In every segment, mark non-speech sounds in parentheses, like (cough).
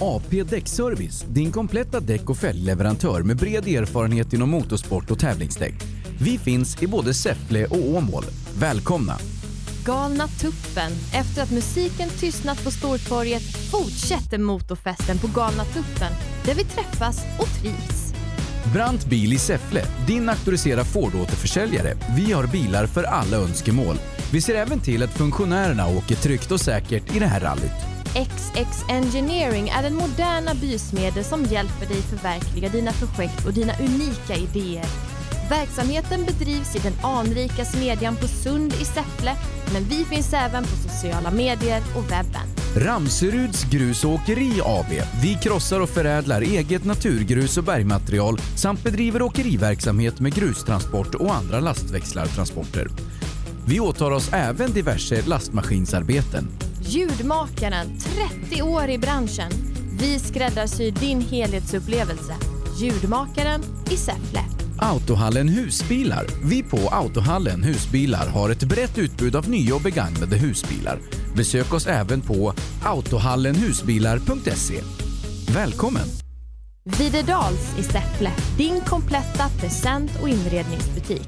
AP Däckservice, din kompletta däck och fälgleverantör med bred erfarenhet inom motorsport och tävlingsdäck. Vi finns i både Säffle och Åmål. Välkomna! Galna tuppen. Efter att musiken tystnat på Stortorget fortsätter motorfesten på Galna tuppen där vi träffas och trivs. Brant bil i Säffle, din auktoriserade Ford-återförsäljare. Vi har bilar för alla önskemål. Vi ser även till att funktionärerna åker tryggt och säkert i det här rallyt. XX Engineering är den moderna bysmedel som hjälper dig förverkliga dina projekt och dina unika idéer. Verksamheten bedrivs i den anrika smedjan på Sund i Säffle, men vi finns även på sociala medier och webben. Ramseruds Grus och Åkeri AB. Vi krossar och förädlar eget naturgrus och bergmaterial samt bedriver åkeriverksamhet med grustransport och andra lastväxlartransporter. Vi åtar oss även diverse lastmaskinsarbeten. Ljudmakaren, 30 år i branschen. Vi skräddarsyr din helhetsupplevelse. Ljudmakaren i Säffle. Autohallen Husbilar. Vi på Autohallen Husbilar har ett brett utbud av nya och begagnade husbilar. Besök oss även på autohallenhusbilar.se. Välkommen! Videdals i Säffle, din kompletta present och inredningsbutik.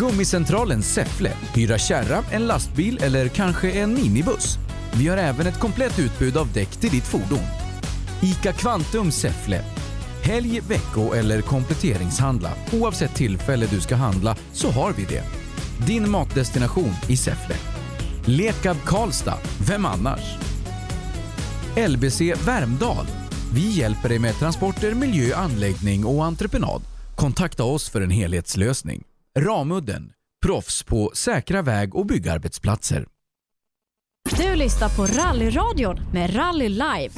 Gummicentralen Säffle. Hyra kärra, en lastbil eller kanske en minibuss. Vi har även ett komplett utbud av däck till ditt fordon. ICA Kvantum Säffle. Helg, vecko eller kompletteringshandla. Oavsett tillfälle du ska handla så har vi det. Din matdestination i Säffle. Lekab Karlstad. Vem annars? LBC Värmdal. Vi hjälper dig med transporter, miljö, anläggning och entreprenad. Kontakta oss för en helhetslösning. Ramudden, proffs på säkra väg och byggarbetsplatser. Du lyssnar på Rallyradion med Rally Live.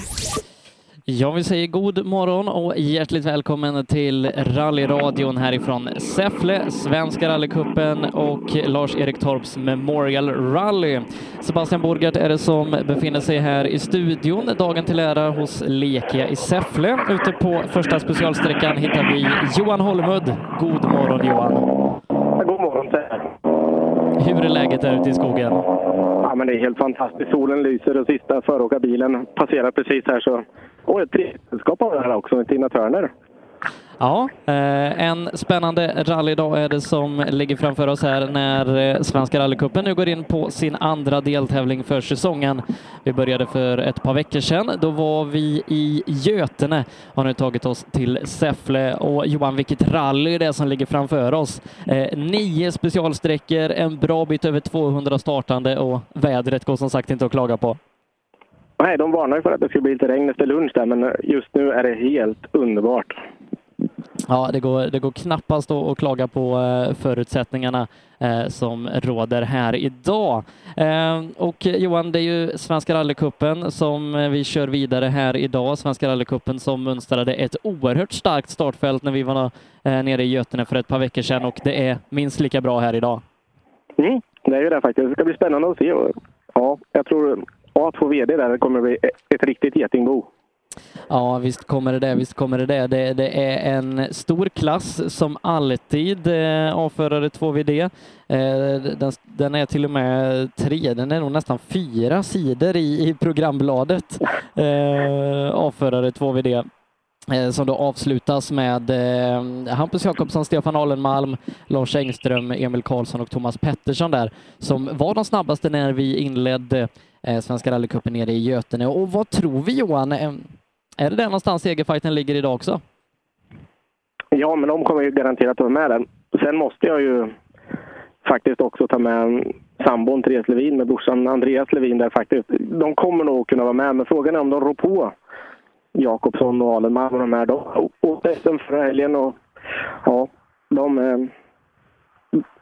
Ja, vi säger god morgon och hjärtligt välkommen till rallyradion härifrån Säffle, Svenska rallycupen och Lars-Erik Torps Memorial Rally. Sebastian Borgert är det som befinner sig här i studion, dagen till ära hos Lekia i Säffle. Ute på första specialsträckan hittar vi Johan Holmud. God morgon Johan! Ja, God morgon till er. Hur är läget där ute i skogen? Ja, men det är helt fantastiskt. Solen lyser och sista föråkarbilen passerar precis här. Så... Och ett trevligt sällskap har vi här också, med Tina Turner. Ja, eh, en spännande rallydag är det som ligger framför oss här när eh, Svenska rallycupen nu går in på sin andra deltävling för säsongen. Vi började för ett par veckor sedan. Då var vi i Götene och har nu tagit oss till Säffle. Och Johan, vilket rally det är som ligger framför oss. Eh, nio specialsträckor, en bra bit över 200 startande och vädret går som sagt inte att klaga på. Nej, de varnar ju för att det skulle bli lite regn efter lunch där, men just nu är det helt underbart. Ja, det går, det går knappast att att klaga på eh, förutsättningarna eh, som råder här idag. Eh, Och Johan, det är ju Svenska rallycupen som eh, vi kör vidare här idag. Svenska rallycupen som mönstrade ett oerhört starkt startfält när vi var eh, nere i Götene för ett par veckor sedan och det är minst lika bra här idag. Mm, det är ju det faktiskt. Det ska bli spännande att se. Ja, jag tror A2 VD där kommer bli e- ett riktigt getingbo. Ja, visst kommer det det. Visst kommer det det. Det, det är en stor klass som alltid, eh, avförare 2VD. Eh, den, den är till och med tre, den är nog nästan fyra sidor i, i programbladet. Eh, avförare 2VD. eh, Som då avslutas med eh, Hampus Jakobsson, Stefan Alenmalm, Lars Engström, Emil Karlsson och Thomas Pettersson där, som var de snabbaste när vi inledde eh, Svenska rallycupen nere i Götene. Och vad tror vi Johan? Eh, Är det där någonstans segerfighten ligger idag också? Ja, men de kommer ju garanterat vara med där. Sen måste jag ju faktiskt också ta med sambon Therese Levin med brorsan Andreas Levin där faktiskt. De kommer nog kunna vara med, men frågan är om de rår på Jakobsson och Alenman och de här. De åkte SM förra helgen och ja, de, eh,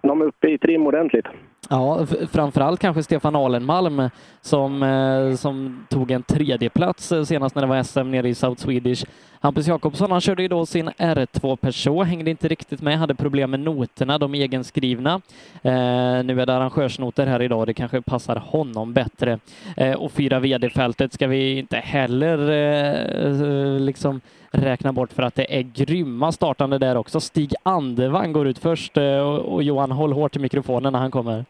de är uppe i trim ordentligt. Ja, f- framförallt kanske Stefan Alenmalm som, eh, som tog en tredjeplats eh, senast när det var SM nere i South Swedish. Hampus Jakobsson, han körde ju då sin R2 Peugeot, hängde inte riktigt med, hade problem med noterna, de egenskrivna. Eh, nu är det arrangörsnoter här idag, det kanske passar honom bättre. Eh, och fyra VD-fältet ska vi inte heller eh, liksom räkna bort för att det är grymma startande där också. Stig Andevang går ut först eh, och, och Johan, håll hårt i mikrofonen när han kommer.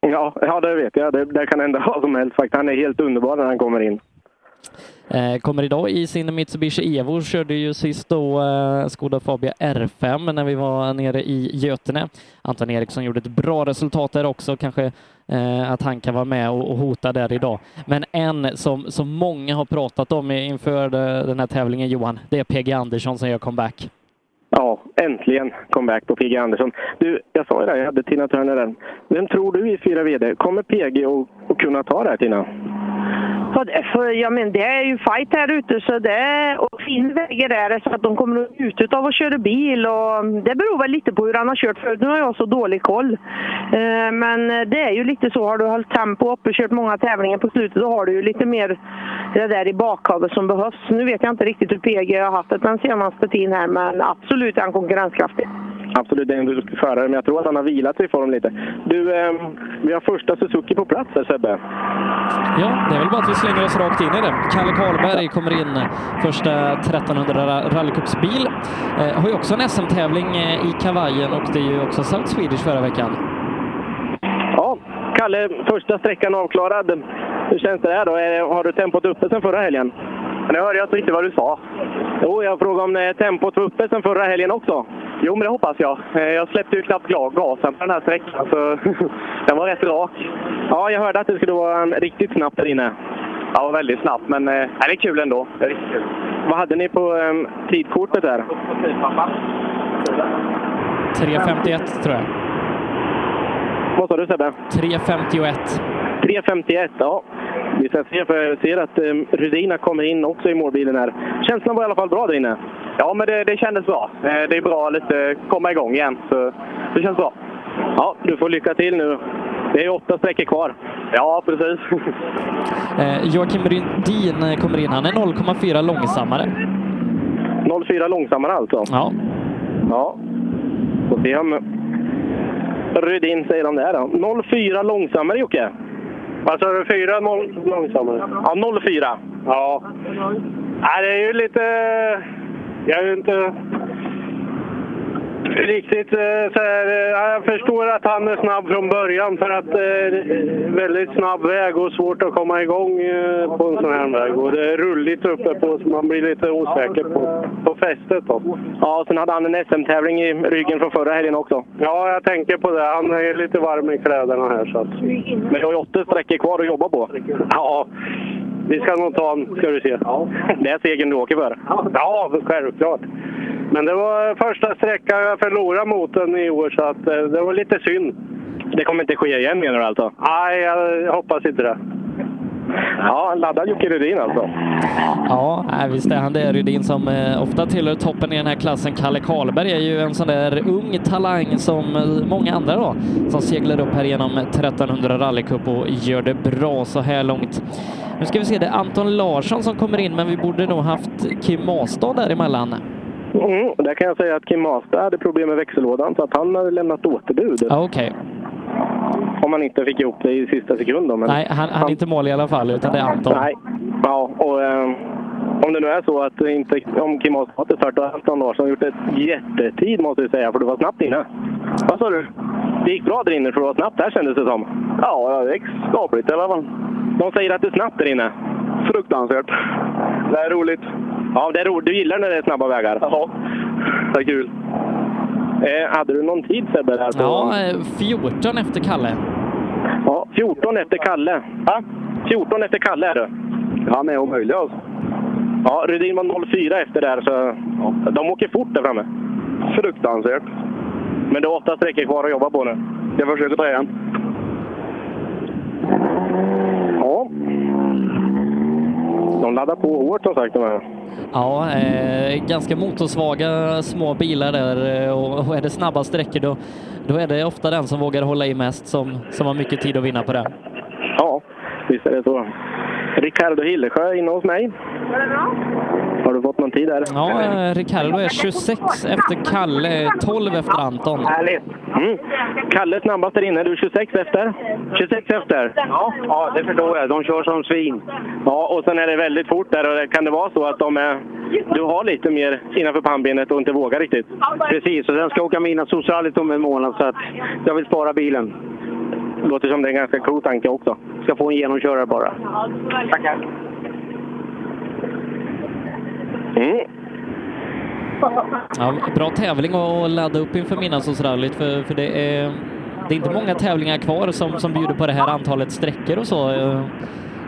Ja, ja det vet jag. Det, det kan hända vad som helst faktiskt. Han är helt underbar när han kommer in. Eh, Kommer idag i sin Mitsubishi Evo, körde ju sist då eh, Skoda Fabia R5 när vi var nere i Götene. Anton Eriksson gjorde ett bra resultat där också, kanske eh, att han kan vara med och hota där idag. Men en som, som många har pratat om inför den här tävlingen, Johan, det är PG Andersson som gör comeback. Ja, äntligen comeback på PG Andersson. Du, jag sa ju det, jag hade Tina Turner där. Vem tror du i fyra VD? Kommer PG att kunna ta det här, Tina? För, ja, men det är ju fight här ute så det är, och fin vägar är det så att de kommer ut av att köra bil. Och mm, det beror väl lite på hur han har kört förut. Nu har jag så dålig koll. Eh, men det är ju lite så. Har du hållit tempo uppe och kört många tävlingar på slutet då har du ju lite mer det där i bakhuvudet som behövs. Nu vet jag inte riktigt hur PG har haft det den senaste tiden här men absolut är han konkurrenskraftig. Absolut, det är en duktig förare, men jag tror att han har vilat sig i form lite. Du, eh, vi har första Suzuki på plats här Sebbe. Ja, det är väl bara att vi slänger oss rakt in i det. Kalle Karlberg kommer in, första 1300 rallycupsbil. Eh, har ju också en SM-tävling i kavajen och det är ju också South Swedish förra veckan. Ja, Kalle, första sträckan avklarad. Hur känns det här då? Har du tempot uppe sen förra helgen? Nu hörde jag inte riktigt vad du sa. Jo, jag frågade om eh, tempot var uppe sen förra helgen också. Jo, men det hoppas jag. Eh, Jag släppte ju knappt gasen på den här sträckan, så (laughs) den var rätt rak. Ja, jag hörde att det skulle vara riktigt snabbt där inne. Ja, väldigt snabbt, men äh, det är kul ändå. Det är riktigt kul. Vad hade ni på äm, tidkortet där? 3.51 tror jag. Vad sa du Sebbe? 3.51. 3.51, ja. Vi ska se, för jag ser att um, Rudina kommer in också i målbilen här. Känslan var i alla fall bra där inne. Ja, men det, det kändes bra. Eh, Det är bra att lite komma igång igen, så det känns bra. Ja, du får lycka till nu. Det är åtta sträckor kvar. Ja, (laughs) precis. eh, Joakim Rydin kommer in. Han är 0,4 långsammare. 0,4 långsammare alltså? Ja. Ja. Får se om Rydin säger om det här då. 0,4 långsammare Jocke. Vad sa du? 4 0 långsammare? Ja, 0,4. Ja. Nej, det är ju lite... Jag är ju inte riktigt så här, eh, Jag förstår att han är snabb från början för att det är väldigt snabb väg och svårt att komma igång eh, på en sån här väg. Och det är rulligt uppe på så man blir lite osäker på, på fästet. Då. Ja, och sen hade han en SM-tävling i ryggen från förra helgen också. Ja, jag tänker på det. Han är lite varm i kläderna här. Så att... Men vi har ju åtta sträckor kvar att jobba på. Ja, vi ska nog ta en, ska du se. Det är segern du åker för. Ja, självklart. Men det var första sträckan jag förlorade motorn i år, så att eh, det var lite synd. Det kommer inte ske igen menar du alltså? Nej, jag hoppas inte det. Ja, laddad Jocke Rudin alltså. Ja, visst är han det. Rydin som eh, ofta tillhör toppen i den här klassen. Kalle Karlberg är ju en sån där ung talang som eh, många andra då, som seglar upp här genom 1300 rallycup och gör det bra så här långt. Nu ska vi se, det är Anton Larsson som kommer in, men vi borde nog haft Kim Mastad däremellan. Mm, där kan jag säga att Kim Masta hade problem med växellådan så att han hade lämnat återbud. Okej. Okay. Om han inte fick ihop det i sista sekund då, men Nej, han, han är inte mål i alla fall, utan det är Anton. Nej, ja, och eh, om det nu är så att inte, om Kim Masta hade fört och Anton Larsson gjort ett jättetid måste jag säga, för du var snabbt inne. Vad sa du? Det gick bra där inne för du var snabbt där kändes det som. Ja, det gick skapligt i alla fall. De säger att det är snabbt där inne. Fruktansvärt. Det är roligt. Ja, det är roligt. Du gillar när det är snabba vägar? Ja, det är kul. Eh, hade du någon tid Sebbe? Där på... Ja, 14 efter Kalle. Ja, 14 efter Kalle. Ja, 14 efter Kalle är du. Han är omöjlig alltså. Ja, Rudin var 04 efter där, så ja. de åker fort där framme. Fruktansvärt. Men det är åtta sträckor kvar att jobba på nu. Jag försöker ta igen. Ja. De laddar på hårt som sagt de här. Ja, eh, ganska motorsvaga små bilar där eh, och, och är det snabba sträckor då, då är det ofta den som vågar hålla i mest som, som har mycket tid att vinna på det. Ja, visst är det så. Ricardo Hillesjö är inne hos mig. Var det bra? Har du fått någon tid där? Ja, eh, Ricardo är 26 efter Kalle, 12 efter Anton. Härligt! Mm. Kalle snabbast där inne. Du är 26 efter? 26 efter? Ja, ja det förstår jag. De kör som svin. Ja, och sen är det väldigt fort där. Och det kan det vara så att de är, du har lite mer innanför pannbenet och inte vågar riktigt? Precis, och sen ska jag åka mina socialit om en månad så att jag vill spara bilen. Låter som det är en ganska cool tanke också. Ska få en genomkörare bara. Tackar. Mm. Ja, bra tävling att ladda upp inför midnattssolsrallyt för, för det, är, det är inte många tävlingar kvar som, som bjuder på det här antalet sträckor och så.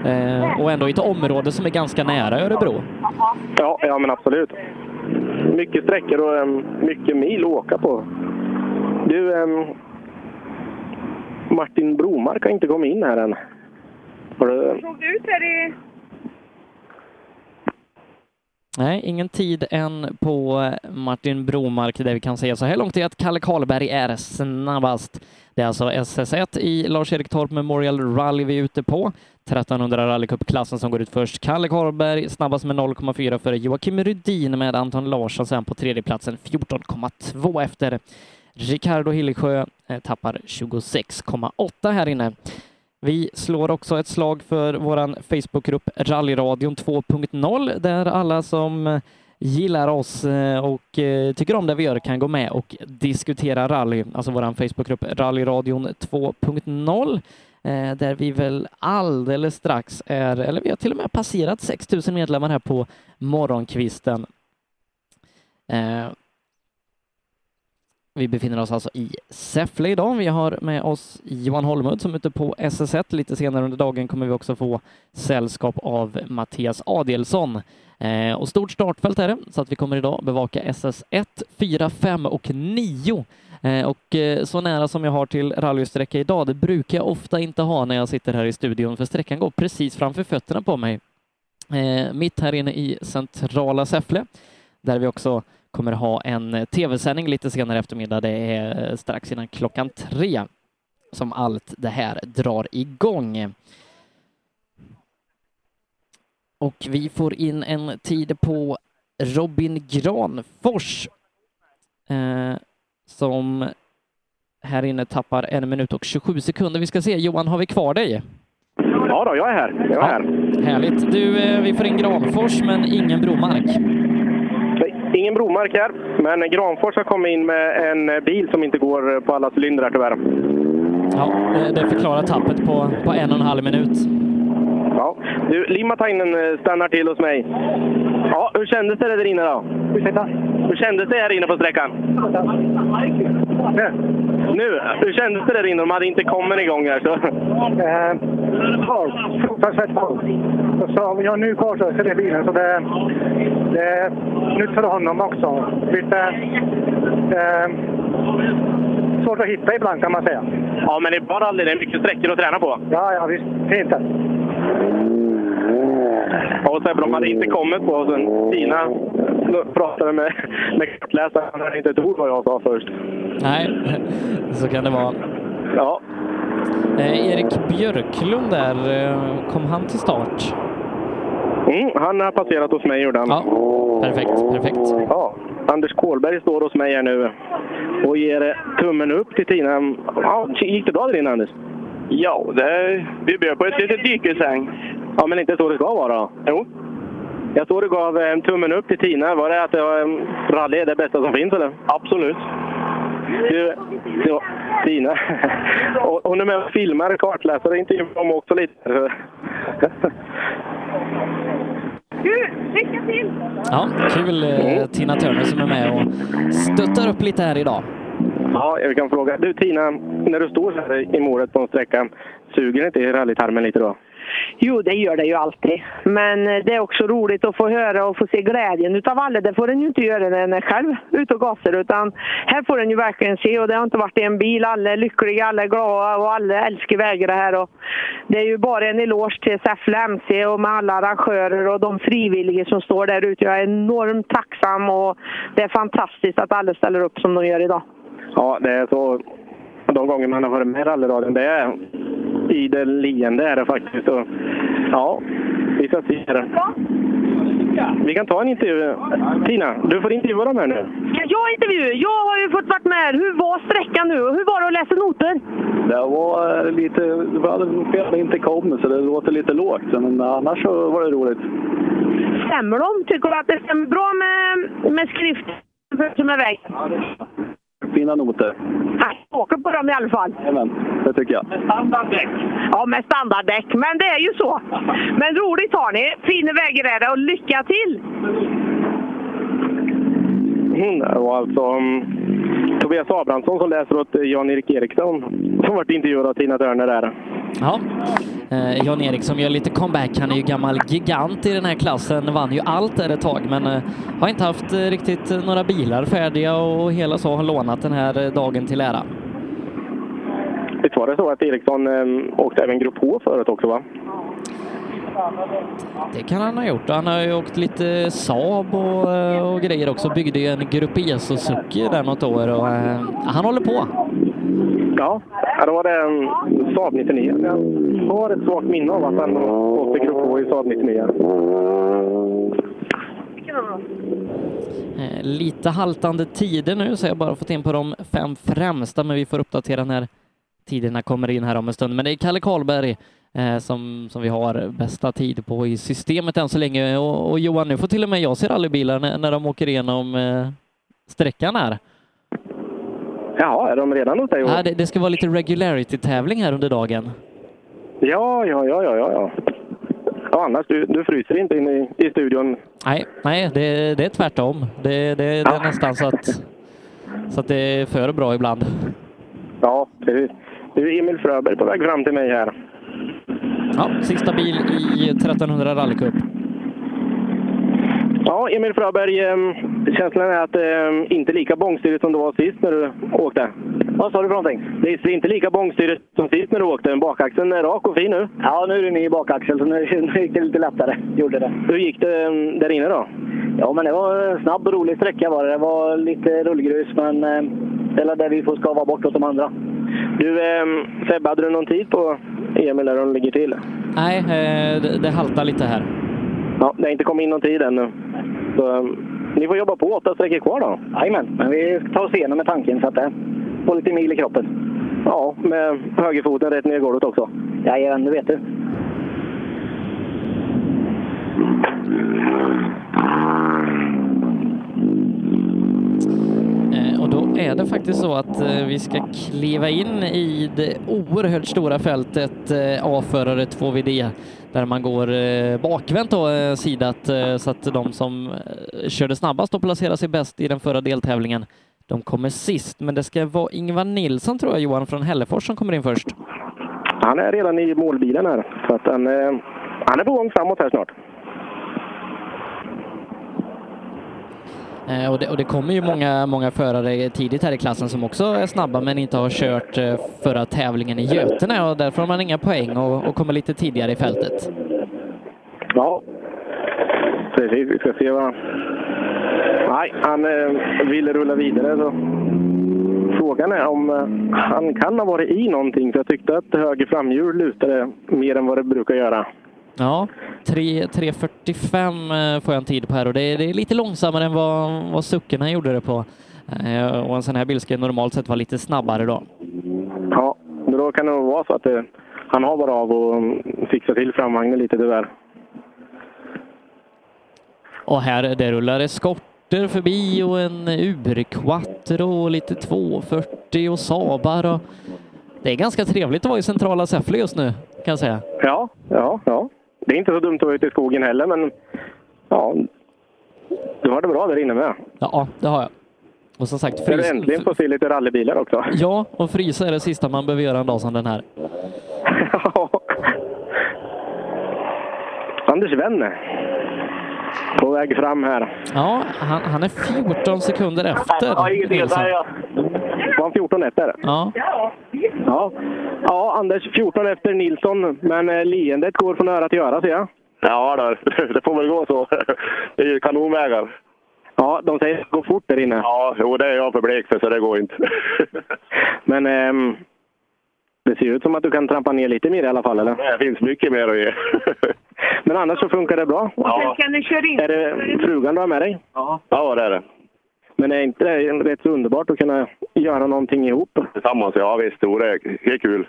Eh, Och ändå i ett område som är ganska nära Örebro. Ja, ja, men absolut. Mycket sträckor och em, mycket mil att åka på. Du, em, Martin Bromark har inte kommit in här än. Har du, såg det ut här i... Nej, ingen tid än på eh, Martin Bromark där vi kan säga så här långt är att Kalle Karlberg är snabbast. Det är alltså SS1 i Lars-Erik Torp Memorial Rally vi är ute på. 1300 rallycupklassen som går ut först. Kalle Karlberg snabbast med 0,4 före Joakim Rydin med Anton Larsson sen på tredjeplatsen 14,2 efter. Ricardo Hillesjö eh, tappar 26,8 här inne. Vi slår också ett slag för vår Facebookgrupp Rallyradion 2.0 där alla som gillar oss eh, och eh, tycker om det vi gör kan gå med och diskutera rally, alltså vår Facebookgrupp Rallyradion 2.0 eh, där vi väl alldeles strax är, eller vi har till och med passerat 6000 medlemmar här på morgonkvisten. Eh, vi befinner oss alltså i Säffle idag. Vi har med oss Johan Holmud som är ute på SS1. Lite senare under dagen kommer vi också få sällskap av Mattias Adelsson. Eh, och stort startfält är det, så att vi kommer idag bevaka SS1, 4, 5 och 9. Eh, och eh, så nära som jag har till rallysträcka idag, det brukar jag ofta inte ha när jag sitter här i studion, för sträckan går precis framför fötterna på mig. Eh, mitt här inne i centrala Säffle, där vi också kommer ha en eh, tv-sändning lite senare i eftermiddag. Det är eh, strax innan klockan tre som allt det här drar igång. Och vi får in en tid på Robin Granfors eh, som här inne tappar en minut och 27 sekunder. Vi ska se, Johan, har vi kvar dig? ja då, jag är här. Jag är här. Härligt. Du, eh, vi får in Granfors, men ingen Bromark. Ingen Bromark här, men Granfors har kommit in med en eh, bil som inte går eh, på alla cylindrar tyvärr. Ja, eh, det förklarar tappet på, på en och en halv minut. Ja. Du, Limatainen eh, stannar till hos mig. Ja, hur kändes det där inne då? Ursäkta? Hur kändes det här inne på sträckan? Nu? Hur kändes det där inne? De hade inte kommit igång här. Så. Eh, Halt. Fruktansvärt halt. Och så jag har nu korsade i bilen så det, det är nytt för honom också. Lite eh, svårt att hitta ibland kan man säga. Ja, men det är bara aldrig det är mycket sträckor att träna på. Ja, ja visst. Fint. här. Ja, och Sebbe, de hade inte kommit på oss. Men Tina pratade med, med kartläsaren. Han hörde inte ett ord vad jag sa först. Nej, (laughs) så kan det vara. Ja, Eh, Erik Björklund där, eh, kom han till start? mm, han har passerat hos mig gjorde han. Ja, perfekt, perfekt. Ja, Anders Kålberg står hos mig här nu och ger eh, tummen upp till Tina. Ja, gick det bra där inne Anders? Ja, det, vi bjöd på ett litet dykessäng. Ja, men inte så det ska vara? Jo. Jag såg du gav eh, tummen upp till Tina. Var det att det var, eh, rally är det bästa som finns eller? Absolut. Du, du, Tina, (laughs) och- hon är med och filmar kartläsare intervjuar dem också lite. (laughs) Gud, lycka till! Ja, kul Mm. eh, Tina Turner som är med och stöttar upp lite här idag. Ja, jag kan fråga. Du Tina, när du står så här i målet på en sträcka, suger det inte i rallytarmen lite då? Jo, det gör det ju alltid. Men eh, det är också roligt att få höra och få se glädjen utav alla. Det får en ju inte göra när en är själv ute och gasar. Utan här får en ju verkligen se och det har inte varit en bil. Alla är lyckliga, alla är glada och alla älskar vägarna här. Och det är ju bara en eloge till Säffle MC och med alla arrangörer och de frivilliga som står där ute. Jag är enormt tacksam och det är fantastiskt att alla ställer upp som de gör idag. Ja, det är så. De gånger man har varit med i rallyradion, det är idel leende är det faktiskt. Och, ja, vi ska se. här. Vi kan ta en intervju. Tina, du får intervjua dem här nu. Ska jag intervjua? Jag har ju fått vara med. Hur var sträckan nu och hur var det att läsa noter? Det var eh, lite, det var fel att inte kom så det låter lite lågt. Men annars så var det roligt. Stämmer de? Tycker du att det stämmer bra med, med skrift som är väg? Fina noter. Nej, åker på dem i alla fall. Jajamän, det tycker jag. Standarddäck. Ja, med standarddäck. Men det är ju så. Men roligt har ni. Fina vägar är det och lycka till! in där. Och alltså, mm, Tobias Abrahamsson som läser åt eh, Jan-Erik Eriksson som varit intervjuad av Tina Turner där. Ja. Eh, Jan Eriksson gör lite comeback. Han är ju gammal gigant i den här klassen. Vann ju allt där ett tag, men eh, har inte haft eh, riktigt eh, några bilar färdiga och hela så har lånat den här eh, dagen till ära. Visst var det så att Eriksson eh, åkte även Grupp H förut också? va? Det kan han ha gjort. Han har ju åkt lite Saab och, eh, och grejer också. Byggde ju en Grupp E Suzuki där något år och eh, han håller på. Ja, ja, då var det en Saab 99. Jag har ett svagt minne av att han åkte Grupp H i Saab 99. Eh, Lite haltande tider nu, så jag har bara fått in på de fem främsta, men vi får uppdatera när tiderna kommer in här om en stund. Men det är Kalle Karlberg eh, som, som vi har bästa tid på i systemet än så länge. Och, och Johan, nu får till och med jag se rallybilar när, när de åker igenom eh, sträckan här. Jaha, är de redan hos dig? Nej, det, det ska vara lite regularity-tävling här under dagen. Ja, ja, ja, ja, ja. ja. Ja, annars, du, du fryser inte in i, i studion. Nej, nej det, det är tvärtom. Det, det, det är nästan så att, så att det är för bra ibland. Ja, precis. Du är Emil Fröberg på väg fram till mig här. Ja, sista bil i 1300 rallycup. Ja, Emil Fröberg, ehm, känslan är att ehm, inte lika bångstyrigt som det var sist när du åkte. Vad sa du för någonting? Det är inte lika bångstyrigt som sist när du åkte. Bakaxeln är rak och fin nu. Ja, nu är det ny bakaxel, så nu, (laughs) gick det lite lättare. Gjorde det. Hur gick det ehm, där inne då? Ja, men det var en snabb och rolig sträcka var det. Det var lite rullgrus, men eh, det är där vi får skava bort åt de andra. Du, ehm, Sebbe, hade du någon tid på Emil där de ligger till? Nej, eh, det, det haltar lite här. Ja, det har inte kommit in någon tid ännu. Så, ehm, ni får jobba på. Åtta sträckor kvar då? Jajamän, men vi tar oss igenom med tanken så att det får lite mil i kroppen. Ja, med högerfoten rätt ner i golvet också. Jajamän, det vet du. Eh, Och då är det faktiskt så att eh, vi ska kliva in i det oerhört stora fältet eh, A-förare 2VD där man går eh, bakvänt då, eh, sidat eh, så att de som eh, körde snabbast och placerade sig bäst i den förra deltävlingen de kommer sist, men det ska vara Ingvar Nilsson tror jag, Johan från Hällefors som kommer in först. Han är redan i målbilen här. Så att han, eh, han är på gång framåt här snart. Eh, Och det, och det kommer ju många, många förare tidigt här i klassen som också är snabba men inte har kört eh, förra tävlingen i Götene och därför har man inga poäng och, och kommer lite tidigare i fältet. Ja, precis. Vi ska se vad... Nej, han eh, ville rulla vidare. Så. Frågan är om eh, han kan ha varit i någonting. För jag tyckte att höger framhjul lutade mer än vad det brukar göra. Ja, tre- 3.45 eh, får jag en tid på här och det är, det är lite långsammare än vad, vad suckorna gjorde det på. Eh, Och en sån här bil ska ju normalt sett vara lite snabbare då. Ja, men då kan det nog vara så att eh, han har bara av och mm, fixat till framvagnen lite tyvärr. Och här det rullar det skorter förbi och en urquattro och lite 240 och Sabar. Och det är ganska trevligt att vara i centrala Säffle just nu kan jag säga. Ja, ja, ja. Det är inte så dumt att vara ute i skogen heller, men ja, du har det bra där inne med. Ja, det har jag. Och som sagt, När du frys... äntligen får se lite rallybilar också. Ja, och frysa är det sista man behöver göra en dag som den här. Anders Wenne. På väg fram här. Ja, han, han är 14 sekunder efter. Nilsson. Var han 14 efter? Ja, Ja. ja, Anders 14 efter Nilsson, men eh, leendet går från öra till öra ser jag. Ja, då, (laughs) det får väl gå så. Det är ju kanonvägar. Ja, de säger att det går fort där inne. Ja, jo, det är jag för blek för, så det går inte. (laughs) (laughs) Men ehm, det ser ut som att du kan trampa ner lite mer i alla fall, eller? Det finns mycket mer att ge. (laughs) Men annars så funkar det bra. Ja, Kan du köra in? Är det frugan du har med dig? ja det är det. Men är inte det rätt så underbart att kunna göra någonting ihop? Tillsammans, ja visst. Jo, det är, det är kul.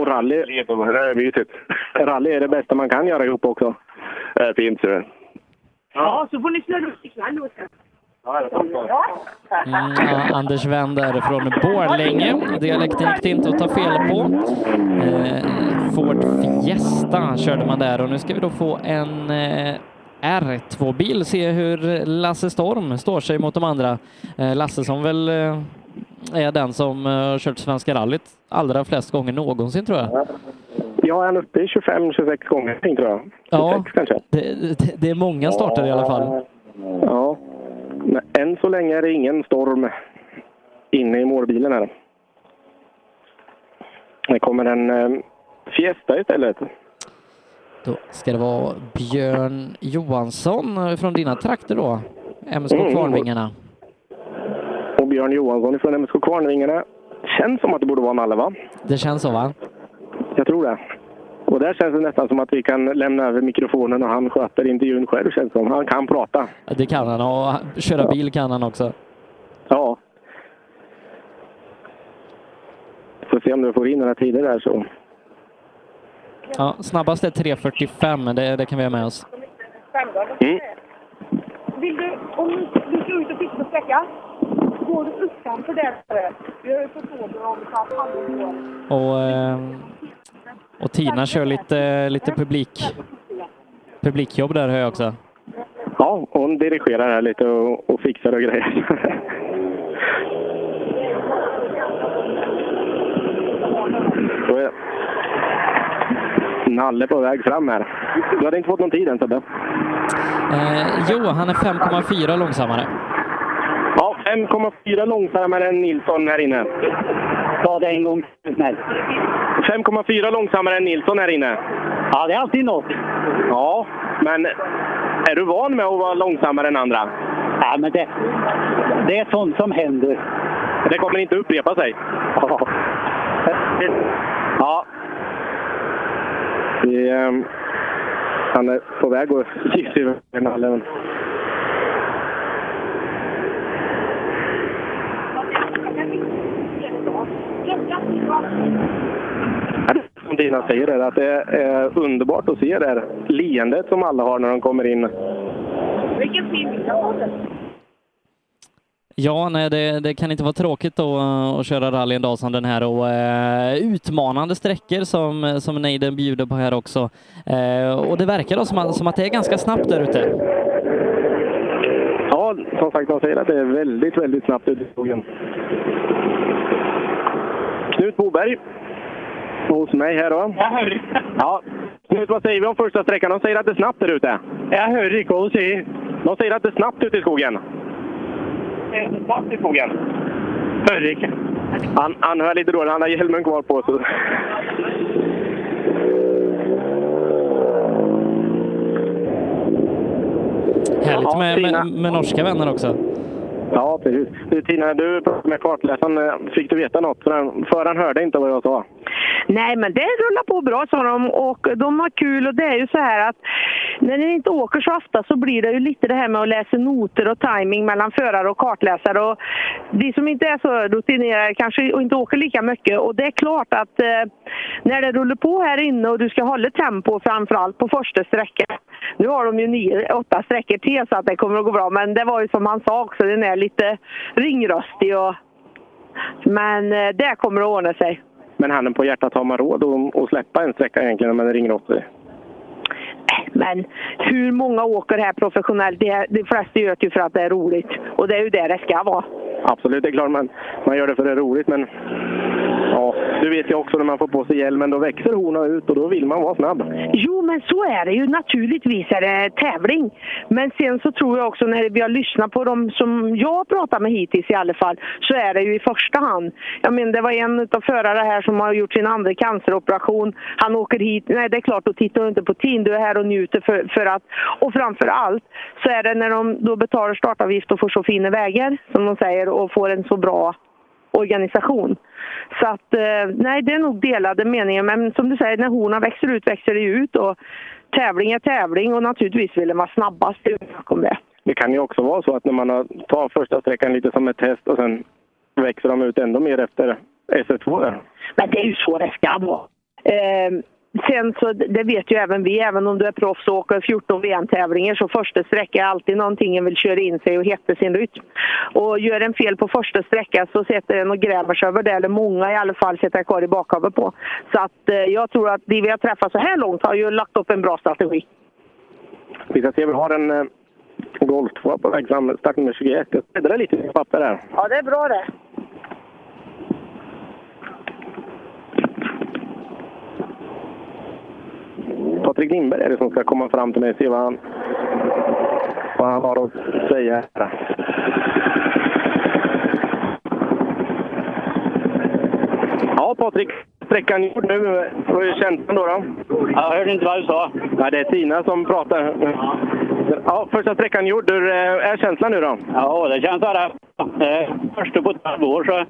Och rally, Det är mysigt. (laughs) rally är det bästa man kan göra ihop också. Det är fint, så. Ja, så får ni snurra upp ikväll åt det. Mm, ja, Anders vänder från Borlänge. Dialekten gick det inte att ta fel på. Eh, Ford Fiesta körde man där och nu ska vi då få en eh, R2-bil. Se hur Lasse Storm står sig mot de andra. Eh, Lasse som väl eh, är den som eh, har kört Svenska rallyt allra flest gånger någonsin tror jag. Ja, han är uppe i 25-26 gånger någonting, tror jag. Ja, 26 kanske. det, det, det är många starter i alla fall. Ja. Men än så länge är det ingen storm inne i målbilen här. Det kommer en eh, Fiesta istället. Då ska det vara Björn Johansson eh, från dina trakter då, MSK Mm. Kvarnvingarna. Och Björn Johansson från MSK Kvarnvingarna. Känns som att det borde vara Nalle, va? Det känns så va? Jag tror det. Och där känns det nästan som att vi kan lämna över mikrofonen och han sköter intervjun själv känns det som. Han kan prata. Det kan han och köra bil kan han också. Ja. Får se om du får in några tider där så. Ja, snabbast är 3.45, det, det kan vi ha med oss. Mm. Vill du, om du- du ska ut och titta på sträckan, går du utanför där? Vi har ju fått order om att han går. Och, eh, och Tina kör lite, lite publik, publikjobb där hör jag också. Ja, hon dirigerar här lite och, och fixar och grejer. (laughs) Så är det. Nalle på väg fram här. Du hade inte fått någon tid än Sebbe? Eh, jo, han är 5,4 långsammare. Ja, 5,4 långsammare än Nilsson här inne. Ta det en gång snäll. 5,4 långsammare än Nilsson här inne. Ja, det är alltid något. Ja, men är du van med att vara långsammare än andra? Ja, men det, det är sånt som händer. Det kommer inte upprepa sig? Ja. ja. Vi, ehm, han är på väg att kissa över nallen. som Dina säger där, att det är underbart att se det här leendet som alla har när de kommer in. Vilken fin bild han har. Ja, nej, det, det kan inte vara tråkigt då, eh, att köra rally en dag som den här och eh, utmanande sträckor som, som Neiden bjuder på här också. Eh, och det verkar då som, att- som att det är ganska snabbt där ute. Ja, som sagt, de säger att det är väldigt, väldigt snabbt ute i skogen. Knut Boberg hos mig här då. Jag hör. Ja. Knut, vad säger vi om första sträckan? De säger att det är snabbt där ute. Jag hör inte vad de säger. De säger att det är snabbt ute i skogen. Det är snabbt i skogen. Hör inte. Han, han hör lite dåligt. Han har hjälmen kvar på sig. Härligt Ja, med, Tina. med, med norska vänner också. Ja, precis. Du, Tina, du pratade med kartläsaren. eh, Fick du veta något? För han, för han hörde inte vad jag sa. Nej, men det rullar på bra sa de och de har kul och det är ju så här att när ni inte åker så ofta så blir det ju lite det här med att läsa noter och timing mellan förare och kartläsare och vi som inte är så rutinerade kanske och inte åker lika mycket och det är klart att eh, när det rullar på här inne och du ska hålla tempo framförallt på första sträckan. Nu har de ju nio, åtta sträckor till så att det kommer att gå bra men det var ju som han sa också, den är lite ringrostig och men eh, det kommer att ordna sig. Men handen på hjärtat, har man råd att, att släppa en sträcka egentligen när man ringer åt sig? Men hur många åker här professionellt? Det, de flesta gör det ju för att det är roligt. Och det är ju det det ska vara. Absolut, det är klart man, man gör det för det är roligt, men ja, du vet ju också när man får på sig hjälmen, då växer horna ut och då vill man vara snabb. Jo, men så är det ju. Naturligtvis är det tävling. Men sen så tror jag också när vi har lyssnat på dem som jag har pratat med hittills i alla fall, så är det ju i första hand. Jag menar, det var en av förare här som har gjort sin andra canceroperation. Han åker hit. Nej, det är klart, då tittar du inte på tiden. Du är här och njuter för, för att... Och framför allt så är det när de då betalar startavgift och får så fina vägar, som de säger, och får en så bra organisation. Så att, eh, nej, det är nog delade meningar. Men som du säger, när horna växer ut, växer det ut. Och tävling är tävling och naturligtvis vill den vara snabbast. Det är ju snack om det. Det kan ju också vara så att när man har, tar första sträckan lite som ett test och sen växer de ut ändå mer efter SS2. Där. Men det är ju så det ska vara. Eh, sen så, det vet ju även vi, även om du är proffs och åker 14 VM-tävlingar så första sträcka är alltid någonting en vill köra in sig och hitta sin rytm. Och gör en fel på första sträckan så sitter en och gräver sig över det, eller många i alla fall sitter kvar i bakhuvudet på. Så att eh, jag tror att de vi har träffat så här långt har ju lagt upp en bra strategi. Vi ska se, vi har en eh, Golf 2 på väg fram, start nummer 21. Jag bläddrar lite i papper här. Ja, det är bra det. Patrik Lindberg är det som ska komma fram till mig och se vad han, vad han har att säga. här. Ja, Patrik. Sträckan gjord nu. Hur känns den då? då? Jag hörde inte vad du sa. Nej, det är Tina som pratar. Ja, första sträckan gjord. Hur eh, är känslan nu då? Ja, det känns Eh, sådär. Första på 12 år så...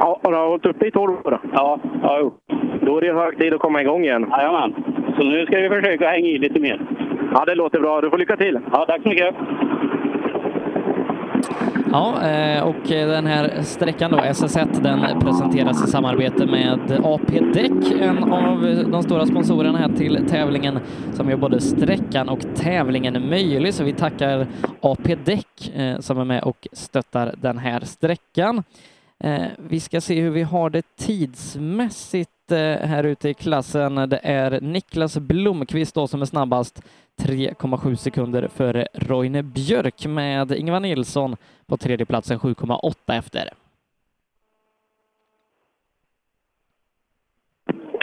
Ja, och du har hållit uppe i 12 år? Ja, ja jo. Då är det hög tid att komma igång igen. Jajamän. Så nu ska vi försöka hänga i lite mer. Ja, det låter bra. Du får lycka till. Ja, tack så mycket. Ja, eh, och den här sträckan då, SS1, den presenteras i samarbete med AP Däck, en av de stora sponsorerna här till tävlingen som gör både sträckan och tävlingen möjlig. Så vi tackar AP Däck eh, som är med och stöttar den här sträckan. Eh, Vi ska se hur vi har det tidsmässigt eh, här ute i klassen. Det är Niklas Blomqvist då som är snabbast, 3,7 sekunder före Roine Björk med Ingvar Nilsson på tredje platsen 7,8 efter.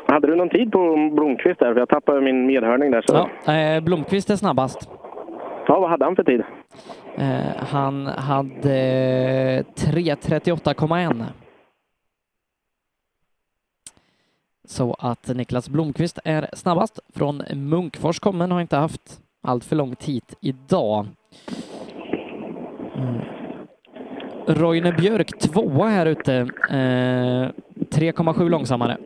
Hade du någon tid på Blomqvist där? För jag tappade min medhörning där. Så. Ja, eh, Blomqvist är snabbast. Ja, vad hade han för tid? Eh, Han hade eh, 3.38,1. Så att Niklas Blomqvist är snabbast från Munkfors kommen, har inte haft allt för långt hit idag. Mm. Roine Björk tvåa här ute, eh, 3,7 långsammare.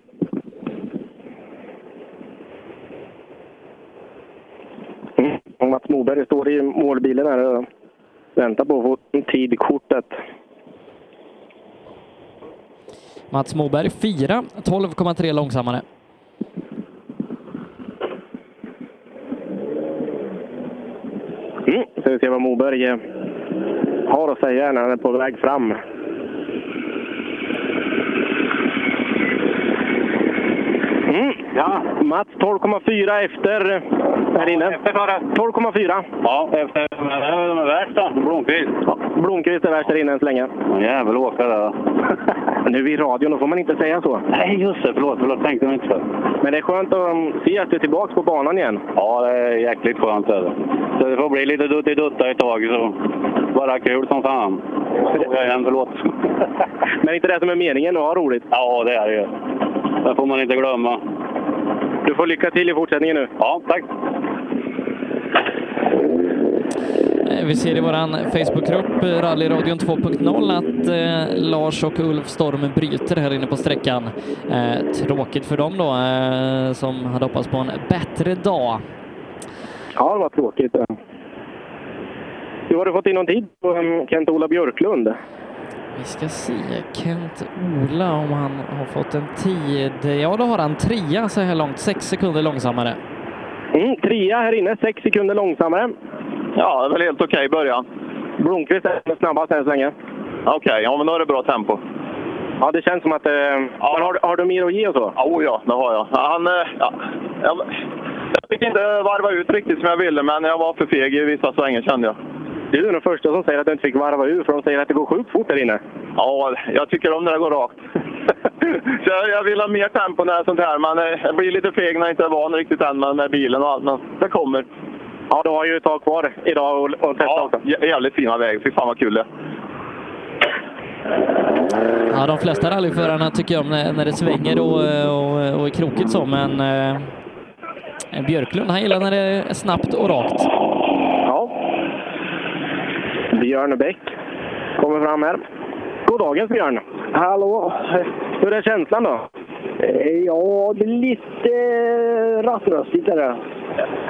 Och Mats Moberg står i målbilen här och väntar på att få tidkortet. Mats Moberg fyra, 12,3 långsammare. Mm. Ska vi se vad Moberg eh, har att säga när han är på väg fram. Mm. Ja. Mats 12,4 efter eh, här inne. 12,4. Ja, efter vem är värst då? Blomqvist. Ja, Blomqvist är värst där inne än så länge. Jävel åkare. (laughs) nu i radion, då får man inte säga så. Nej, just det. Förlåt, förlåt. Tänkte man inte så. Men det är skönt att um, se att du är tillbaka på banan igen. Ja, det är jäkligt skönt. Är det. Så det får bli lite duttidutta ett tag. Så bara kul som fan. Såg jag igen, förlåt. (laughs) Men inte det som är meningen att ha roligt? Ja, det är det ju. Det får man inte glömma. Du får lycka till i fortsättningen nu. Ja, tack. Eh, Vi ser i vår Facebookgrupp eh, Rallyradion 2.0 att eh, Lars och Ulf Storm bryter här inne på sträckan. Eh, tråkigt för dem då, eh, som hade hoppats på en bättre dag. Ja, det var tråkigt. Du har du fått in någon tid på um, Kent-Ola Björklund? Vi ska se, Kent-Ola om han har fått en tid. Ja, då har han trea så här långt, sex sekunder långsammare. Mm, trea här inne, sex sekunder långsammare. Ja, det är väl helt okej i början. Blomqvist är snabbast än så länge. Okej, ja men då är det bra tempo. Ja, det känns som att... Eh, men har, har du mer att ge och så? Oh, ja, det har jag. Ja, Han, eh, ja, jag. Jag fick inte varva ut riktigt som jag ville, men jag var för feg i vissa svängar kände jag. Du är den första som säger att du inte fick varva ur, för de säger att det går sjukt fort där inne. Ja, jag tycker om när det går (laughs) rakt. Så jag, jag vill ha mer tempo när det är sånt här, men eh, jag blir lite feg när jag inte är van riktigt än med, med bilen och allt, men det kommer. Ja, du har ju ett tag kvar idag och, och testa ja, också. jävligt fina väg. Fy fan vad kul det är. Ja, de flesta rallyförarna tycker om när, när det svänger och, eh, och, och är krokigt så, men eh, Björklund, han gillar när det är snabbt och rakt. Ja. Björn Bäck kommer fram här. God dagens Björn! Hallå! Hur är känslan då? Ja, det är lite eh, rattröstigt är det.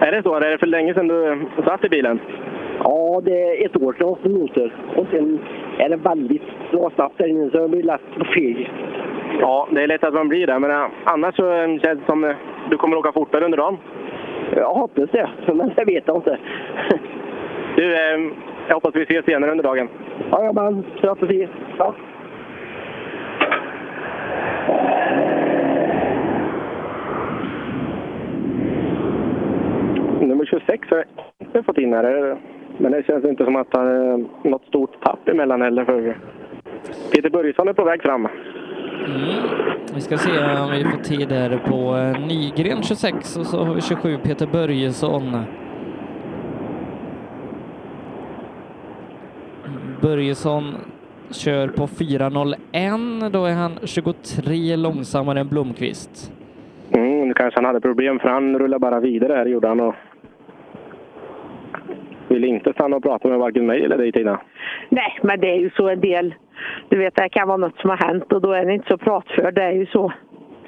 Är det så? Är det för länge sedan du satt i bilen? Ja, det är ett år sedan jag åkte motor. Och sen är det väldigt bra snabbt där inne så jag blir lätt feg. Ja, det är lätt att man blir det. Men eh, annars så eh, känns det som eh, du kommer åka fortare under (laughs) dagen. Jag hoppas det, men det vet jag inte. Du, eh, jag hoppas vi ses senare under dagen. Jajamän, strategi. Ja. Nummer 26 är vi fått in här. Men det känns inte som att det är något stort tapp emellan heller. För Peter Börjesson är på väg fram. Mm. Vi ska se om vi får tid här på eh, Nygren 26 och så har vi 27 Peter Börjesson. Börjesson kör på 4.01, då är han 23 långsammare än Blomqvist. Mm, nu kanske han hade problem för han rullade bara vidare här gjorde han. Och ville inte stanna och prata med varken mig eller dig Tina. Nej, men det är ju så en del. Du vet, det kan vara något som har hänt och då är den inte så pratför. Det är ju så.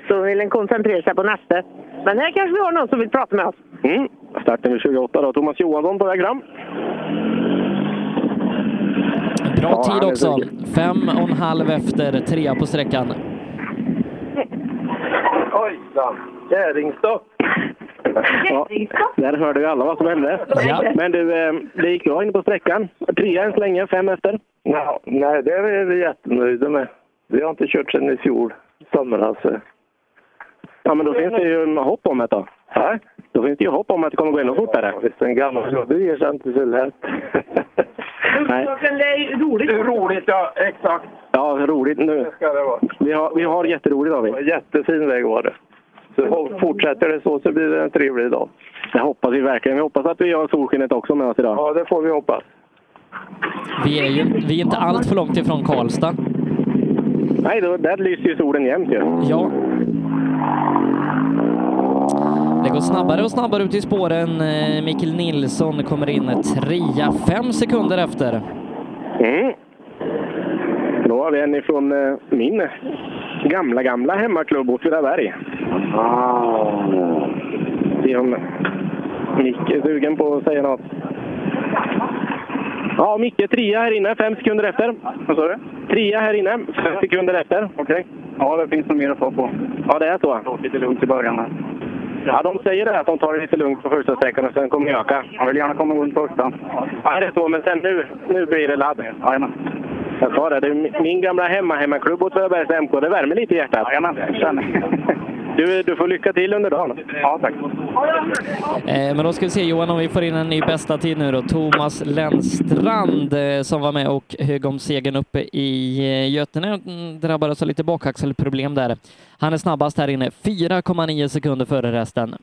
Så vill en koncentrera sig på nästa. Men här kanske vi har någon som vill prata med oss. Mm. Starten vid 28 då. Thomas Johansson på väg fram. Bra Ja, han tid är också. duktig. Fem och en halv efter, trea på sträckan. Ojsan! Kärringstopp! Ja, där hörde ju alla vad som hände. Men du, eh, det gick bra inne på sträckan. Trea än så länge, fem efter. Ja, nej, det är vi jättenöjda med. Vi har inte kört sedan i fjol, alltså. somras. Ja, men då finns det ju hopp om det då. Nej. Då finns det ju hopp om att det kommer gå ännu fortare. Visst, en gammal gubbe ger sig inte så lätt. Nej. Roligt. Roligt, ja. Exakt. Ja, roligt nu. Ska det vara. Vi har, vi har jätteroligt har vi. Jättefin väg var det. Så fortsätter det så så blir det en trevlig dag. Det hoppas vi verkligen. Vi hoppas att vi har solskenet också med oss idag. Ja, det får vi hoppas. Vi är ju vi är inte allt för långt ifrån Karlstad. Nej, då, där lyser ju solen jämt ju. Ja. Det går snabbare och snabbare ut i spåren. Eh, Mikael Nilsson kommer in trea, fem sekunder efter. Mm. Då har vi en ifrån eh, min gamla, gamla hemmaklubb Åtvidaberg. Ah. Se om Micke är sugen på att säga något. Ja, Micke trea här inne, fem sekunder efter. Vad sa du? Trea här inne, fem sekunder efter. Okej. Ja, det finns nog mer att få på. Ja, det är så. Det lite lugnt i början här. Ja, de säger det, att de tar det lite lugnt på första sträckan och sen kommer det öka. Jag vill gärna komma runt första. Ja, det är så, men sen nu, nu blir det ladd. Jajamän. Jag sa det, det är mi- min gamla hemma, hemmaklubb Åtvidabergs MK. Det värmer lite i hjärtat. Jajamän, (laughs) du, du får lycka till under dagen. Ja, tack. Eh, Men då ska vi se Johan om vi får in en ny bästa tid nu då. Thomas Lennstrand eh, som var med och högg om segern uppe i eh, Götene Mm, drabbades av lite bakaxelproblem där. Han är snabbast här inne, 4,9 sekunder före resten.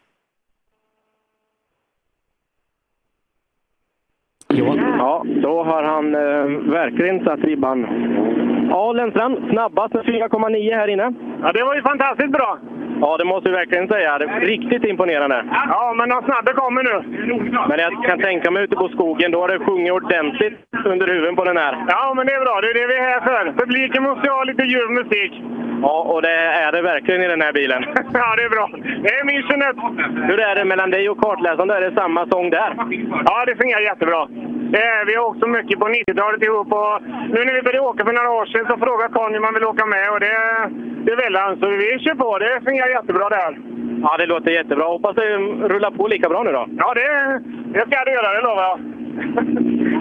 Ja, då har han eh, verkligen satt ribban. Ja, Lennstrand, snabbast med 4,9 här inne. Ja, det var ju fantastiskt bra. Ja, det måste vi verkligen säga. Det är riktigt imponerande. Ja, men de snabba kommer nu. Men jag kan tänka mig ute på skogen, då har det sjungit ordentligt under huven på den här. Ja, men det är bra. Det är det vi är här för. Publiken måste ju ha lite ljuv musik. Ja, och det är det verkligen i den här bilen. (laughs) Ja, det är bra. Det är missionet. Hur är det mellan dig och kartläsaren? då? Är det samma sång där? Ja, det fungerar jättebra. Eh, vi har åkt så mycket på 90-talet ihop och nu när vi började åka för några år sedan så frågade Conny om han ville åka med och det, det ville han. Så vi kör på. Det fungerar jättebra det här. Ja, det låter jättebra. Hoppas det rullar på lika bra nu då. Ja, det, det ska du göra, det lovar jag.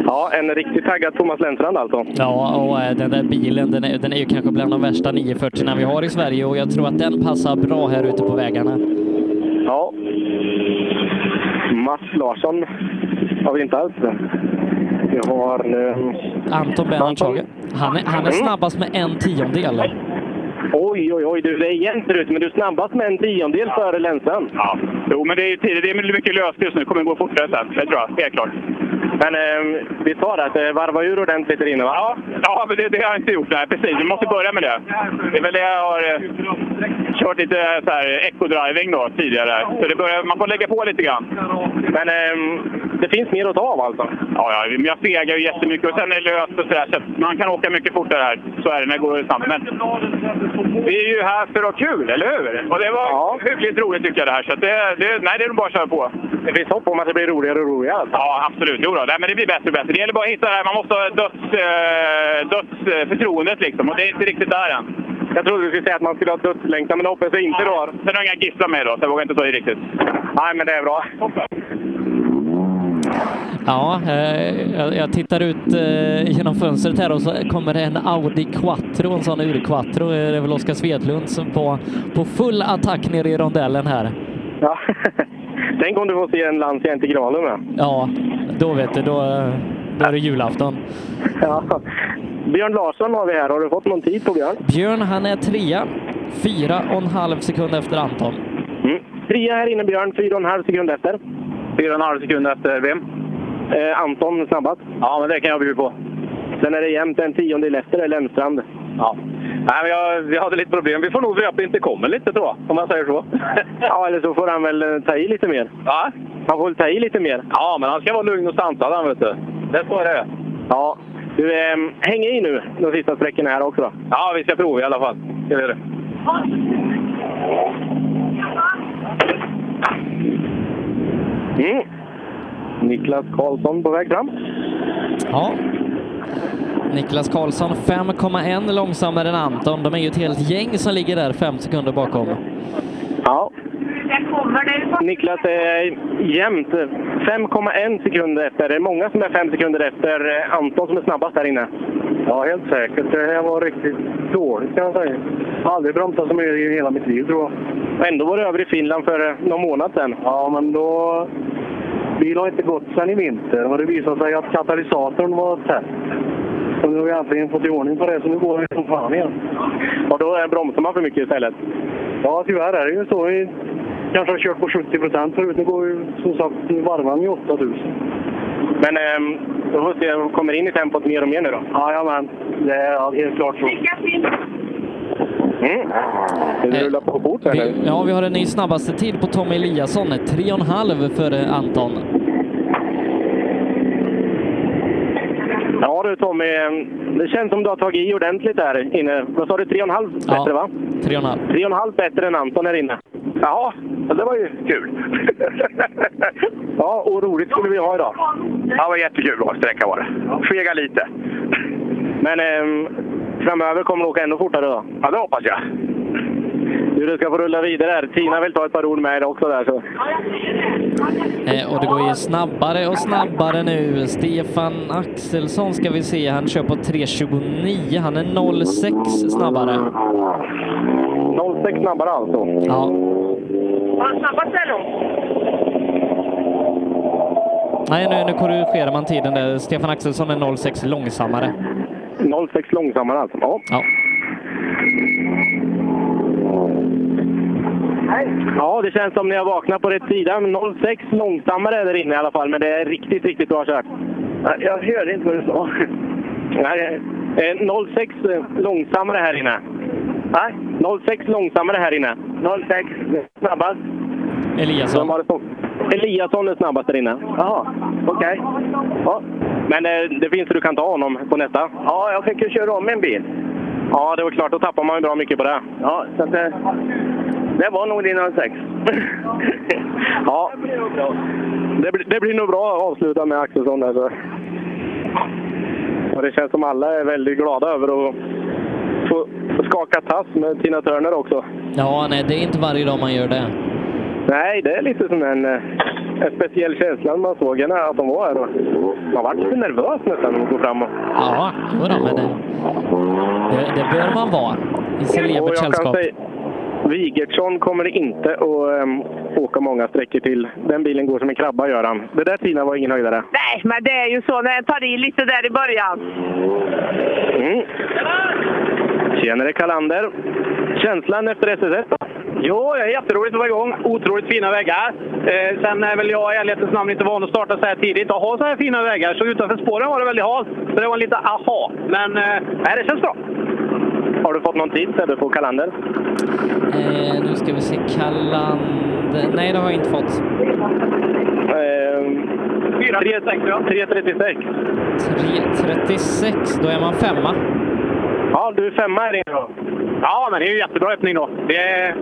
Ja, en riktigt taggad Thomas Lennstrand alltså. Ja, och eh, den där bilen den är, den är ju kanske bland de värsta 940 vi har i Sverige och jag tror att den passar bra här ute på vägarna. Ja. Mats Larsson har vi inte alls. Vi har... Eh, Anton Bernhardshage. Han är, han är Mm. snabbast med en tiondel. oj, oj, oj. Du, det är jämnt ut, men du är snabbast med en tiondel före Lennstrand. Ja. Jo, men det är ju tidigt. Det är mycket löst just nu. Det kommer gå fortare sen. Det tror jag. Helt klart. Men eh, vi tar det att eh, varva ur ordentligt där inne, va? Ja, Ja, men det, det har jag inte gjort. Nej, precis. Vi måste börja med det. Det är väl det jag har eh, kört lite eh, så här eco-driving då tidigare. Så det börjar, man får lägga på lite grann. Men ehm, det finns mer att ta av alltså? Ja, ja men jag fegar ju jättemycket och sen är det löst och sådär. Så att man kan åka mycket fortare här. Så är det när det går snabbt. Men vi är ju här för att ha kul, eller hur? Och det var hyggligt roligt tycker jag det här. Så att det, det, nej, det är bara att köra på. Det finns hopp om att det blir roligare och roligare. Alltså. Ja, absolut. Jo då. Nej, men det blir bättre och bättre. Det gäller bara att hitta det här. Man måste ha döds, eh, dödsförtroendet liksom. Och det är inte riktigt där än. Jag trodde du skulle säga att man skulle ha dödslängtan, men det hoppas jag inte du har. Sen har jag inga gisslan med då, så jag vågar inte ta i riktigt. Nej, men det är bra. Ja, eh, jag- jag tittar ut eh, genom fönstret här och så kommer det en Audi Quattro, en sån urquattro. Eh, Det är väl Oskar Svedlund som på, på full attack nere i rondellen här. Ja. Tänk om du får se en Lancia Integralum. Ja, Då vet du, då, då är det julafton. (laughs) Ja. Björn Larsson har vi här. Har du fått någon tid på Björn? Björn, han är trea. Fyra och en halv sekund efter Anton. Trea här inne Björn, fyra och en halv sekund efter. Mm. Fyra och en halv sekund efter vem? Eh, Anton snabbast. Ja, men det kan jag bjuda på. Sen är det jämnt en tiondel efter eller Lennstrand. Ja. Nej, men jag, vi hade lite problem. Vi får nog vröpa inte kommer lite tror jag, om jag säger så. (laughs) ja, eller så får han väl eh, ta i lite mer. Ja. Han får väl ta i lite mer. Ja, men han ska vara lugn och sansad han vet du. Det står det. Ja. Du, eh, häng i nu de sista sträckorna här också då. Ja, vi ska prova i alla fall. Ska vi göra det. Mm. Niklas Karlsson på väg fram. Ja. Niklas Karlsson 5,1 långsammare än Anton. De är ju ett helt gäng som ligger där fem sekunder bakom. Ja. Niklas är jämnt. 5,1 sekunder efter. Det är många som är 5 sekunder efter eh, Anton som är snabbast här inne. Ja, helt säkert. Det här var riktigt dåligt kan jag säga. Jag har aldrig bromsat så mycket i hela mitt liv tror jag. Och ändå var det över i Finland för eh, någon månad sedan. Ja, men då... Bilen har inte gått sedan i vinter och det visade sig att katalysatorn var täppt. Och nu har vi äntligen fått i ordning på det, så nu går vi som fan igen. Och då eh, bromsar man för mycket istället. Ja, tyvärr är det ju så. Vi kanske har kört på 70 procent förut. Nu går vi som sagt varvan i 8000. Men eh, då får vi se om vi kommer in i tempot mer och mer nu då. Jajamän, det är helt klart så. Mm. Det rullar på fort här Vi, nu. ja, vi har en ny snabbaste tid på Tommy Eliasson. 3,5 före Anton. Ja du Tommy, eh, det känns som du har tagit i ordentligt här inne. Vad sa du, 3,5 Ja. bättre va? 3,5. 3,5 bättre än Anton här inne. Jaha, det var ju kul. (laughs) ja, och roligt skulle vi ha idag. Ja, det var jättekul att sträcka var det. Fega lite. Men ehm, framöver kommer det åka ännu fortare då? Ja, det hoppas jag. Du, du ska få rulla vidare här. Tina vill ta ett par ord med dig också där. Så. Eh, och det går ju snabbare och snabbare nu. Stefan Axelsson ska vi se. Han kör på 3.29. Han är 0,6 snabbare. 0,6 snabbare alltså? Ja. Snabbast är de. Nej, nu, nu korrigerar man tiden där. Stefan Axelsson är 0,6 långsammare. 0,6 långsammare alltså? Ja. Ja. Ja, det känns som ni har vaknat på rätt sida. 0,6 långsammare där inne i alla fall, men det är riktigt, riktigt bra kört. Jag hörde inte vad du sa. Nej, eh, 0,6 långsammare här inne. Nej, 0,6 långsammare här inne. 0,6 snabbast. Eliasson. De har det på- Eliasson är snabbast där inne. Jaha, okej. Ja. Men eh, det finns hur du kan ta honom på nästa. Ja, jag fick ju köra om en bil. Ja, det var klart. Då tappar man ju bra mycket på det. Ja, så det, det var nog din 06. (laughs) ja, det, blir- det blir nog bra att avsluta med Axelsson där. Så. Och det känns som alla är väldigt glada över att få få skaka tass med Tina Turner också. Ja, nej, det är inte varje dag man gör det. Nej, det är lite som en, eh, en speciell känsla när man såg henne, att de var här. och Man var lite nervös nästan när man går fram. och- Ja, jodå, men eh? det, det, det bör man vara i Och celebert jag kan sällskap. säga, Wigertsson kommer inte att ehm, åka många sträckor till. Den bilen går som en krabba, gör han. Det där Tina var ingen höjdare. Nej, men det är ju så när jag tar i lite där i början. Mm. Tjenare Kalander! Känslan efter SS1 då? Jo, det är jätteroligt att vara igång. Otroligt fina vägar. Eh, sen är väl jag i ärlighetens namn inte van att starta så här tidigt och ha så här fina vägar. Så utanför spåren var det väldigt halt. Så det var lite aha. Men eh, nej, det känns bra. Har du fått någon tid Sebbe på Kalander? Eh, nu ska vi se, Kallander. Nej, det har jag inte fått. Ehm, 3.36. 3.36, då är man femma. Ja, du är femma här inne då. Ja, men det är ju jättebra öppning då. Vi är,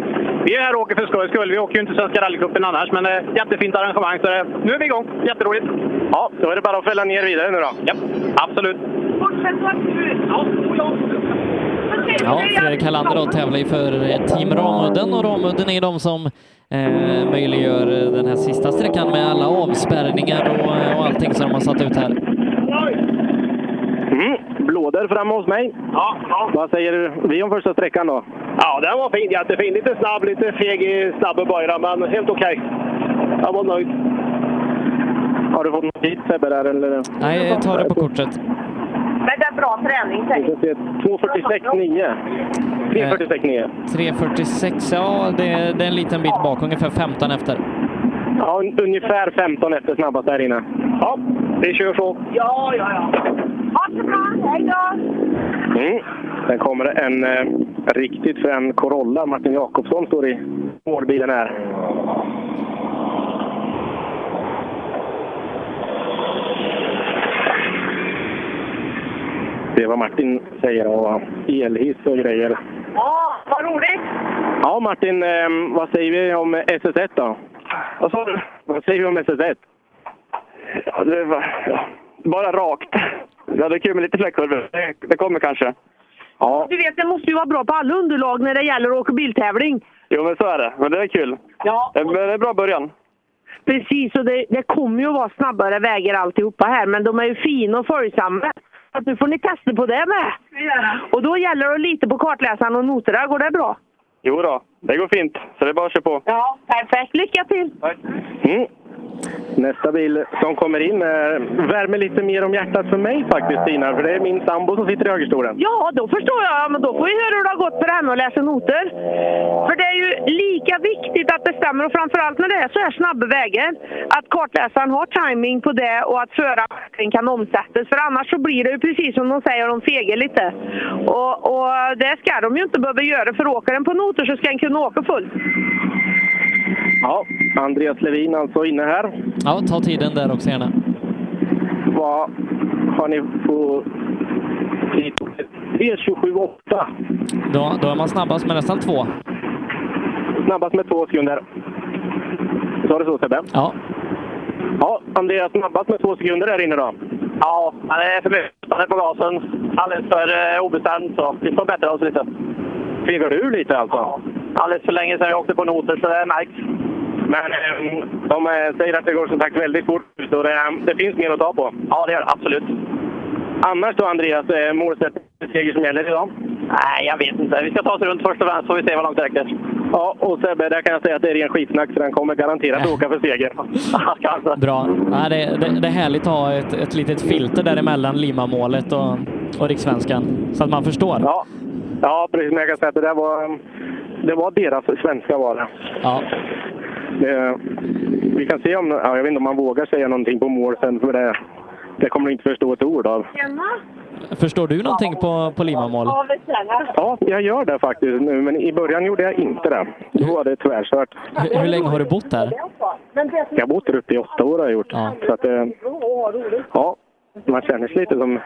vi är här och åker för skojs skull. Vi åker ju inte Svenska rallycupen annars, men eh, jättefint arrangemang. Så det, nu är vi igång. Jätteroligt. Ja, då är det bara att fälla ner vidare nu då. Ja, absolut. Fortsätt vara sur. Ja, och jag. Ja, Fredrik Hallander då tävlar ju för eh, Team Ramudden och Ramudden är de som eh, möjliggör eh, den här sista sträckan med alla avspärrningar och, och allting som de har satt ut här. Mm. Blåder framme hos mig. Ja, ja. Vad säger vi om första sträckan då? Ja, den var fin. Jättefin. Lite snabb, lite feg i snabba böjda, men helt okej. Jag var nöjd. Har du fått något hit Sebbe där eller? Nej, jag tar det på kortet. Eh, Men det är bra träning, säg. 2.46,9. 3.46,9. 3.46, ja det, är- det är en liten bit bak, ungefär 15 efter. Ja, un- ungefär 15 efter snabbast där inne. Ja, vi kör så. Ja, ja, ja. Ha det bra, hej då! Mm. Sen kommer det en eh, riktigt frän Corolla. Martin Jakobsson står i målbilen här. Se vad Martin säger och elhiss och grejer. Ja, vad roligt! Ja, Martin, eh, vad säger vi om SS1 då? Vad sa du? Vad säger vi om SS1? Ja, det var, ja. Bara rakt. Ja, det är kul med lite fläckkurvor. Det, det kommer kanske. Ja. Du vet, det måste ju vara bra på alla underlag när det gäller att åka biltävling. Jo, men så är det. Men det är kul. Ja. Eh, Det, men det är en bra början. Precis, och det, det kommer ju att vara snabbare vägar alltihopa här, men de är ju fina och följsamma. Så att nu får ni testa på det med. Och då gäller det lite på kartläsaren och noterna. Går det bra? Jo då, det går fint. Så det är bara att köra på. Ja, perfekt. Lycka till! Mm. Nästa bil som kommer in eh, värmer lite mer om hjärtat för mig faktiskt, Stina. För det är min sambo som sitter i högerstolen. Ja, då förstår jag. Ja, Men då får vi höra hur det har gått för henne att läsa noter. För det är ju lika viktigt att det stämmer, och framförallt när det är så här snabba vägar, att kartläsaren har timing på det och att föraren verkligen kan omsättas. För annars så blir det ju precis som de säger, de fegar lite. Och, och det ska de ju inte behöva göra, för åker den på noter så ska den kunna åka fullt. Ja, Andreas Levin alltså inne här. Ja, ta tiden där också gärna. Vad har ni på tid? 3.27,8. Då, då är man snabbast med nästan två. Snabbast med två sekunder. Sa du så Sebbe? Ja. Ja, Andreas snabbast med två sekunder där inne då. Ja, han är för mycket Han är på gasen. Alldeles för eh, obestämd så vi får bättre oss lite. Fegar du lite alltså? Ja, alldeles för länge sedan jag åkte på noter så det märks. Men eh, de eh, säger att det går som sagt väldigt fort ut och det, eh, det finns mer att ta på. Ja, det gör det absolut. Annars då Andreas, eh, målsättning seger som gäller idag? Nej, jag vet inte. Vi ska ta oss runt först och främst så får vi se vad långt det räcker. Ja, och Sebbe, där kan jag säga att det är ren skitsnack så den kommer garanterat åka (laughs) för seger. alltså. Bra. Ja, det, det, det är härligt att ha ett, ett litet filter däremellan Lima-målet och, och rikssvenskan. Så att man förstår. Ja. Ja, precis. Men jag kan säga att det där var, det var deras svenska var det. Ja. det. Vi kan se om, ja, jag vet inte om man vågar säga någonting på mål sen för det, det kommer du inte förstå ett ord av. Tjena! Förstår du någonting på, på Lima-mål? Ja, vi tjänar. Ja, jag gör det faktiskt nu, men i början gjorde jag inte det. Då var det tvärkört. Hur, hur länge har du bott där? Men det som Jag har bott där uppe i åtta år har jag gjort. Så att, eh, är bra och har roligt. ja, man känner sig lite som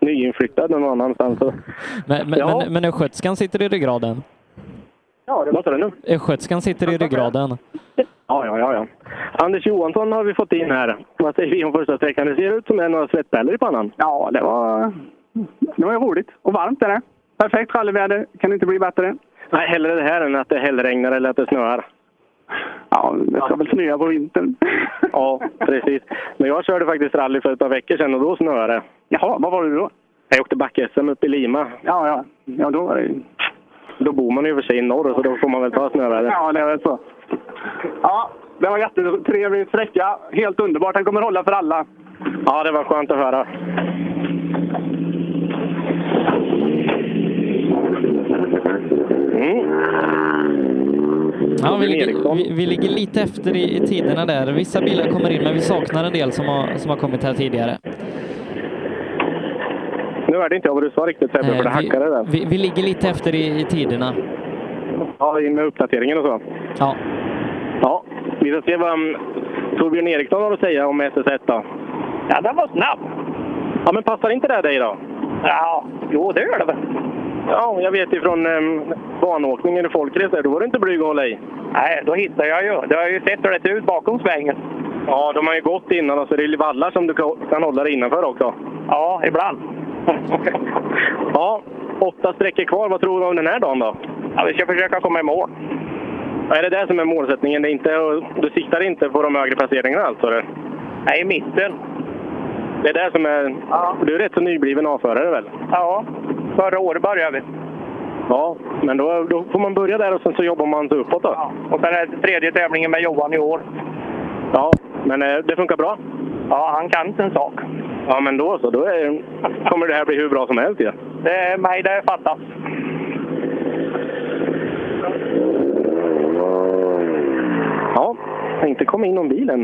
nyinflyttad någon annanstans. Men, men, Ja. men, men östgötskan sitter i ryggraden. Ja, det... Vad sa du nu? Östgötskan sitter i ryggraden. Ja, ja, ja, ja. Anders Johansson har vi fått in här. Vad säger vi om första sträckan? Det ser ut som det är några svettpärlor i pannan. Ja, det var, det var roligt och varmt är det. Perfekt rallyväder, kan inte bli bättre. Nej, hellre det här än att det hällregnar eller att det snöar. Ja, det ska väl snöa på vintern. Ja, precis. Men jag körde faktiskt rally för ett par veckor sedan och då snöade det. Jaha, vad var du då? Jag åkte back-SM uppe i Lima. Ja, ja. ja då var det ju... Då bor man ju i och för sig i norr så då får man väl ta snöväder. Ja, det är väl så. Ja, det var jättetrevlig sträcka. Helt underbart. Den kommer hålla för alla. Ja, det var skönt att höra. Mm. Ja, vi, ligger, vi, vi ligger lite efter i, i tiderna där. Vissa bilar kommer in, men vi saknar en del som har, som har kommit här tidigare. Nu hörde inte jag vad du sa riktigt Sebbe, för det Eh, vi, hackade där. vi, vi ligger lite efter i, i tiderna. Ja, in med uppdateringen och så. Ja. Ja, vi ska se vad mm, Torbjörn Eriksson har att säga om SS1 då. Ja, den var snabb. Ja, men passar inte det här dig då? Ja, jo det gör det väl. Ja, jag vet ifrån um, banåkningen i folkrace där, då var du inte blyg att hålla i. Nej, då hittar jag ju. Du har ju sett hur det ser ut bakom svängen. Ja, de har ju gått innan och så är det ju vallar som du kan- kan hålla dig innanför också. Ja, ibland. (laughs) ja, åtta sträckor kvar. Vad tror du om den här dagen då? Ja, vi ska försöka komma i mål. Är det det som är målsättningen? Det är inte, du siktar inte på de högre placeringarna alltså? Eller? Nej, i mitten. Det är det som är... Du är rätt så nybliven avförare väl? Ja, förra året började vi. Ja, men då, då får man börja där och sen så jobbar man sig uppåt då. Och sen är det tredje tävlingen med Johan i år. Ja, Men eh, det funkar bra? Ja, han kan inte en sak. Ja, men då så. Då är, kommer det här bli hur bra som helst. Ja. Det är mig det fattas. Ja, jag inte komma in om bilen.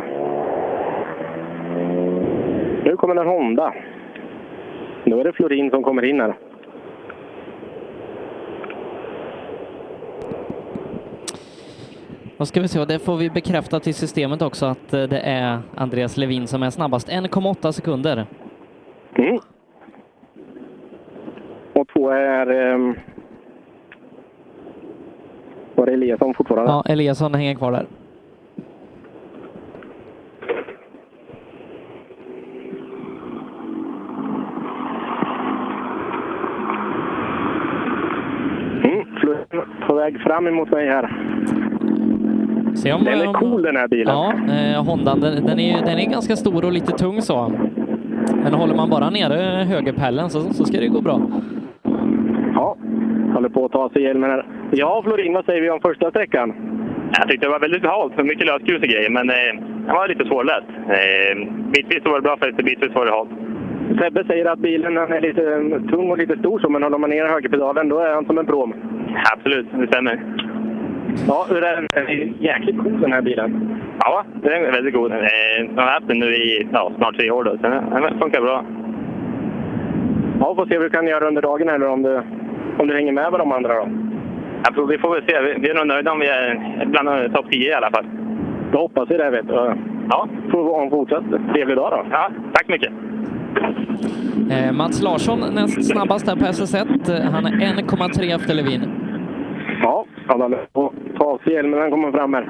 Nu kommer en Honda. Nu är det Florin som kommer in här. Då ska vi se, och det får vi bekräfta till systemet också att eh, det är Andreas Levin som är snabbast. 1,8 sekunder. Mm. Och två är... ehm, Var det Eliasson fortfarande? Ja, Eliasson hänger kvar där. Mm. Florin på väg fram emot mig här. Se om- den är om- cool den här bilen. Ja, eh, Honda, den, den, är, ju- den är ganska stor och lite tung så. Men håller man bara nere högerpällen så, så ska det gå bra. Ja, håller på att ta sig hjälmen här. Ja, Florin, vad säger vi om första sträckan? Jag tyckte det var väldigt halt, för mycket lösgrus och grejer, men eh, det var lite svårläst. Eh, bitvis var det bra fäste, bitvis var det halt. Sebbe säger att bilen han är lite eh, tung och lite stor, så, men håller man ner högerpedalen då är han som en pråm. Absolut, det stämmer. Ja, hur är den? Den är jäkligt cool den här bilen. Ja, den är väldigt god. Eh, jag har haft den nu i ja, snart tre år, då, så den den funkar bra. Ja, får se vad du kan göra under dagen eller om du, om du hänger med med de andra då. Jag tror, vi får väl se. Vi, vi är nog nöjda om vi är bland eh, topp 10 i alla fall. Då hoppas vi det vet du. Ja. Får ha en fortsatt trevlig dag då. Ja, tack mycket. Eh, Mats Larsson näst snabbast här på SS1. Eh, Han är 1,3 efter Levin. Ja, han håller på att ta av sig hjälmen när han kommer fram här.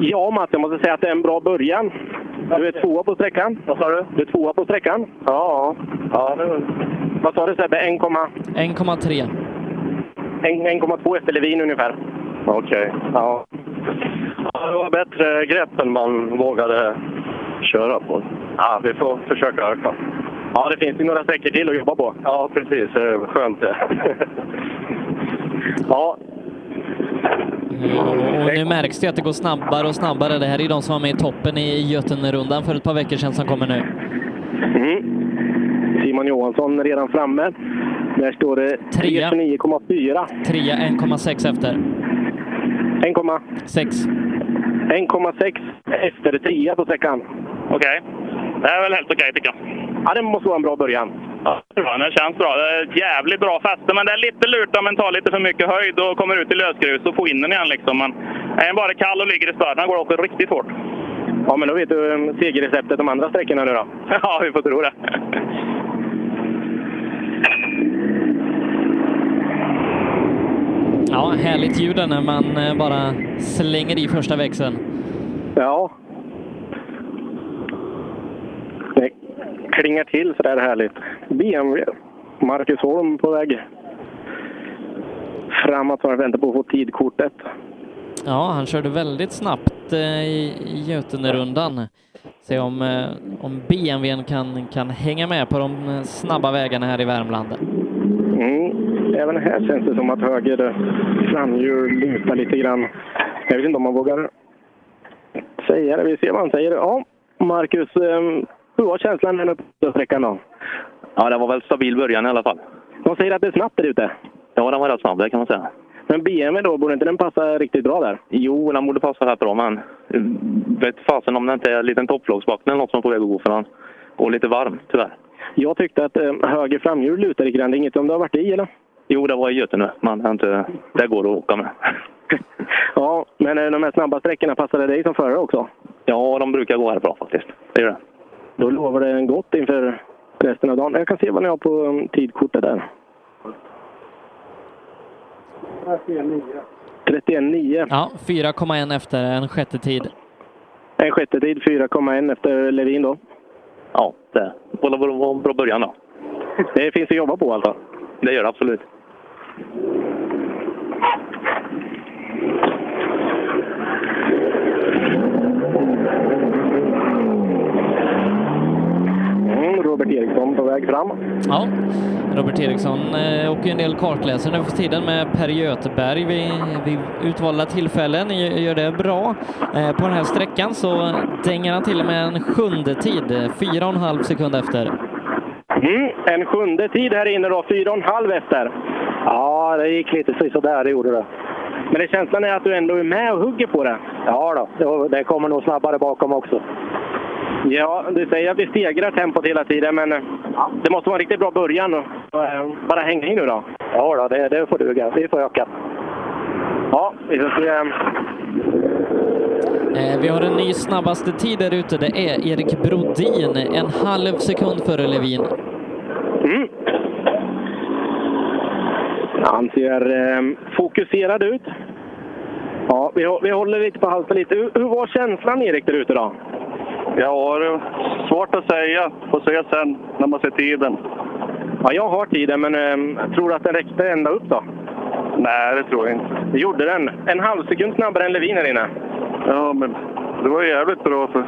Ja, Mats, jag måste säga att det är en bra början. Du är tvåa på sträckan. Vad sa du? Du är tvåa på sträckan. Ja. ja Vad sa du Sebbe? 1,1? 1,3. 1,2 efter Levin ungefär. Okej. Ja. Det var bättre grepp än man vågade köra på. Ja, vi får försöka öka. Ja, det finns ju några sträckor till att jobba på. Ja, precis. Det är skönt det. (laughs) ja. Och nu märks det att det går snabbare och snabbare. Det här är ju de som var med i toppen i Götenerundan för ett par veckor sedan som kommer nu. Mm. Simon Johansson redan framme. Där står det 329,4. Trea 1,6 efter. 1,6. 1,6 efter trea på sträckan. Okej. Det är väl helt okej, tycker jag. Ja, det måste vara en bra början. Ja, det känns bra. Det är ett jävligt bra fäste, men det är lite luta men tar lite för mycket höjd och kommer ut i lösgrus och får in den igen. Liksom. Men är den bara kall och ligger i spärren går det också riktigt hårt. Ja, men då vet du eh, segerreceptet de andra sträckorna (laughs) nu då. Ja, vi får tro det. Ja, härligt ljud där när man eh, bara slänger i första växeln. Ja. Det klingar till så där härligt. BMW. Marcus Holm på väg framåt. så Han väntar på att få tidkortet. Ja, han körde väldigt snabbt eh, i i Götenerundan. Se om, eh, om BMWn kan, kan hänga med på de eh, snabba vägarna här i Värmland. Mm. Även här känns det som att höger framhjul lutar lite grann. Jag vet inte om man vågar säga det. Vi ser vad han säger. Ja, Marcus, eh, hur var känslan här nu på sträckan då? Ja, det var väl stabil början i alla fall. De säger att det är snabbt där ute. Ja, den var rätt snabb, det kan man säga. Men BMW då, borde inte den passa riktigt bra där? Jo, den borde passa rätt bra, men eh, vet fasen om det inte är en liten topplocksbacke eller något som är på väg att gå för den går lite varm, tyvärr. Jag tyckte att eh, höger framhjul lutar lite grann. Det är inget om det har varit i eller? Jo, det var i Götene, men det, är inte, det går att åka med. Ja, men eh, de här snabba sträckorna passade dig som förare också. Ja, de brukar gå här bra faktiskt. Det gör det. Då lovar det en gott inför resten av dagen. Jag kan se vad ni har på um, tidkortet där. 31,9. Ja, 4,1 efter en sjätte tid. En sjätte tid, 4,1 efter Levin då. Ja, det var en bra- bra början då. Det finns att jobba på alltså. Det gör det absolut. Mm, Robert Robert Eriksson på väg fram. Ja, Robert Eriksson eh, och en del kartläsare nu för tiden med Per Göteberg vid, vid utvalda tillfällen. Gö- Gör det bra. Eh, På den här sträckan så dänger han till med en sjunde tid, eh, fyra och en halv sekund efter. Mm, en sjunde tid här inne då, fyra och en halv efter. Ja, det gick lite sådär, det gjorde det. Men det känslan är att du ändå är med och hugger på det? Ja då, det kommer nog snabbare bakom också. Ja, du säger att vi stegrar tempot hela tiden, men eh, det måste vara en riktigt bra början. och- och, eh, Bara häng i nu då. Ja då, det, får duga. Vi får öka. Ja, vi får se. eh, Eh, Vi har en ny snabbaste tid där ute. Det är Erik Brodin, en halv sekund före Levin. Mm. Han ser eh, fokuserad ut. Ja, vi, hå- vi håller lite på halsen lite. Hur, hur var känslan Erik där ute då? Ja, det är svårt att säga. Får se sen när man ser tiden. Ja, jag har tiden, men eh, tror du att den räckte ända upp då? Nej, det tror jag inte. Det gjorde den. En halv sekund snabbare än Levin här inne. Ja, men det var jävligt bra. För...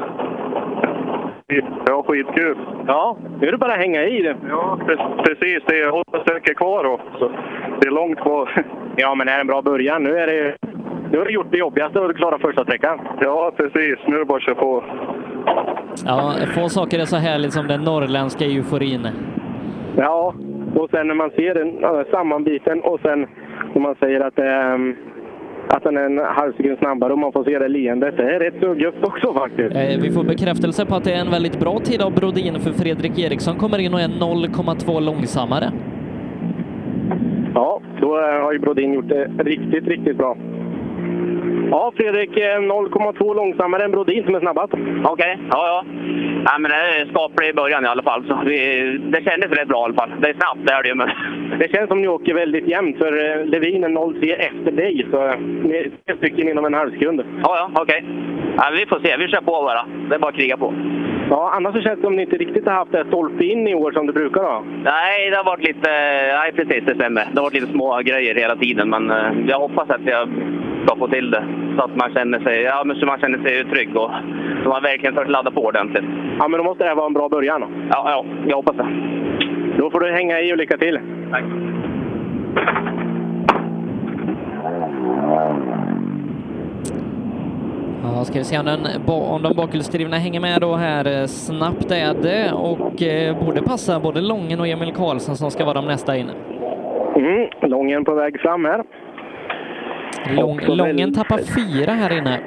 Ja, skitkul. Ja, nu är det bara att hänga i det. Ja, pre- precis. Det är åtta sträckor kvar då, så det är långt kvar. (laughs) Ja, men det är en bra början. Nu är det... Nu har du gjort det jobbigaste och du klarar första sträckan. Ja, precis. Nu är det bara att köra på. Ja, få saker är så härligt som den norrländska euforin. Ja, och sen när man ser den äh, sammanbiten och sen när man säger att, ehm, att den är en halv sekund snabbare och man får se det leendet. Det är rätt så gött också faktiskt. Eh, Vi får bekräftelse på att det är en väldigt bra tid av Brodin för Fredrik Eriksson kommer in och är 0,2 långsammare. Ja, då eh, har ju Brodin gjort det riktigt, riktigt bra. Ja, Fredrik, eh, 0,2 långsammare än Brodin som är snabbast. Okej, ja, ja. Nej, men det är en skaplig början i alla fall. Så vi, det kändes rätt bra i alla fall. Det är snabbt, det är det ju. Men... (laughs) Det känns som ni åker väldigt jämnt, för eh, Levin är 0,3 efter dig. Så eh, ni är tre stycken inom en halv sekund. Ja, ja, okej. Ja, vi får se. Vi kör på bara. Det är bara att kriga på. Ja, annars så känns det som ni inte riktigt har haft det här stolpe in i år som det brukar ha. Nej, det har varit lite... Nej, precis, det stämmer. Det har varit lite små grejer hela tiden, men eh, jag hoppas att jag ska få till det. Så att man känner sig, ja, men så man känner sig trygg och så man verkligen törs ladda på ordentligt. Ja, men då måste det här vara en bra början. Ja, ja, jag hoppas det. Då får du hänga i och lycka till. Tack. Ja, ska vi se om, den, ba- om de bakhjulsdrivna hänger med då här. eh, Snabbt är det och eh, borde passa både Lången och Emil Karlsson som ska vara de nästa in. Mm, lången på väg fram här. Lång, Också lången väldigt- tappar fyra här inne.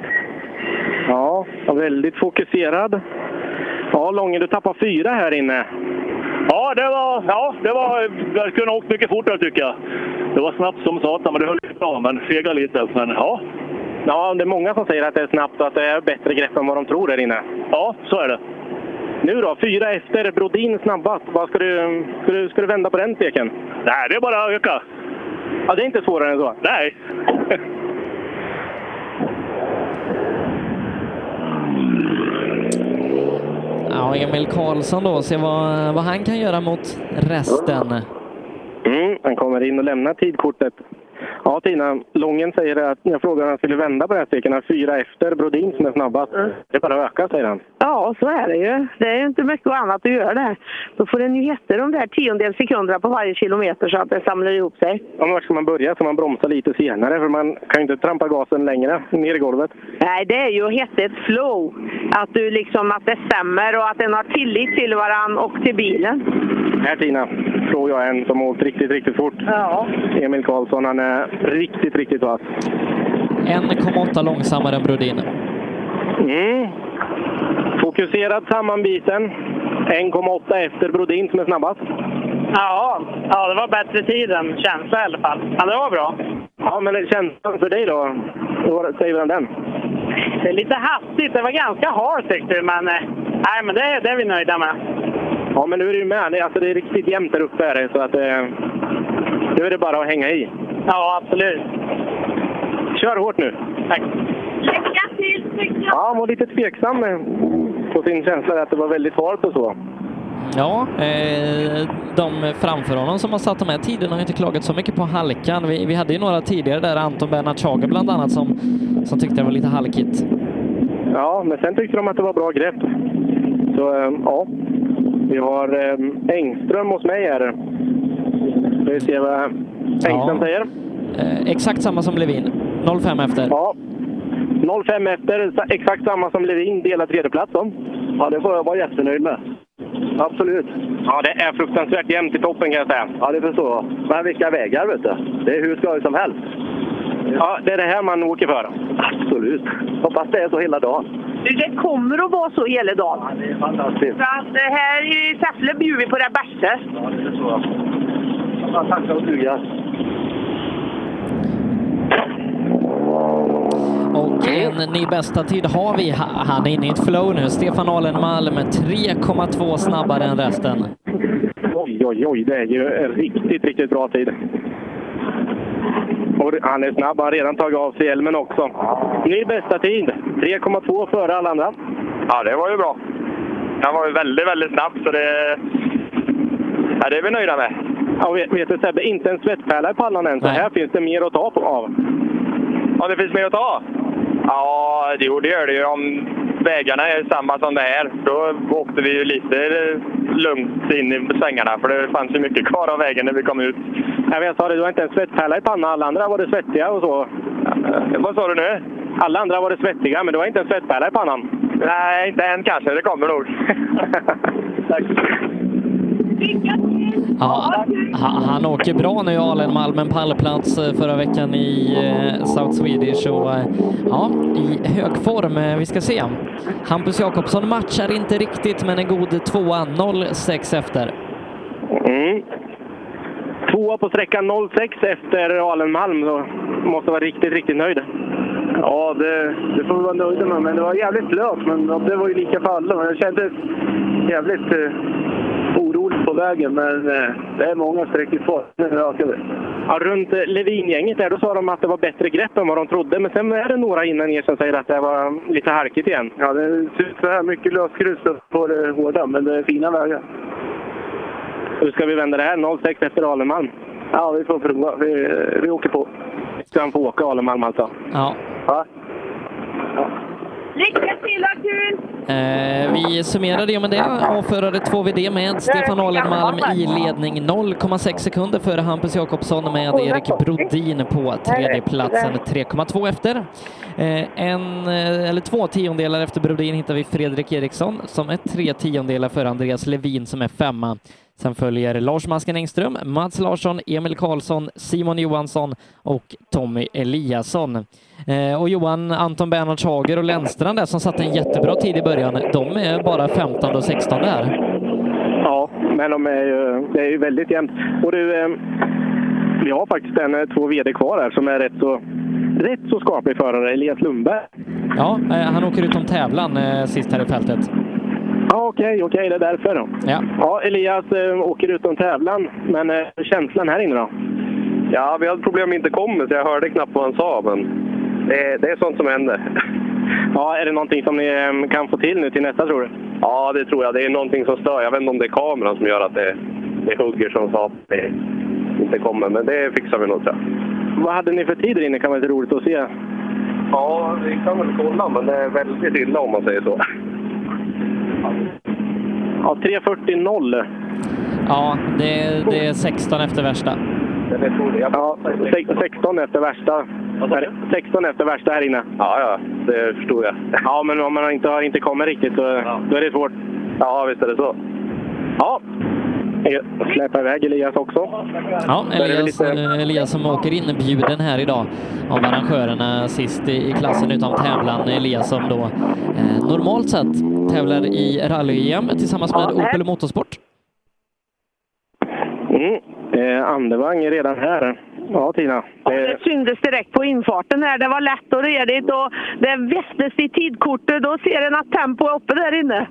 Ja, och väldigt fokuserad. Ja, Lången, du tappar fyra här inne. Ja, det var... Ja, det var... Jag kunde ha åkt mycket fortare tycker jag. Det var snabbt som satan, men det höll bra. Men sega lite. Men ja. Ja, det är många som säger att det är snabbt och att det är bättre grepp än vad de tror här inne. Ja, så är det. Nu då, fyra efter. Brodin snabbast. Vad ska, du, ska, du, ska du vända på den steken? Nej, det är bara att öka. Ja, det är inte svårare än så. Nej. Ja, Emil Karlsson då, se vad, vad han kan göra mot resten. (laughs) Mm, han kommer in och lämnar tidkortet. Ja, Tina, Lången säger att jag frågade om han skulle vända på den här steken. Han är fyra efter Brodin som är snabbast. Mm. Det är bara att öka, säger han. Ja, så är det ju. Det är ju inte mycket annat att göra där. Då får den ju heta de där tiondels sekunderna på varje kilometer så att den samlar ihop sig. Ja, men var ska man börja? Så man bromsar lite senare, för man kan ju inte trampa gasen längre ner i golvet. Nej, det är ju att heta ett flow. Att du liksom, att det stämmer och att den har tillit till varann och till bilen. Här Tina, tror jag en som har åkt riktigt, riktigt fort. Ja. Emil Karlsson, han är riktigt, riktigt vass. 1,8 långsammare än Brodin. Mm. Fokuserad sammanbiten. 1,8 efter Brodin som är snabbast. Ja, ja, det var bättre tiden, känsla i alla fall. Ja, det var bra. Ja, men känslan för dig då? Vad säger vi om den? Det är lite hastigt, det var ganska hårt tyckte du, men, eh, nej, men det, det är vi nöjda med. Ja, men nu är du ju med. Det är- Alltså, det är riktigt jämnt där uppe. Är det, så att, eh, nu är det bara att hänga i. Ja, absolut. Kör hårt nu. Tack. Lycka till tycker jag! Ja, han var lite tveksam eh, på sin känsla att det var väldigt halt och så. Ja, eh, de framför honom som har satt de här tiderna har ju inte klagat så mycket på halkan. Vi, vi hade ju några tidigare där, Anton Bernhard Schager bland annat, som, som tyckte det var lite halkigt. ehm, Ja, men sen tyckte de att det var bra grepp. Så eh, ja, Vi har eh, Engström hos mig här. Vi ser vad Engström säger. Eh, exakt samma som Levin. 0,5 efter. Ja. 0,5 efter, sa- exakt samma som Levin, delar tredjeplats om. Ja, det får jag vara jättenöjd med. Absolut. Ja, det är fruktansvärt jämnt i toppen kan jag säga. Ja, det förstår jag. Men vilka vägar vet du. Det är hur skoj som helst. Ja, det är det här man åker för. Absolut. Hoppas det är så hela dagen. Du, Det kommer att vara så hela dagen. Fantastiskt. För att det här i Säffle bjuder vi på det bästa. Tack och duga. Och en ny bästa tid har vi. Ha- Han är inne i ett flow nu. Stefan Alenmalm 3,2 snabbare än resten. Oj, oj, oj. Det är ju en riktigt, riktigt bra tid. Och han är snabb. Han har redan tagit av sig hjälmen också. Ny bästa tid. 3,2 före alla andra. Ja, det var ju bra. Han var ju väldigt, väldigt snabb så det... Ja, det är vi nöjda med. Ja, och vet, vet du Sebbe, inte en svettpärla i pannan än. Så här finns det mer att ta på, av. Ja, det finns mer att ta? Ja, det jo, det gör det ju. Om vägarna är samma som det här, då åkte vi ju lite lugnt in i svängarna. För det fanns ju mycket kvar av vägen när vi kom ut. Jag, vet, jag sa det, du har inte en svettpärla i pannan. Alla andra var det svettiga och så. Eh, Vad sa du nu? Alla andra var det svettiga, men du har inte en svettpärla i pannan. Nej, inte än kanske. Det kommer (laughs) nog. Ja, han, han åker bra nu, Alenmalm. En pallplats eh, förra veckan i eh, South Swedish och eh, ja, i hög form. Eh, Vi ska se. Hampus Jakobsson matchar inte riktigt, men en god tvåa, 0,6 efter. Mm. Tvåa på sträckan 06 efter Alenmalm. Så måste vara riktigt, riktigt nöjd. Ja, det, det får vi vara nöjda med. Men det var jävligt löst. Men ja, det var ju lika för alla. Men jag kände jävligt eh, orolig på vägen. Men eh, det är många sträckor kvar. Nu ökar vi. Ja, runt eh, Levin-gänget där, då sa de att det var bättre grepp än vad de trodde. Men sen är det några innan er som säger att det var lite halkigt igen. Ja, det ser ut så här. Mycket lösgrus på det hårda. Men det är fina vägar. Hur ska vi vända det här? 06 efter Alenmalm? Ja, vi får prova. Vi, eh, vi åker på. Ska han få åka Alenmalm alltså? Ja. Lycka till och kul! Eh, vi summerade ju med det. Avförare 2VD med Stefan Alenmalm i ledning 0,6 sekunder före Hampus Jakobsson med Erik Brodin på tredje platsen 3,2 efter. Eh, en, eh, eller två tiondelar efter Brodin hittar vi Fredrik Eriksson som är tre tiondelar före Andreas Levin som är femma. Sen följer Lars Masken Engström, Mats Larsson, Emil Karlsson, Simon Johansson och Tommy Eliasson. Eh, och Johan, Anton Bernhards Hager och Lennstrand där som satte en jättebra tid i början, de är bara 15 och 16 där. Ja, men de är ju, det är ju väldigt jämnt. Och du, eh, vi har faktiskt en, eh, två VD kvar här som är rätt så, rätt så skaplig förare. Elias Lundberg. Ja, eh, han åker ut om tävlan eh, sist här i fältet. Ja, okej, okej, det är därför då. Ja. Ja, Elias eh, åker utom tävlan, men eh, känslan här inne då? Ja, vi hade problem med intercomen så jag hörde knappt vad han sa. Men det, det är sånt som händer. Ja, är det någonting som ni eh, kan få till nu till nästa tror du? Ja, det tror jag. Det är någonting som stör. Jag vet inte om det är kameran som gör att det, det hugger som sa att det inte kommer. Men det fixar vi nog tror jag. Vad hade ni för tider inne? kan vara lite roligt att se. Ja, vi kan väl kolla, men det är väldigt illa om man säger så. Ja, 3.40.0. Ja, det, det är 16 efter värsta. Ja, sex- 16 efter värsta. Här- 16 efter värsta här inne. Ja, ja, det förstod jag. (laughs) Ja, men om man inte har inte kommit riktigt så då är det svårt. Ja, visst är det så. Ja, jag släpper iväg Elias också. Ja, Där är det Elias, lite- eh, Elias som åker in bjuden här idag av arrangörerna sist i i klassen utom tävlan. Elias som då eh, normalt sett tävlar i rally-EM tillsammans med Opel Motorsport. Mm. Eh, Andevang är redan här. Ja, Tina. Det syntes direkt på infarten här. Det var lätt och redigt och det västes i tidkortet. Då ser en att tempo är uppe där inne.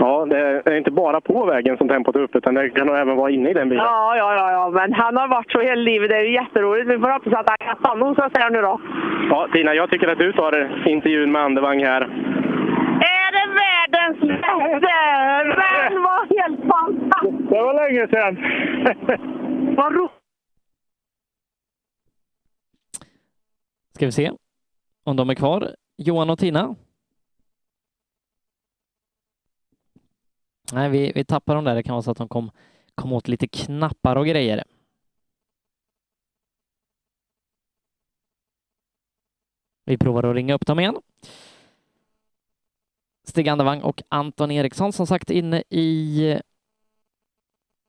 Ja, det är inte bara på vägen som tempot är uppe, utan det kan nog även vara inne i den bilen. Ja, ja, ja, ja, men han har varit så hela livet. Det är ju jätteroligt. Vi får hoppas att han kan stanna hos oss här nu då. Ja, Tina, jag tycker att du tar intervjun med Andevang här. Är det världens bästa? Den var helt fantastisk! Det var länge sedan. Vad roligt! Ska vi se om de är kvar. Johan och Tina. Nej, vi, vi tappar dem där. Det kan vara så att de kom, kom åt lite knappar och grejer. Vi provar att ringa upp dem igen. Stig Andervang och Anton Eriksson som sagt inne i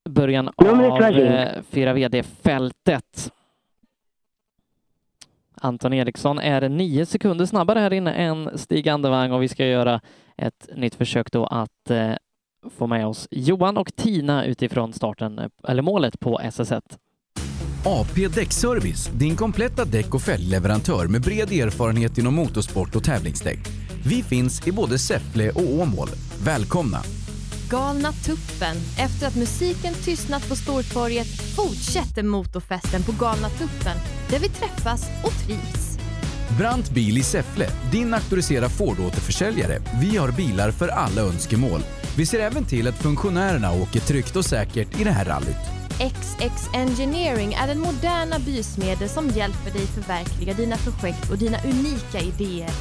början Nummer av 20. eh, 4 VD-fältet. Anton Eriksson är nio sekunder snabbare här inne än Stig Andervang och vi ska göra ett nytt försök då att eh, få med oss Johan och Tina utifrån starten, eh, eller målet på SS1. AP Däckservice, din kompletta däck och fälgleverantör med bred erfarenhet inom motorsport och tävlingsdäck. Vi finns i både Säffle och Åmål. Välkomna! Galna tuppen. Efter att musiken tystnat på Stortorget fortsätter motorfesten på Galna tuppen där vi träffas och trivs. Brant Bil i Säffle, din auktoriserade Ford-återförsäljare. Vi har bilar för alla önskemål. Vi ser även till att funktionärerna åker tryggt och säkert i det här rallyt. XX Engineering är den moderna bysmedel som hjälper dig förverkliga dina projekt och dina unika idéer.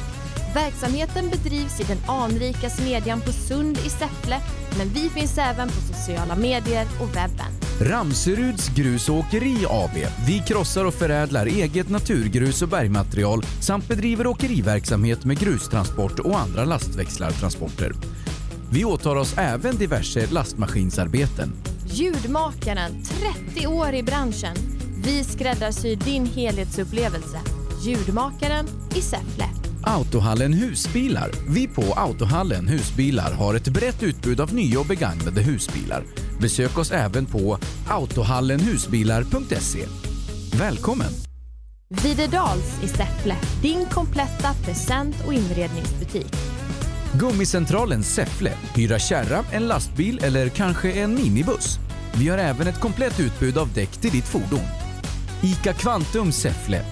Verksamheten bedrivs i den anrika smedjan på Sund i Säffle, men vi finns även på sociala medier och webben. Ramseruds Grus och Åkeri AB. Vi krossar och förädlar eget naturgrus och bergmaterial samt bedriver åkeriverksamhet med grustransport och andra lastväxlartransporter. Vi åtar oss även diverse lastmaskinsarbeten. Ljudmakaren, 30 år i branschen. Vi skräddarsyr din helhetsupplevelse. Ljudmakaren i Säffle. Autohallen Husbilar. Vi på Autohallen Husbilar har ett brett utbud av nya och begagnade husbilar. Besök oss även på autohallenhusbilar.se. Välkommen! Videdals i Säffle, din kompletta present och inredningsbutik. Gummicentralen Säffle. Hyra kärra, en lastbil eller kanske en minibuss. Vi har även ett komplett utbud av däck till ditt fordon. ICA Kvantum Säffle.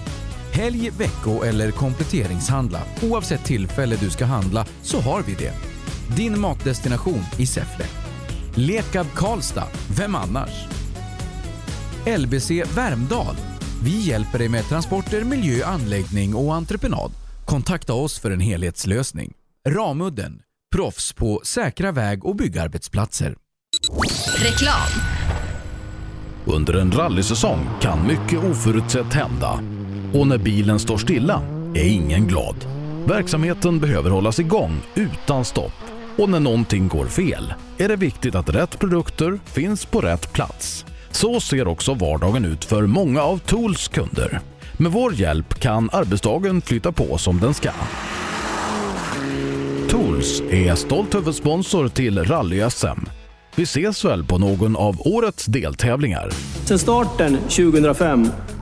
Helg, vecko eller kompletteringshandla. Oavsett tillfälle du ska handla så har vi det. Din matdestination i Säffle. Lekab Karlstad. Vem annars? LBC Värmdal. Vi hjälper dig med transporter, miljö, anläggning och entreprenad. Kontakta oss för en helhetslösning. Ramudden, proffs på säkra väg och byggarbetsplatser. Reklam. Under en rallysäsong kan mycket oförutsett hända. Och när bilen står stilla är ingen glad. Verksamheten behöver hållas igång utan stopp. Och när någonting går fel är det viktigt att rätt produkter finns på rätt plats. Så ser också vardagen ut för många av Tools kunder. Med vår hjälp kan arbetsdagen flytta på som den ska. Tools är stolt huvudsponsor till Rally-SM. Vi ses väl på någon av årets deltävlingar? Sedan starten 2005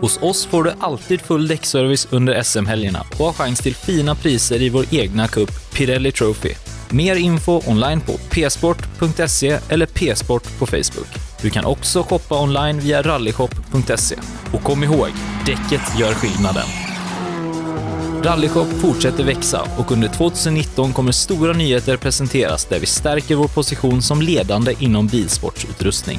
Hos oss får du alltid full däckservice under SM-helgerna och har chans till fina priser i vår egna cup, Pirelli Trophy. Mer info online på psport.se eller psport på Facebook. Du kan också shoppa online via rallyshop.se. Och kom ihåg, däcket gör skillnaden. Rallyshop fortsätter växa och under 2019 kommer stora nyheter presenteras där vi stärker vår position som ledande inom bilsportsutrustning.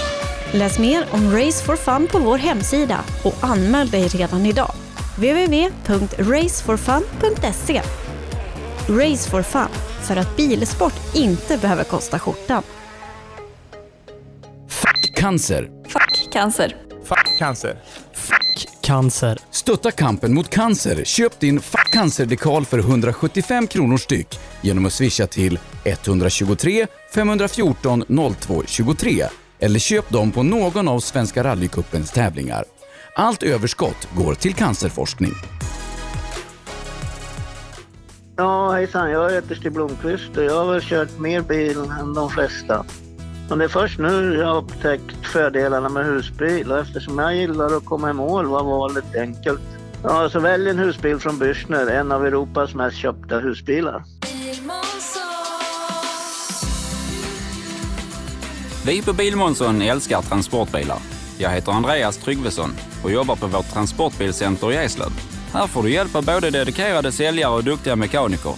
Läs mer om Race for Fun på vår hemsida och anmäl dig redan idag. www.raceforfun.se Race for Fun, för att bilsport inte behöver kosta skjortan. Cancer. Fuck cancer. Fuck cancer. Cancer. Stötta kampen mot cancer. Köp din Fuck cancer-dekal för 175 kronor styck genom att swisha till 123 514 02 23 eller köp dem på någon av Svenska rallycupens tävlingar. Allt överskott går till cancerforskning. Ja, hejsan. Jag heter Stig Blomqvist och jag har väl kört mer bil än de flesta. Men det är först nu jag har upptäckt fördelarna med husbil och eftersom jag gillar att komma i mål var valet enkelt. Ja, så välj en husbil från Bürstner, en av Europas mest köpta husbilar. Vi på Bilmånsson älskar transportbilar. Jag heter Andreas Tryggvesson och jobbar på vårt transportbilcenter i Eslöv. Här får du hjälp av både dedikerade säljare och duktiga mekaniker.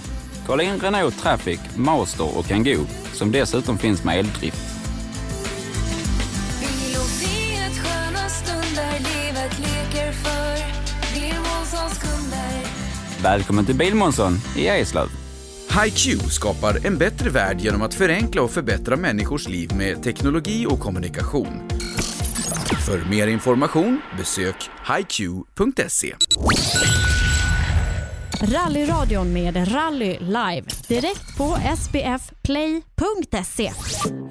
Kolla in Renault Traffic, Master och Kangoo som dessutom finns med eldrift. Välkommen till Bilmånsson i Eslöv. HiQ skapar en bättre värld genom att förenkla och förbättra människors liv med teknologi och kommunikation. För mer information besök hiq.se. Rallyradion med Rally Live. Direkt på sbfplay.se.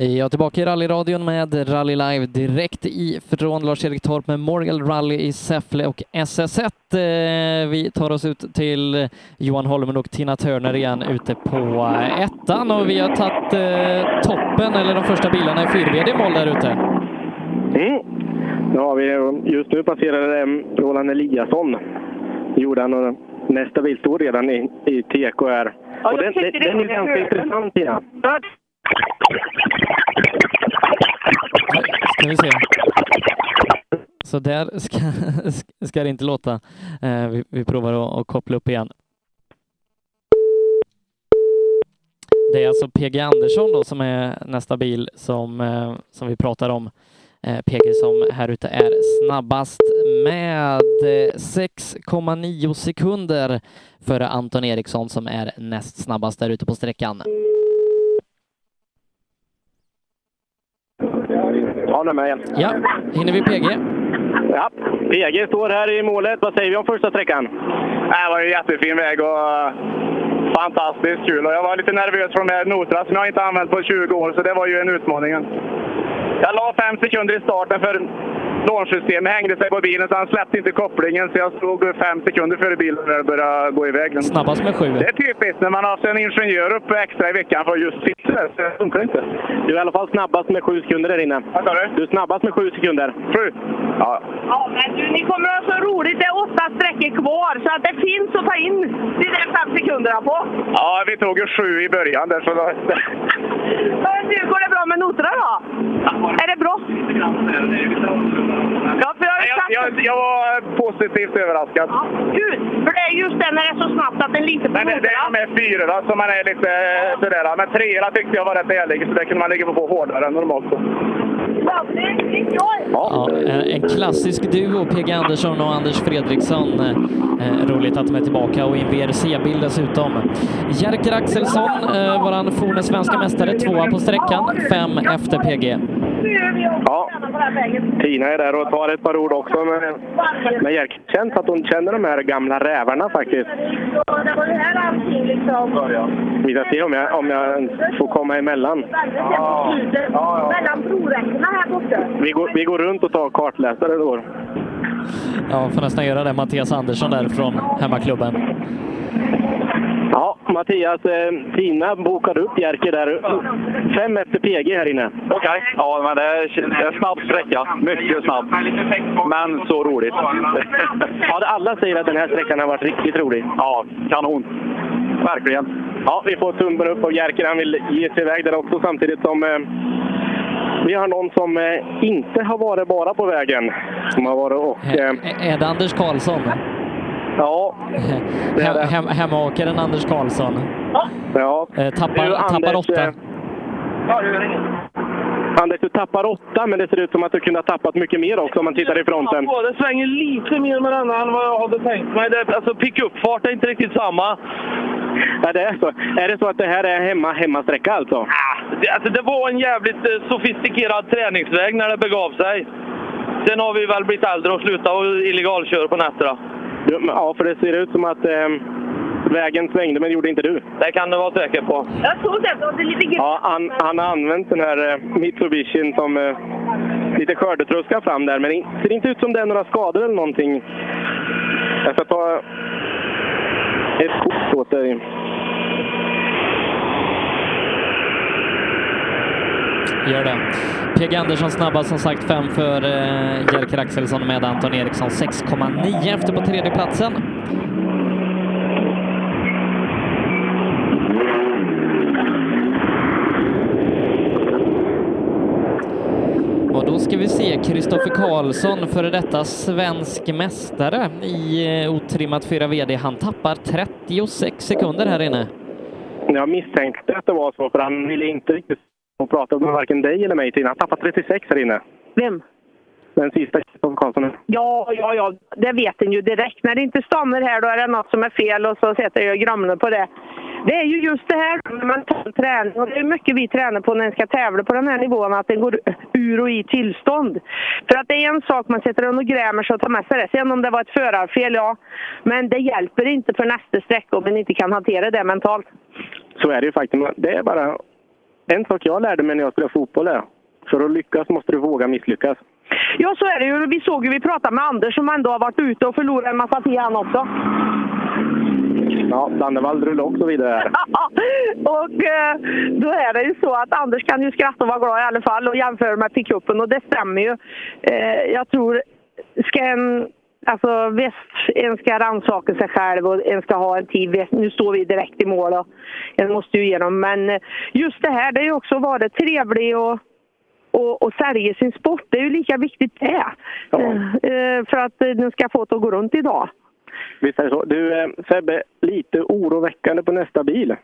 Jag är tillbaka i rallyradion med Rally Live direkt ifrån Lars-Erik Torp med Morgan Rally i Säffle och SS1. Eh, Vi tar oss ut till Johan Holmen och Tina Turner igen ute på eh, ettan och vi har tagit eh, toppen, eller de första bilarna i fyrvd mål där ute. Mm. Ja, vi, just nu passerar eh, Roland Eliasson. Gjorde han och nästa bil står redan i, i TKR. jag och den, den, tyckte det den är var ganska kul. intressant. Ja. Ska vi se. Så där ska, (laughs) ska det inte låta. Eh, vi, vi provar att, att koppla upp igen. Det är alltså PG Andersson då som är nästa bil som, eh, som vi pratar om. Eh, PG som här ute är snabbast med eh, 6,9 sekunder före Anton Eriksson som är näst snabbast där ute på sträckan. Ja, nu är med igen. Ja, hinner vi PG? Ja, PG står här i målet. Vad säger vi om första sträckan? Det var en jättefin väg och eh, fantastiskt kul. Och jag var lite nervös för de här noterna som jag inte använt på 20 år, så det var ju en utmaning. Jag la fem sekunder i starten för launchsystemet hängde sig på bilen så han släppte inte kopplingen så jag stod fem sekunder före bilen när det började gå iväg. Snabbast med sju. Det är typiskt när man har haft en ingenjör uppe extra i veckan för att just sitta där, så det funkar inte. Du är i alla fall snabbast med sju sekunder där inne. Vad sa du? Du är snabbast med sju sekunder. Sju? Ja. Ja, men du, ni kommer att ha så roligt. Det är åtta sträckor kvar, så att det finns att ta in de där fem sekunderna på. Ja, vi tog ju sju i början där så då... Men du, går det bra med noterna då? Är det bra? Ja, för jag, har ju sagt... Jag, jag var eh, positivt överraskad. Gud, för det är just det när det är så snabbt att den lite på Men det, det är de här fyrorna som man är lite eh, sådär. Men treorna tyckte jag var rätt ärlig, så det kunde man ligga på hårdare än normalt. Ja, en en klassisk duo, PG Andersson och Anders Fredriksson. Eh, roligt att de är tillbaka och i en VRC-bil dessutom. Jerker Axelsson, eh, våran forne svenska mästare, tvåa på sträckan, fem efter PG. Ja, Tina är där och tar ett par ord också. Men, men jag känns att hon känner de här gamla rävarna faktiskt. Det var ju här allting liksom... Vi ska se om jag, om jag ens får komma emellan. Ja. Mellan broräckena här borta. Vi går, vi går runt och tar kartläsare då. Ja, får nästan göra det. Mattias Andersson där från hemmaklubben. Ja, Mattias, eh, Tina bokade upp Jerker där. Fem efter PG här inne. Okej. Ja, men det är, det är snabb sträcka. Mycket snabb. Men så roligt. (laughs) Ja, alla säger att den här sträckan har varit riktigt rolig. Ja, kanon. Verkligen. Ja, vi får tummen upp av Jerker. Han vill ge sig iväg där också samtidigt som eh, vi har någon som eh, inte har varit bara på vägen. Som har varit och... Eh, Är det Anders Karlsson? Ja. Hem, hem, hemmaåkaren Anders Karlsson. Ja. Eh, tappar, Du, Anders, tappar åtta. eh, Anders, du tappar åtta, men det ser ut som att du kunde ha tappat mycket mer också om man tittar i fronten. Ja, det svänger lite mer med denna än vad jag hade tänkt mig. Det, alltså pick-up-fart är inte riktigt samma. Ja, det är så. Är det så att det här är hemma, hemmasträcka alltså? Det, alltså, det var en jävligt eh, sofistikerad träningsväg när det begav sig. Sen har vi väl blivit äldre och slutat och illegalköra på nätterna. Du, men, Ja, för det ser ut som att eh, vägen svängde, men det gjorde inte du. Det kan du vara säker på. Jag såg det, det var lite grann. Ja, han, han har använt den här eh, Mitsubishin som eh, lite skördetröska fram där, men det ser inte ut som det är några skador eller någonting. Jag ska ta ett kort åt dig. Gör det. PG Andersson snabbast som sagt fem för eh, Jerker Axelsson med Anton Eriksson 6,9 efter på tredje platsen. Och då ska vi se Kristoffer Karlsson, före detta svensk mästare i eh, otrimmat 4 VD. Han tappar 36 sekunder här inne. Jag misstänkte att det var så, för han ville inte riktigt prata med varken dig eller mig. Tina. Han tappade 36 här inne. Vem? Den sista Kristoffer Karlsson. Ja, ja, ja, det vet en ju direkt. När det inte stannar här då är det något som är fel och så sätter jag grammen på det. Det är ju just det här med mental träning och det är mycket vi tränar på när en ska tävla på den här nivån, att den går ur och i tillstånd. För att det är en sak man sitter och grämer sig och tar med sig det. Sen om det var ett förarfel, ja. Men det hjälper inte för nästa sträcka om man inte kan hantera det mentalt. Så är det ju faktiskt. Men Det är bara en sak jag lärde mig när jag spelade fotboll. Är. För att lyckas måste du våga misslyckas. Ja, så är det ju. Vi såg ju, vi pratade med Anders som ändå har varit ute och förlorat en massa tid han också. Ja, Dannevall rullade också vidare här. (laughs) och eh, då är det ju så att Anders kan ju skratta och vara glad i alla fall och jämföra med pickupen och det stämmer ju. Eh, jag tror, ska en, alltså visst, en ska rannsaka sig själv och en ska ha en tid. Visst, Nu står vi direkt i mål och en måste ju igenom. Men eh, just det här, det är ju också att vara trevlig och och, och sälja sin sport, det är ju lika viktigt det. Eh, eh, För att eh, den ska få det att gå runt idag. Visst är det så. Du eh, Sebbe, lite oroväckande på nästa bil.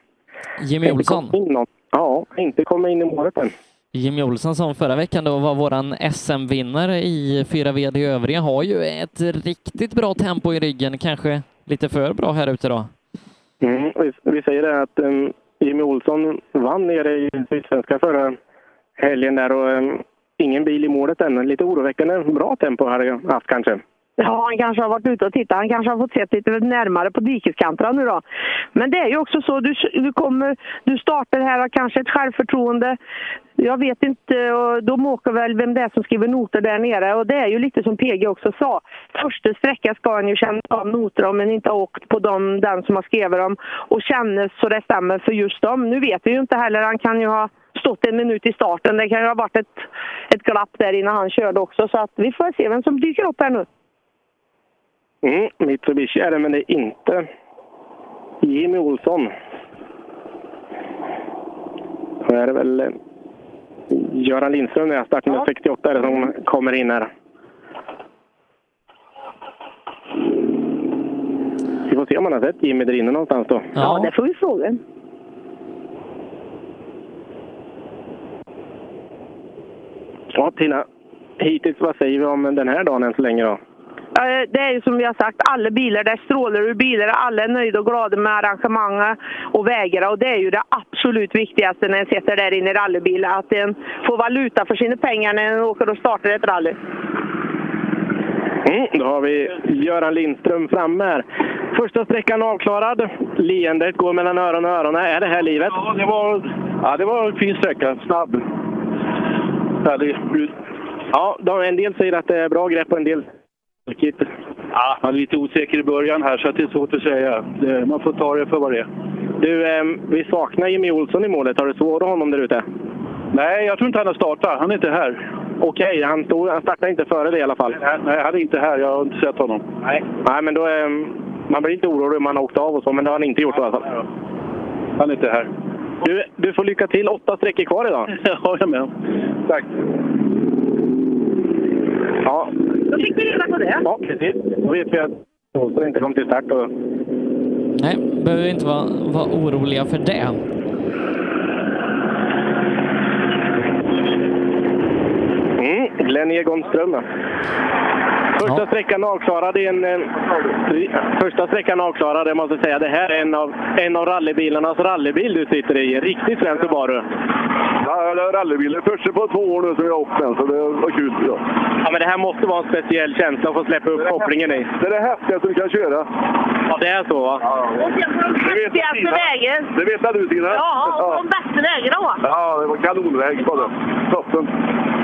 Jimmy Olsson. Inte kom in någon. Ja, inte komma in i målet än. Jimmy Olsson som förra veckan då var våran SM-vinnare i 4 VD övriga har ju ett riktigt bra tempo i ryggen, kanske lite för bra här ute då. Mm, vi, vi säger det att um, Jimmy Olsson vann nere i Sydsvenska förra helgen där och em, ingen bil i målet än. Lite oroväckande bra tempo har jag haft kanske. Ja, han kanske har varit ute och tittat. Han kanske har fått sett lite närmare på dikeskanterna nu då. Men det är ju också så, du, du, kommer, du startar här och kanske ett självförtroende. Jag vet inte, och de åker väl vem det är som skriver noter där nere. Och det är ju lite som PG också sa. Första sträckan ska en ju känna av noter om en inte har åkt på dem, den som har skrivit dem. Och känna så det stämmer för just dem. Nu vet vi ju inte heller, han kan ju ha stått en minut i starten. Det kan ju ha varit ett, ett glapp där innan han körde också. Så att vi får se vem som dyker upp här nu. Mm, Mitsubishi är det, men det är inte Jimmy Olsson. Då är det väl eh, Göran Lindström, när jag startar med 68, är det som kommer in här. Vi får se om man har sett Jimmy där inne någonstans då. Ja, det får vi fråga. Ja, Tina. Hittills, vad säger vi om den här dagen än så länge då? Eh, Det är ju som vi har sagt, alla bilar, det strålar ur bilar, alla är nöjda och glada med arrangemanget och vägarna och det är ju det absolut viktigaste när en sitter där inne i rallybilen, att en får valuta för sina pengar när en åker och startar ett rally. Mm, då har vi Göran Lindström framme här. Första sträckan avklarad. Leendet går mellan öron och öronen. Är det här livet? Ja, det var, ja, det var en fin sträcka. Snabb. Ja, de, en del säger att det är bra grepp och en del Ja, man är lite osäker i början här så att det är svårt att säga. Det- Man får ta det för vad det är. Du, eh, vi saknar Jimmy Olsson i målet. Har du svarat honom där ute? Nej, jag tror inte han har startat. Han är inte här. Okej, han, stod, han startade inte före det i alla fall. Nej, han är inte här. Jag har inte sett honom. Nej, Nej men då... Eh, man blir inte orolig om han har åkt av och så, men det har han inte gjort i alla fall. Han är inte här. Du, du får lycka till. Åtta sträckor kvar idag. (laughs) ja, jag med. Tack. Ja. Då fick vi reda på det. Ja, precis. Då vet vi att Olsson inte kom till start. Och... Nej, behöver inte vara, vara oroliga för det. Mm, Glenn Egon Ström. ja. Första sträckan avklarad. i En, eh, första sträckan avklarad, jag måste säga. Det här är en av, en av rallybilarnas rallybil du sitter i. En riktig svensk Subaru. Ja, det är rallybilen. Första på två år nu som jag har åkt med, så det var kul. Ja. Ja, men det här måste vara en speciell känsla att få släppa upp kopplingen i. Det är det häftigaste du kan köra. Ja, det är så va? Och sen på de Det vet jag, häftigaste Stina. vägen. Det vet jag du, Tina. Ja, och de bästa vägarna va? Ja, det var kanonväg på den. Toppen.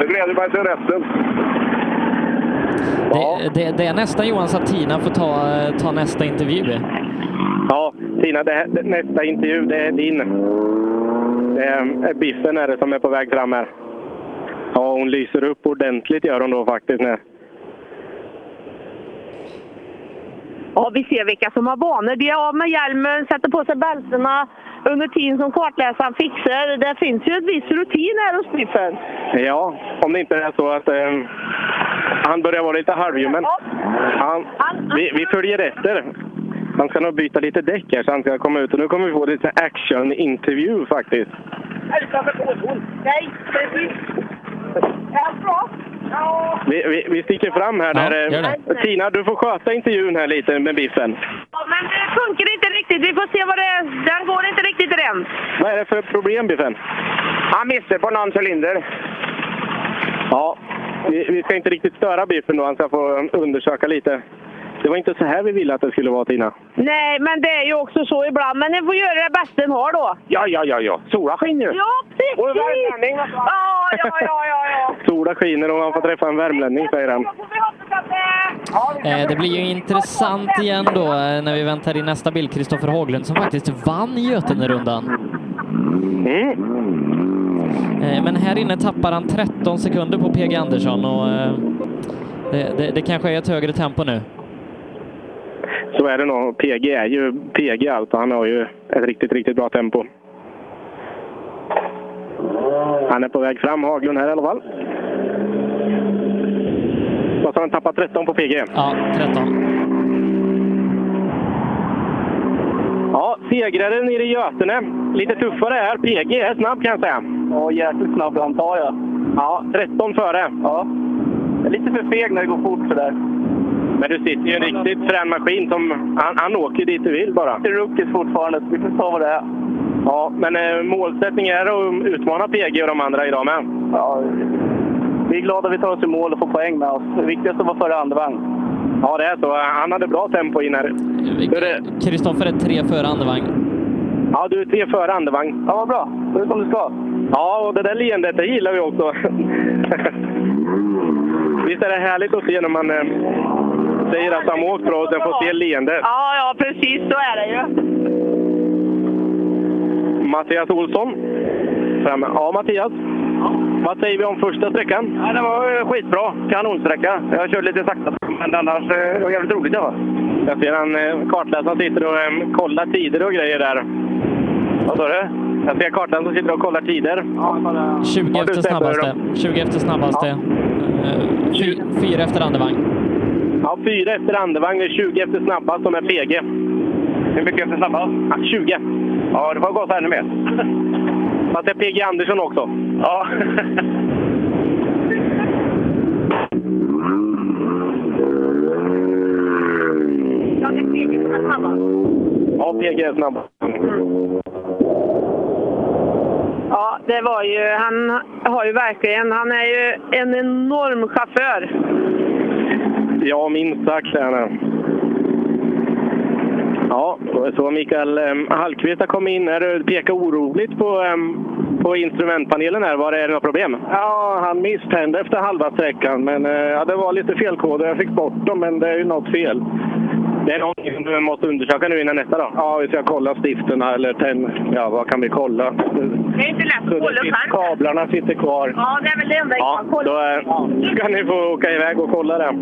Det gläder mig till resten. Det, det, det är nästan Johan Satina får ta, ta nästa intervju. Ja, Tina, det här, det, nästa intervju det är din. Det är, är Biffen är det som är på väg fram här. Ja, hon lyser upp ordentligt gör hon då faktiskt. När, Ja, vi ser vilka som har vanor. De är av med hjälmen, sätter på sig bältena under tiden som kartläsaren fixar. Det finns ju en viss rutin här hos Biffen. Ja, om det inte är så att eh, han börjar vara lite halvljummen. Han, vi, vi följer efter. Han ska nog byta lite däck här så han ska komma ut. Och nu kommer vi få lite actionintervju faktiskt. Utanför påsen. Nej, precis. Är allt bra? Ja. Vi, vi, vi sticker fram här. Där, gör eh, det. Tina, du får sköta intervjun här lite med Biffen. Ja, men det funkar inte riktigt. Vi får se vad det är. Den går inte riktigt än. Vad är det för problem, Biffen? Han missar på någon cylinder. Ja, vi, vi ska inte riktigt störa Biffen då. Han ska få ehm, undersöka lite. Det var inte så här vi ville att det skulle vara, Tina. Nej, men det är ju också så ibland. Men ni får göra det bästa ni har då. Ja, ja, ja, ja. Sola skiner Ja, precis! alltså? Ja, ja, ja, ja. Sola skiner och man får träffa en värmlänning, säger han. Eh, Det blir ju intressant igen då eh, när vi väntar in nästa bild, Kristoffer Haglund som faktiskt vann Götenerundan. Eh, Men här inne tappar han 13 sekunder på PG Andersson och eh, det, det, det kanske är ett högre tempo nu. Så är det nog. PG är ju PG allt och han har ju ett riktigt, riktigt bra tempo. Han är på väg fram, Haglund här i alla fall. Vad sa han, tappat 13 på PG? Ja, 13. Ja, segrare nere i Götene. Lite tuffare här. PG är snabb kan jag säga. Ja, jäkligt snabb antar jag. Ja, 13 före. Ja. Jag är lite för feg när det går fort sådär. Men du sitter ju i en riktigt frän maskin. Som, han, han åker dit du vill bara. Det är rookies fortfarande, vi får ta vad det är. Ja, men eh, målsättningen är att utmana PG och de andra idag med. Ja, vi är glada att vi tar oss i mål och får poäng med oss. Det viktigaste var före andra vagn. Ja, det är så. Han hade bra tempo in här. Hur är- Kristoffer är tre före andevagn. Ja, du är tre före andevagn. Ja, vad bra. Det är som du ska. Ja, och det där leendet, det gillar vi (laughs) också. Visst är det härligt att se när man eh, säger att de åkt bra och sen får se leendet. Ja, ja, precis. Så är det ju. Mattias Olsson. Framme. Ja, Mattias. Vad säger vi om första sträckan? Ja, det var eh, skitbra. Kanonsträcka. Jag körde lite sakta, men annars eh, det var jävligt roligt. Det var. Jag ser han eh, kartläsaren sitter och eh, kollar tider och grejer där. Vad sa du? Jag ser kartläsaren som sitter och kollar tider. 20 Har du efter sett snabbaste. hur 20 efter snabbaste. Eh, fy- Fyra efter andevagn. Ja, fyra efter andevagn och 20 efter snabbast som är PG. Hur mycket efter snabbast? Ja, 20. Ja, du får gasa ännu mer. Fast det är PG Andersson också. Ja. Ja, PG är snabb. Ja, det var ju... Han har ju verkligen... Han är ju en enorm chaufför. Ja, minst sagt är han här. Ja, så Mikael um, Hallqvist har kommit in här och pekar oroligt på, em, på instrumentpanelen här. Var är det några problem? Ja, han misstände efter halva sträckan, men eh, ja, det var lite felkoder. Jag fick bort dem, men det är ju något fel. Det är någonting som du måste undersöka nu innan nästa dag? Ja, vi ska kolla stifterna eller tenn... Ja, vad kan vi kolla? Det är inte lätt att kolla själv. Kablarna sitter kvar. Ja, det är väl det enda jag Ja, kan då kolla. är... kan ni få åka iväg och kolla det.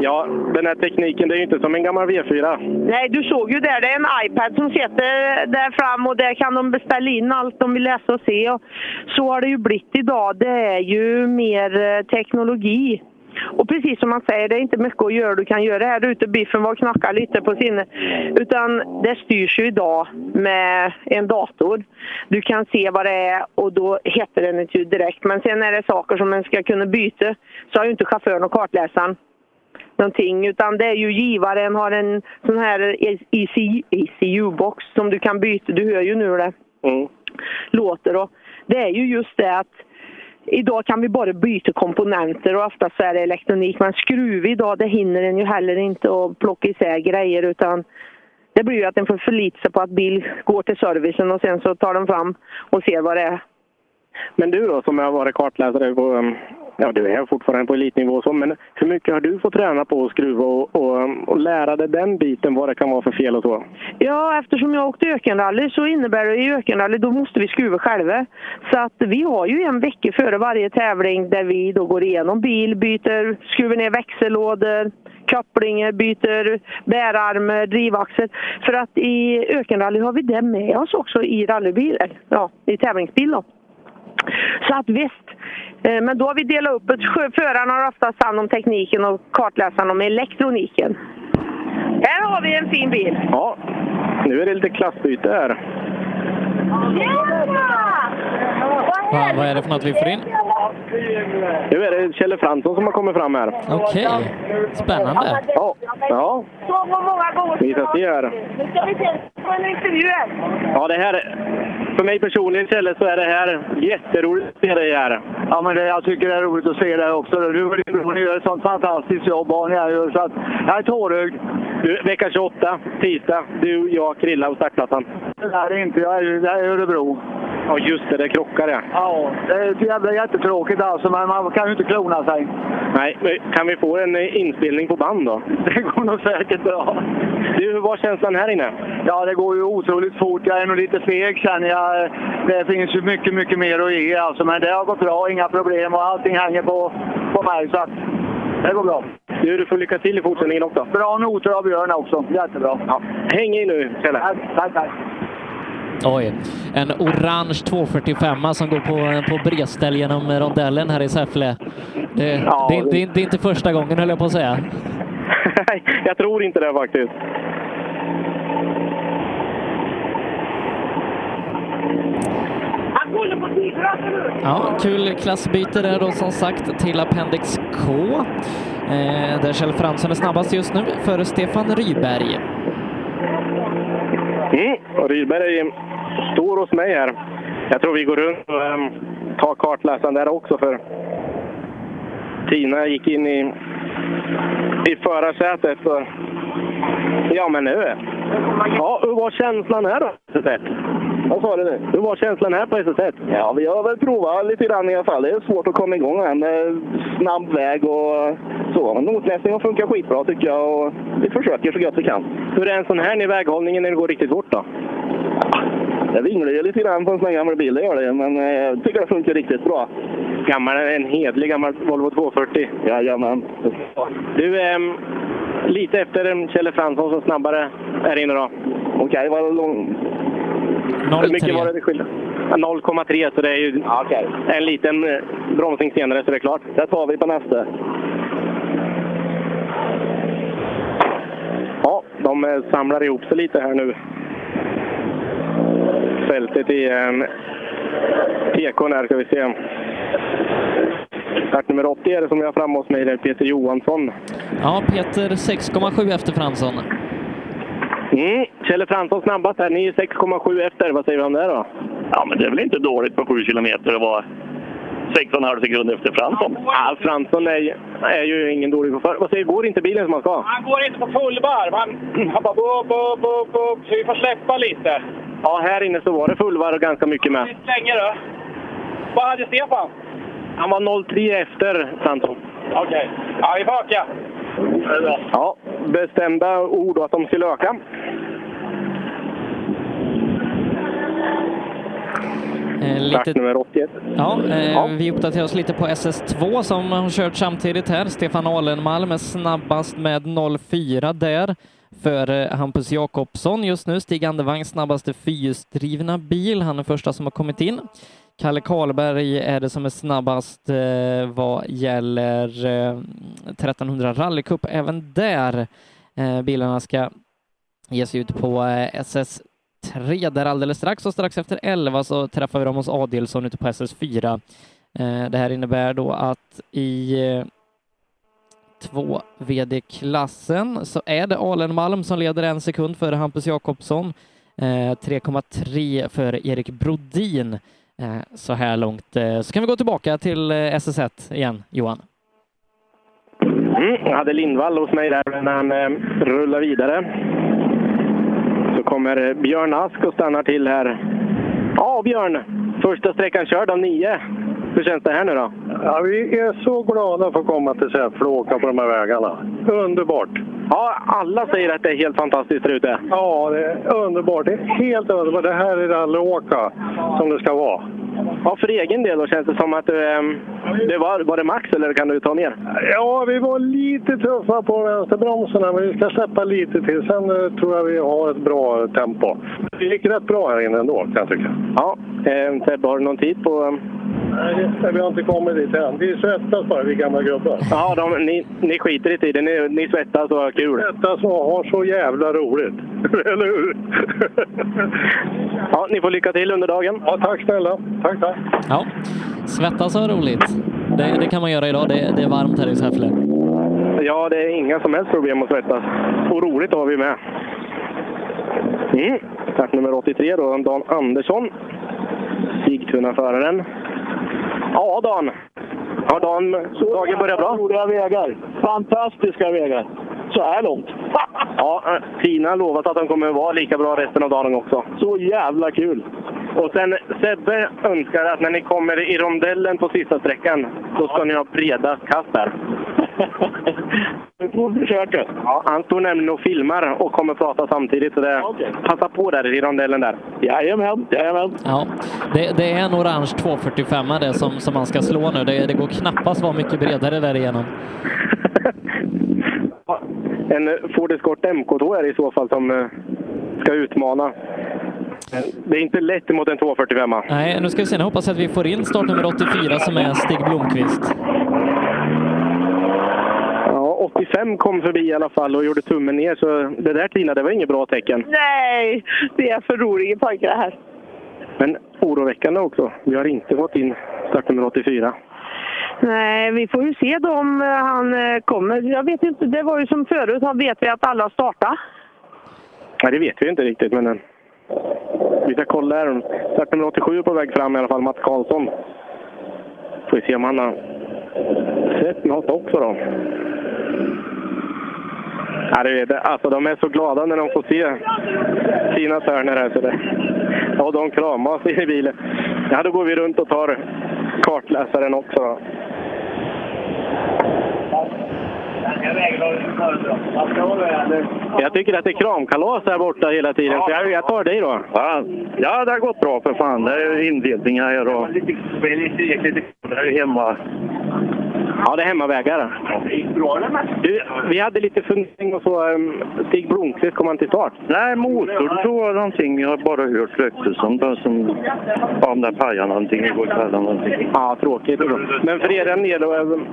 Ja, den här tekniken, det är ju inte som en gammal V4. Nej, du såg ju där, det är en iPad som sitter där fram och där kan de beställa in allt de vill läsa och se. Och så har det ju blivit idag. Det är ju mer eh, teknologi. Och precis som man säger, det är inte mycket att göra. Du kan göra här ute. Biffen var och knackade lite på sin... Utan det styrs ju idag med en dator. Du kan se vad det är och då heter den ett ljud direkt. Men sen är det saker som man ska kunna byta. Så har ju inte chauffören och kartläsaren någonting. Utan det är ju givaren har en sån här E ECU-box som du kan byta. Du hör ju nu hur det låter. Och det är ju just det att idag kan vi bara byta komponenter och ofta så är det elektronik. Men skruv idag, det hinner en ju heller inte att plocka isär grejer utan det blir ju att en får förlita sig på att bil går till servicen och sen så tar de fram och ser vad det är. Men du då, som har varit kartläsare på... um, Ja, du är fortfarande på elitnivå och så, men hur mycket har du fått träna på att skruva och, och, um, och lära dig den biten, vad det kan vara för fel och så? Ja, eftersom jag åkte ökenrally så innebär det i ökenrally då måste vi skruva själva. Så att vi har ju en vecka före varje tävling där vi då går igenom bil, byter, skruvar ner växellådor, kopplingar, byter bärarmar, drivaxel. För att i ökenrally har vi det med oss också i rallybil, eller, ja, i tävlingsbil då. Så att visst. Eh, Men då har vi delat upp det. Sjö- Förarna har oftast hand om tekniken och kartläsaren om elektroniken. Här har vi en fin bil. Ja, nu är det lite klassbyte här. Fan, vad är det för något vi får in? Nu är det Kjelle Fransson som har kommit fram här. Okej, spännande. Ja. ja. Så många gånger Vi ska se här. Nu ska vi se på en intervju här. Ja, det här... För mig personligen, Kjelle, så är det här jätteroligt att se dig här. Ja, men det, jag tycker det är roligt att se det också. Du och din bror ni gör ett sånt fantastiskt jobb. Och ni är ju, så att, jag är tårögd. Du, vecka 28, tisdag. Du, jag, Krilla och startplattan. Det är det inte. Jag är, ju- jag är i Örebro. Ja, just det. Det krockar det. Ja, det är ett jävla jättetråkigt alltså, men man kan ju inte klona sig. Nej, men kan vi få en eh, inspelning på band då? (laughs) Det går nog säkert bra. Du, hur var känslan här inne? Ja, det går ju otroligt fort. Jag är nog lite seg känner jag. Det finns ju mycket, mycket mer att ge alltså, men det har gått bra. Inga problem och allting hänger på, på mig. Så att, det går bra. Du, du får lycka till i fortsättningen också. Bra noter av Björn också. Jättebra. Ja. Häng i nu, Kjelle. Tack, tack. Oj, en orange 245 som går på, på bredställ genom rondellen här i Säffle. Det, det, är- det, är- det är inte första gången höll jag på att säga. (laughs) jag tror inte det faktiskt. Han kollar på tidröster nu. Ja, kul klassbyte där då som sagt till Appendix K. Eh, där Kjell Fransson är snabbast just nu före Stefan Ryberg. Mm. Och Rydberg är- står hos mig här. Jag tror vi går runt och ehm, tar kartläsaren där också för Tina gick in i, i förarsätet. Så. Ja, men nu. Ja, hur var känslan här då? SS1? Vad sa du nu? Hur var känslan här på SS1? Ja, vi har väl provat lite grann i alla fall. Det är svårt att komma igång här med snabb väg och så. Men notläsningen funkar skitbra tycker jag och vi försöker så gott vi kan. Hur är en sån här i väghållningen när det går riktigt fort då? Det vinglar ju lite grann på en sån här gammal bil, det gör det. Men eh, jag tycker det funkar riktigt bra. Gammal, en hedlig gammal Volvo 240. Jajamän. Du, ehm, lite efter ehm, Kjelle Fransson som snabbare är inne då. Okej, vad lång... Hur mycket var det det skilde? Ja, 0,3 så det är ju en liten eh, bromsning senare så det är klart. Det tar vi på nästa. Ja, de eh, samlar ihop sig lite här nu. Fältet i eh, PKn här ska vi se. Start nummer 80 är det som jag har framme hos mig, det är Peter Johansson. Ja, Peter 6,7 efter Fransson. Eh, Mm. Kjelle Fransson snabbast här. Ni är 6,7 efter. Vad säger vi om det då? Ja, men det är väl inte dåligt på 7 kilometer att vara 6,5 sekunder efter Fransson. Ja, Fransson är, är ju ingen dålig chaufför. Vad säger Går inte bilen som han ska? Han går inte på fullvarv. Han, han bara bup, bup, bup, bup. Så vi får släppa lite. Ja, här inne så var det fullvarv och ganska mycket med. Länge då. Vad hade Stefan? Han var 0,3 efter Fransson. Okej. Ja, vi får öka. Ja, bestämda ord att de skulle öka. Eh, Plats nummer 81. Ja, eh, vi uppdaterar oss lite på SS2 som har kört samtidigt här. Stefan Alenmalm är snabbast med 04 där för eh, Hampus Jakobsson just nu. Stig Andevang snabbaste fyrhjulsdrivna bil. Han är första som har kommit in. Kalle Karlberg är det som är snabbast eh, vad gäller eh, 1300 rallycup. Även där eh, bilarna ska ge sig ut på eh, SS3 där alldeles strax och strax efter 11 så träffar vi Ramos Adielsson ute på SS4. Eh, Det här innebär då att i eh, 2 VD-klassen så är det Alen Malm som leder en sekund före Hampus Jakobsson. Eh, 3,3 för Erik Brodin eh, så här långt. Eh, Så kan vi gå tillbaka till eh, SS1 igen, Johan. Mm, jag hade Lindvall hos mig där när han eh, rullar vidare. Så kommer eh, Björn Ask och stannar till här. Ja, Björn! Första sträckan körd av nio. Hur känns det här nu då? Ja, vi är så glada för att komma till Säffle och åka på de här vägarna. Underbart! Ja, alla säger att det är helt fantastiskt där ute. Ja, det är underbart. Det är helt underbart. Det här är rallyåka som det ska vara. Ja, för egen del då känns det som att eh, det var, var det max eller kan du ta ner? Ja, vi var lite tuffa på vänsterbromsarna, men vi ska släppa lite till. Sen eh, tror jag vi har ett bra tempo. Det gick rätt bra här inne ändå, kan jag tycka. Ja, eh, Sebbe, har du någon tid på... eh, Nej, vi har inte kommit dit än. Vi svettas bara, vi gamla gubbar. Ja, de, ni, ni skiter i tiden. Ni, ni svettas och har kul. Svettas och har så jävla roligt. (laughs) Eller hur? ja, ni får lycka till under dagen. Ja, tack snälla. Tack, tack. Ja, svettas och ha roligt. Det, det kan man göra idag. Det, det är varmt här i Säffle. Ja, det är inga som helst problem att svettas. Och roligt har vi med. Mm. Plats nummer 83 då, Dan Andersson. Sigtuna-föraren. Ja, Dan. Har Dan, dagen börjat bra? Roliga vägar. Fantastiska vägar. Så här långt. (laughs) Ja, eh, Tina har lovat att han kommer att vara lika bra resten av dagen också. Så jävla kul! Och sen Sebbe önskar att när ni kommer i rondellen på sista sträckan, då ska ni ha breda kast där. Vi får försöka. Ja, han står nämligen och filmar och kommer prata samtidigt. Så det, Passa på där i rondellen där. Jajamän, jajamän. Ja, det, det är en orange 245 det som, som man ska slå nu. Det, det går knappast vara mycket bredare därigenom. En eh, Ford Escort MK2 är det i så fall som eh, ska utmana. Eh, Det är inte lätt mot en 245. Nej, nu ska vi se. Nu hoppas jag att vi får in startnummer 84 som är Stig Blomqvist. Ja, 85 kom förbi i alla fall och gjorde tummen ner. Så det där Tina, det var inget bra tecken. Nej, det är för roliga pojkar här. Men oroväckande också. Vi har inte fått in startnummer 84. Nej, vi får ju se då om eh, han eh, kommer. Jag vet inte, det var ju som förut, han vet vi att alla startar. Nej, det vet vi inte riktigt, men eh, vi ska kolla här. Startnummer 87 är på väg fram i alla fall, Mats Karlsson. Får vi se om han har sett något också då. Ja, du vet, alltså de är så glada när de får se Tina Turner här. Så det, ja, de kramas i bilen. Ja, då går vi runt och tar kartläsaren också. Då. Jag tycker att det är kramkalas här borta hela tiden, så jag, jag tar dig då. Ja, ja, det har gått bra för fan. Det är indelningar här och... Det är lite, lite här hemma. Ja, det är hemmavägar. Du, vi hade lite fundering och så. ehm, Stig Blomqvist, kom han till start? Nej, motor tror jag någonting. Jag har bara hört ryktes om det som... Om den pajade någonting igår kväll. eller någonting. Ja, tråkigt. Men för er där nere, ehm,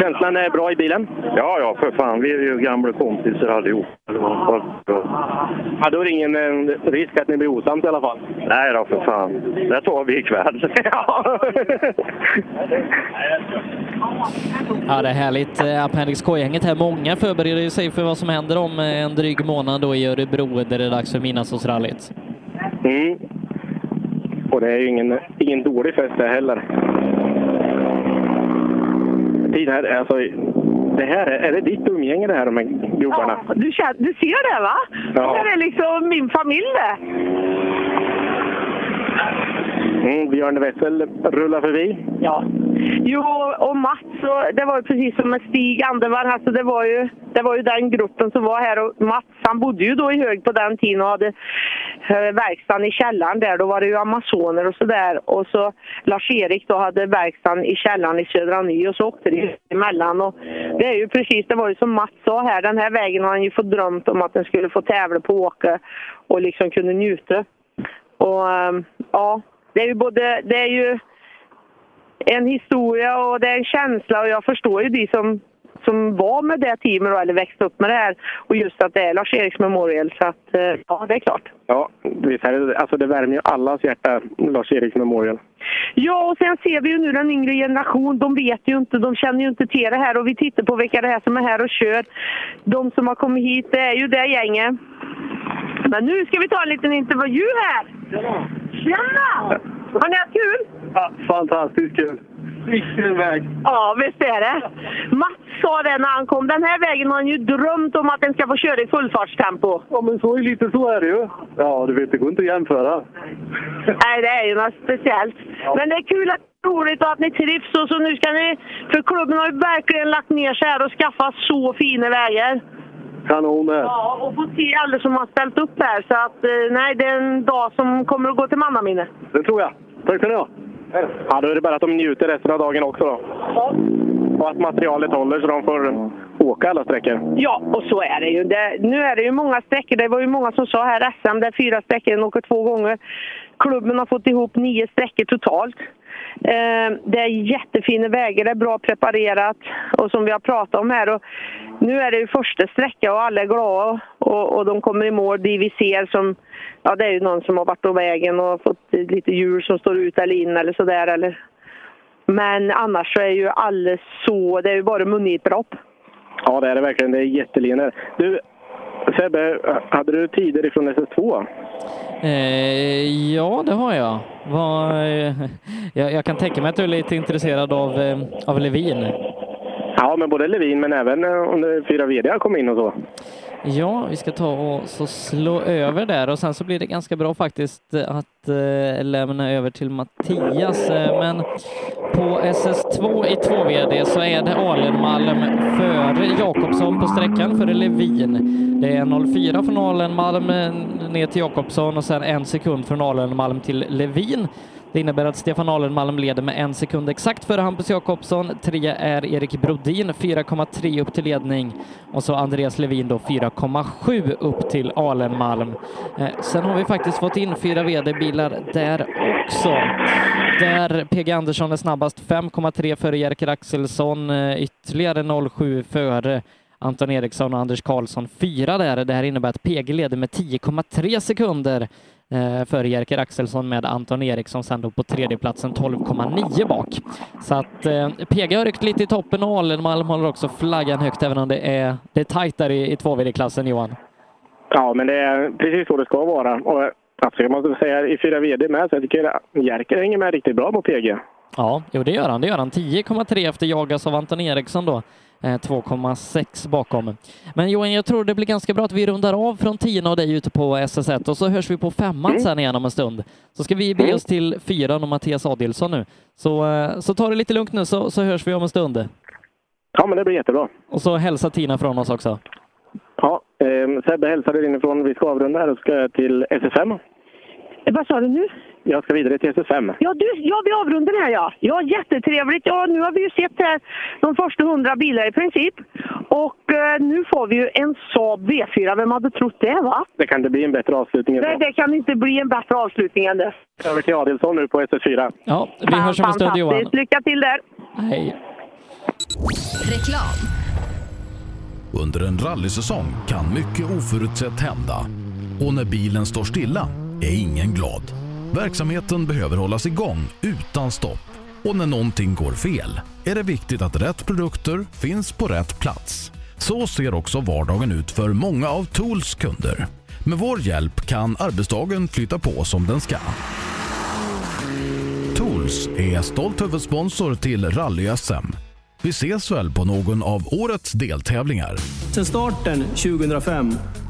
känslan är bra i bilen? Ja, ja, för fan. Vi är ju gamla kompisar allihop. Ja, då är det ingen eh, risk att ni blir osams i alla fall. Nej då, för fan. Det tar vi (laughs) ikväll. Ja. Ja, det är härligt. Eh, Appendix K-gänget här. Många förbereder ju sig för vad som händer om eh, en dryg månad då i Örebro där det är dags för Midnattsåsrallyt. Mm. Och det är ju ingen, ingen dålig fest det heller. Det här, är alltså, det här är, är det ditt umgänge det här, de här gubbarna? Du, känner, du ser det va? Ja. Det är liksom min familj det. Mm, Björn Wessel rullar förbi. Ja. Jo, och Mats, och det var ju precis som med Stig Andervall. Alltså det, var ju, det var ju den gruppen som var här. Och Mats han bodde ju då i Hög på den tiden och hade eh, verkstaden i källaren där. Då var det ju amazoner och sådär. Och så Lars-Erik då hade verkstaden i källaren i Södra Ny och så åkte det ju emellan. Och det är ju precis, det var ju som Mats sa här. Den här vägen har han ju fått drömt om att den skulle få tävla på och åka och liksom kunde njuta. Och eh, ja, det är ju både, det är ju en historia och det är en känsla och jag förstår ju de som, som var med det teamet då, eller växte upp med det här och just att det är Lars-Eriks Memorial så att eh, ja, det är klart. Ja, visst är det, alltså det värmer ju allas hjärta, Lars-Erik Memorial. Ja, och sen ser vi ju nu den yngre generationen. De vet ju inte, de känner ju inte till det här. Och vi tittar på vilka det är som är här och kör. De som har kommit hit, det är ju det gänget. Men nu ska vi ta en liten intervju här. Tjena! Tjena! Har ni haft kul? Ja, Fantastiskt kul! Vilken väg! Ja, visst är det. Mats sa det när han kom. Den här vägen har han ju drömt om att den ska få köra i fullfartstempo. Ja, men så är lite så är det ju. Ja, du vet, det går inte att jämföra. Nej, det är ju något speciellt. Men det är kul att det är roligt och att ni trivs. Och så nu ska ni, för klubben har ju verkligen lagt ner sig här och skaffat så fina vägar. Kanon det! Ja, och få se alla som har ställt upp här. Så att, eh, nej, det är en dag som kommer att gå till mannaminne. Det tror jag. Tack ska ni ha. Ja, då är det bara att de njuter resten av dagen också då. Och att materialet håller så de får åka alla sträckor. Ja, och så är det ju. Det, nu är det ju många sträckor. Det var ju många som sa här SM, det är fyra sträckor, den åker två gånger. Klubben har fått ihop nio sträckor totalt. Eh, det är jättefina vägar, det är bra preparerat och som vi har pratat om här. Och nu är det ju första sträcka och alla är glada och, och de kommer i mål. De vi ser som, ja det är ju någon som har varit på vägen och fått lite djur som står ut eller in eller sådär. Eller. Men annars så är ju alla så, det är ju bara mungipropp. Ja, det är det verkligen. Det är jätteliner. Du, Sebbe, hade du tider ifrån SS2? Eh, ja, det har jag. Vad, eh, (laughs) jag. Jag kan tänka mig att du är lite intresserad av, eh, av Levin. Ja, men både Levin men även eh, under fyra VD kom in och så. Ja, vi ska ta och så slå över där och sen så blir det ganska bra faktiskt att eh, lämna över till Mattias. Eh, Men på SS2 i 2VD så är det Alenmalm före Jakobsson på sträckan före Levin. Det är 04 från Alenmalm eh, ner till Jakobsson och sen en sekund från Alenmalm till Levin. Det innebär att Stefan Alenmalm leder med en sekund exakt före Hampus Jakobsson. Tre är Erik Brodin, 4,3 upp till ledning. Och så Andreas Levin då 4,7 upp till Alenmalm. Eh, sen har vi faktiskt fått in fyra VD-bilar där också. Där PG Andersson är snabbast, 5,3 före Jerker Axelsson, eh, ytterligare 0,7 före Anton Eriksson och Anders Karlsson fyra där. Det här innebär att PG leder med 10,3 sekunder eh, före Jerker Axelsson med Anton Eriksson sen då på tredjeplatsen 12,9 bak. Så att eh, PG har ryckt lite i toppen och Alenmalm håller också flaggan högt även om det är, det är tajt där i, i 2VD-klassen Johan. Ja, men det är precis så det ska vara. Och, eh, alltså, jag måste säga i fyra VD med, så jag tycker Jerker hänger med riktigt bra på PG. Ja, jo det gör han. Det gör han. 10,3 efter jagas av Anton Eriksson då. Eh, 2,6 bakom. Men Johan, jag tror det blir ganska bra att vi rundar av från 10 och dig ute på SS1 och så hörs vi på femman sen igen om en stund. Så ska vi bege oss till fyran och Mattias Adilsson nu. Så, eh, så ta det lite lugnt nu så, så hörs vi om en stund. Ja, men det blir jättebra. Och så hälsa Tina från oss också. Ja, eh, Sebbe hälsade inifrån. Vi ska avrunda här och ska jag till SS5. Vad sa du nu? Jag ska vidare till SS5. Ja, du, ja vi avrundar här ja. Ja, jättetrevligt. Ja, nu har vi ju sett här de första hundra bilarna i princip. Och eh, nu får vi ju en Saab V4. Vem hade trott det va? Det kan inte bli en bättre avslutning än Nej, så. det kan inte bli en bättre avslutning än det. Över till Adilsson nu på SS4. Ja, vi hörs om en stund Johan. Fantastiskt. Lycka till där! Hej. Reklam. Under en rallysäsong kan mycket oförutsett hända. Och när bilen står stilla är ingen glad. Verksamheten behöver hållas igång utan stopp. Och när någonting går fel är det viktigt att rätt produkter finns på rätt plats. Så ser också vardagen ut för många av Tools kunder. Med vår hjälp kan arbetsdagen flytta på som den ska. Tools är stolt huvudsponsor till Rally-SM. Vi ses väl på någon av årets deltävlingar. Sedan starten 2005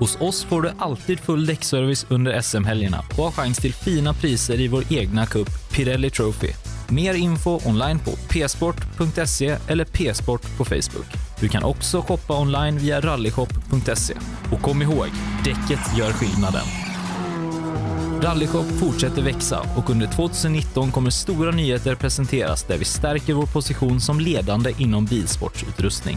Hos oss får du alltid full däckservice under SM-helgerna och har chans till fina priser i vår egna cup Pirelli Trophy. Mer info online på psport.se eller psport på Facebook. Du kan också shoppa online via rallyshop.se. Och kom ihåg, däcket gör skillnaden. Rallyshop fortsätter växa och under 2019 kommer stora nyheter presenteras där vi stärker vår position som ledande inom bilsportsutrustning.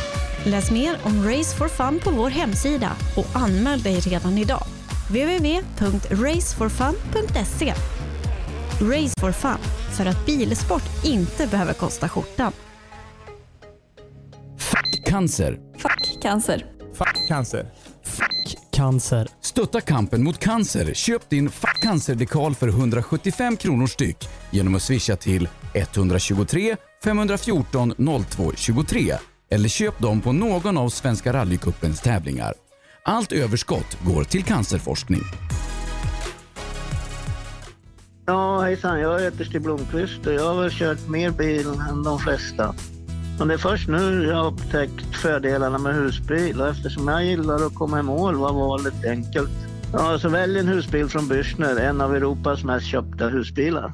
Läs mer om Race for Fun på vår hemsida och anmäl dig redan idag. www.raceforfun.se Race for Fun, för att bilsport inte behöver kosta skjortan. Cancer. Fuck cancer. Fuck cancer. Cancer. Stötta kampen mot cancer. Köp din Fuck cancer-dekal för 175 kronor styck genom att swisha till 123 514 02 23 eller köp dem på någon av Svenska rallycupens tävlingar. Allt överskott går till cancerforskning. Ja, hejsan. Jag heter Stig Blomqvist och jag har väl kört mer bil än de flesta. Men det är först nu jag har upptäckt fördelarna med husbil och eftersom jag gillar att komma i mål var valet enkelt. Ja, så välj en husbil från Bürstner, en av Europas mest köpta husbilar.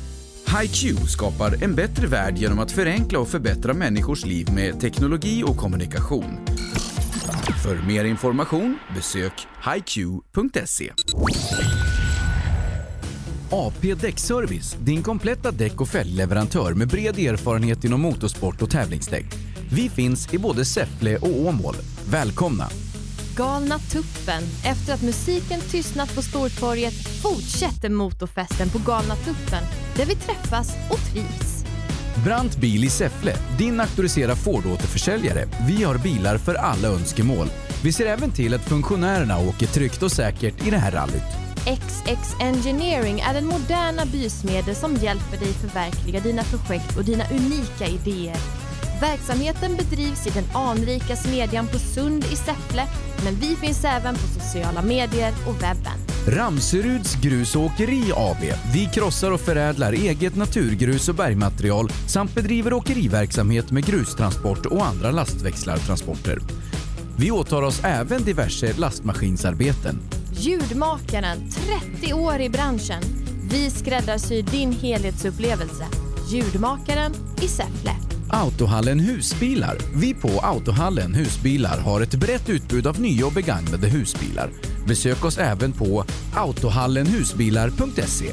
HiQ skapar en bättre värld genom att förenkla och förbättra människors liv med teknologi och kommunikation. För mer information besök E. hiq.se. AP Däckservice, din kompletta däck och fällleverantör med bred erfarenhet inom motorsport och tävlingsdäck. Vi finns i både Säffle och Åmål. Välkomna! Galna tuppen. Efter att musiken tystnat på Stortorget fortsätter motorfesten på Galna tuppen där vi träffas och trivs. Brant Bil i Säffle, din auktoriserade Ford-återförsäljare. Vi har bilar för alla önskemål. Vi ser även till att funktionärerna åker tryggt och säkert i det här rallyt. XX Engineering är den moderna bysmedel som hjälper dig förverkliga dina projekt och dina unika idéer. Verksamheten bedrivs i den anrika smedjan på Sund i Säffle, men vi finns även på sociala medier och webben. Ramseruds Grus och Åkeri AB. Vi krossar och förädlar eget naturgrus och bergmaterial samt bedriver åkeriverksamhet med grustransport och andra lastväxlartransporter. Vi åtar oss även diverse lastmaskinsarbeten. Ljudmakaren, 30 år i branschen. Vi skräddarsyr din helhetsupplevelse. Ljudmakaren i Säffle. Autohallen Husbilar. Vi på Autohallen Husbilar har ett brett utbud av nya och begagnade husbilar. Besök oss även på autohallenhusbilar.se.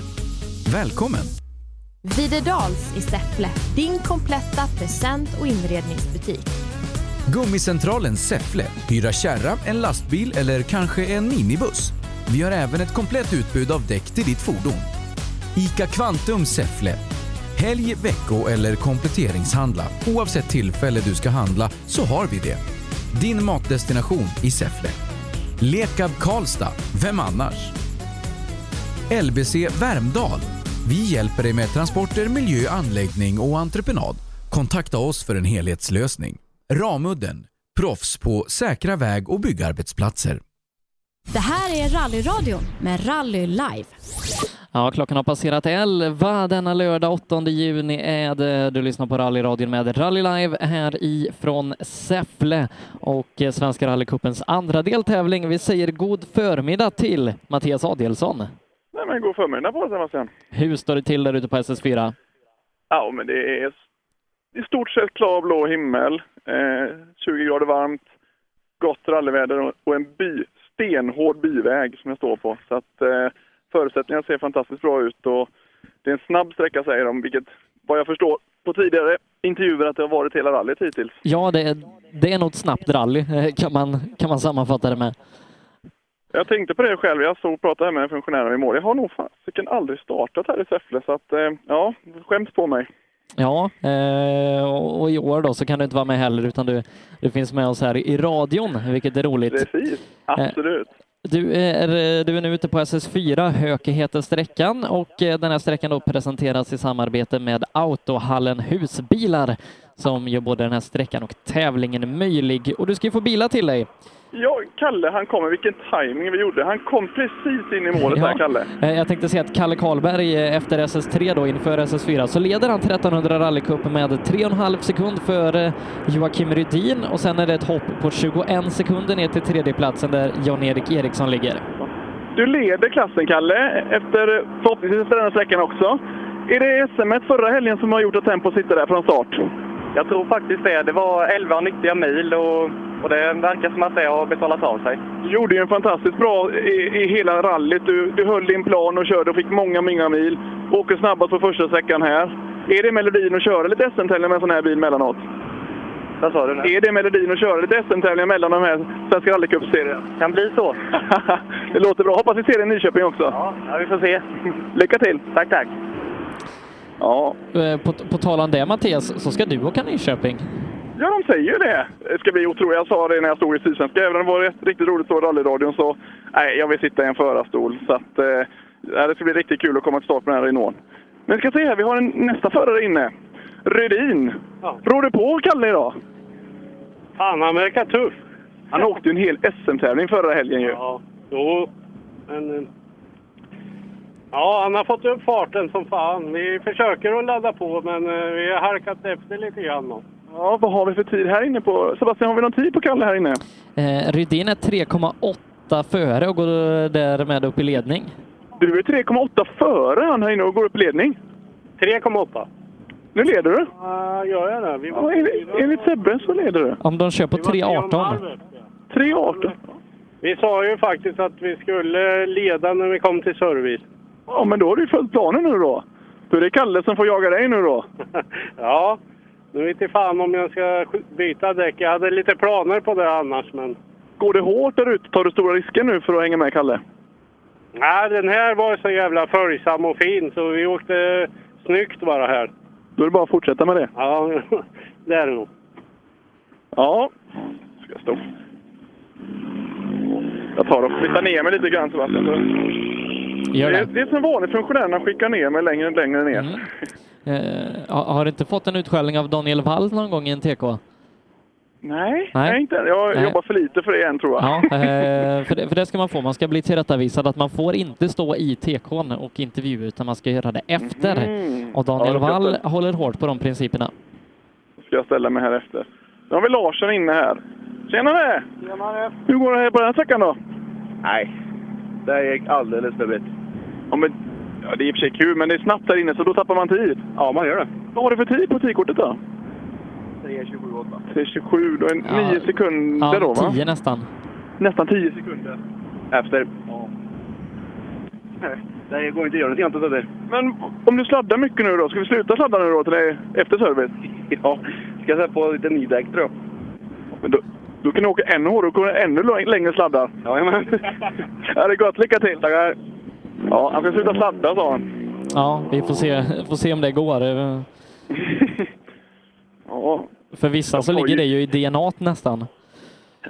Välkommen! Videdals i Säffle, din kompletta present och inredningsbutik. Gummicentralen Säffle. Hyra kärra, en lastbil eller kanske en minibuss. Vi har även ett komplett utbud av däck till ditt fordon. ICA Kvantum Säffle. Helg, vecko eller kompletteringshandla. Oavsett tillfälle du ska handla så har vi det. Din matdestination i Säffle. Lekab Karlstad. Vem annars? LBC Värmdal. Vi hjälper dig med transporter, miljö, anläggning och entreprenad. Kontakta oss för en helhetslösning. Ramudden. Proffs på säkra väg och byggarbetsplatser. Det här är Rallyradion med Rally Live. Ja, klockan har passerat 11 denna lördag 8 juni är det. Du lyssnar på rallyradion med Rally Live här ifrån Säffle och eh, Svenska rallycupens andra deltävling. Vi säger god förmiddag till Mattias Adielsson. Nej, men god förmiddag på Sebastian. Hur står det till där ute på SS4? Ja, men det är i stort sett klarblå himmel, eh, 20 grader varmt, gott rallyväder och- och en by, stenhård byväg som jag står på. Så att eh, förutsättningarna ser fantastiskt bra ut och det är en snabb sträcka säger de, vilket vad jag förstår på tidigare intervjuer att det har varit hela rallyt hittills. Ja, det är, det är nog ett snabbt rally (laughs) eh, kan man, kan man sammanfatta det med. Jag tänkte på det själv. Jag såg och pratade med en funktionär i mål. Jag har nog fasiken aldrig startat här i Säffle, så att eh, ja, skäms på mig. Ja, eh, och och i år då så kan du inte vara med heller utan du, du finns med oss här i radion, vilket är roligt. Eh, Precis, absolut. Du är, eh, du är nu ute på SS4, Höke heter sträckan och eh, den här sträckan då presenteras i samarbete med Autohallen Husbilar som gör både den här sträckan och tävlingen möjlig. Och du ska ju få bilar till dig. Ja, Kalle, han kommer. Vilken timing vi gjorde. Han kom precis in i målet Ja. där, Kalle. Eh, Jag tänkte säga att Kalle Karlberg eh, efter SS3 då inför SS4 så leder han 1300 rallycupen med 3,5 sekund före Joakim Rydin och sen är det ett hopp på 21 sekunder ner till tredjeplatsen där Jan-Erik Eriksson ligger. Du leder klassen, Kalle, efter, förhoppningsvis efter den här sträckan också. Är det SM et förra helgen som har gjort att Tempo sitter där från start? Jag tror faktiskt det. Det var 11 nyttiga mil och, och det verkar som att det har betalat av sig. Du gjorde ju en fantastiskt bra i, i hela rallyt. Du, du höll din plan och körde och fick många, många mil. Åker snabbast på första sträckan här. Är det melodin att köra lite SM-tävlingar med en sån här bil mellanåt? Vad sa du nu? Är det melodin att köra lite SM-tävlingar mellan de här Svenska rallycupserierna? Kan bli så. (laughs) det låter bra. Hoppas vi ser dig i Nyköping också. Ja, vi får se. Lycka till! Tack, tack! Ja. Eh, På, på tal om det Mattias, så ska du åka Nyköping. Ja, de säger ju det. Det ska bli otroligt. Jag sa det när jag stod i Sydsvenska. Även om det var rätt- riktigt roligt att stå i rallyradion så... Nej, jag vill sitta i en förarstol. Så att, eh, ja, det ska bli riktigt kul att komma till start med den här Renaulten. Men vi ska se här, vi har en, nästa förare inne. Rydin. Rår du på Kalle idag? Fan, han verkar tuff. Han åkte ju en hel SM-tävling förra helgen ju. Ja, jo. Men... eh, Ja, han har fått upp farten som fan. Vi försöker att ladda på, men eh, vi har halkat efter lite grann. då. Ja, vad har vi för tid här inne på... Sebastian, har vi någon tid på Kalle här inne? Eh, Rydin är 3,8 före och går därmed upp i ledning. Du är 3,8 före han här inne och går upp i ledning. 3,8. Nu leder du. Ja, gör jag det? Vi Ja, enligt, enligt Sebbe så leder du. Om de kör på Vi var tre och en 3,18. halv efter. 3,18. Vi sa ju faktiskt att vi skulle leda när vi kom till service. Ja, men då har du ju följt planen nu då. Då är det Kalle som får jaga dig nu då. (laughs) Ja, nu vet jag fan om jag ska sk- byta däck. Jag hade lite planer på det annars, men... Går det hårt där ute? Tar du stora risker nu för att hänga med Kalle? Nej, den här var så jävla följsam och fin så vi åkte snyggt bara här. Då är det bara att fortsätta med det. Ja, (laughs) det är det nog. Ja. Ska jag stå. Jag tar och flyttar ner mig lite grann Sebastian. Gör Mm. det. det. Mm. är- Det är som vanligt funktionärerna skickar ner mig längre och längre ner. Eh, ha- har du inte fått en utskällning av Daniel Wall någon gång i en TK? Nej, Nej. Nej, inte än. Jag Nej. jobbar för lite för det än tror jag. Ja, eh, för, det, för det ska man få. Man ska bli tillrättavisad att man får inte stå i TKn och intervjua utan man ska göra det efter. Mhm. Och Ja, Daniel det ska Wall jag. håller hårt på de principerna. ska jag ställa mig här efter. Nu har vi Larsen inne här. Tjenare! Tjenare! Hur går det här på den här sträckan då? Nej, det gick alldeles för brett. Ja, men, ja, det är i och för sig kul, men det är snabbt där inne så då tappar man tid. Ja, man gör det. Vad var det för tid på tidkortet då? 3.27,8. 3.27, då är det Ja. 9 sekunder då Ja, va? tio nästan. Nästan 10 sekunder. Efter. Nej, det går inte att göra någonting annat än det. Men om du sladdar mycket nu då, ska vi sluta sladda nu då till dig efter service? (laughs) Ja, ska jag sätta på lite nydäck tror jag. Men då, då kan du åka ännu hårdare, då kan du ännu lång- längre sladda. Jajamän. (laughs) ja, det är gott. Lycka till! Tackar! Ja, han ska sluta sladda sa han. Ja, vi får se, får se om det går. Eh, Ja, För vissa så ligger det ju i DNA nästan.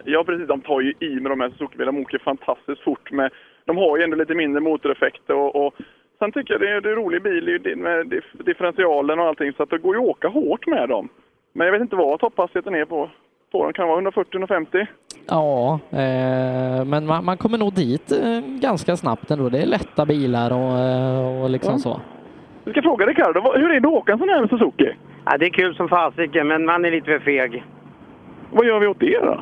Ja, precis. De tar ju i med de här Suzuki-bilarna. De åker fantastiskt fort. Med, de har ju ändå lite mindre motoreffekter. Och, och, sen tycker jag det är, det är en rolig bil det är ju det- med dif- differentialen och allting. Så att det går ju att åka hårt med dem. Men jag vet inte vad topphastigheten är på, på dem. Kan det vara 140-150? Ja, eh, men man, man kommer nog dit eh, ganska snabbt ändå. Det är lätta bilar och, eh, och liksom Ja. så. Vi ska fråga Ricardo. vad- Hur är det att åka en sån här med Suzuki? Ja, det är kul som fasiken, men man är lite för feg. Vad gör vi åt det då?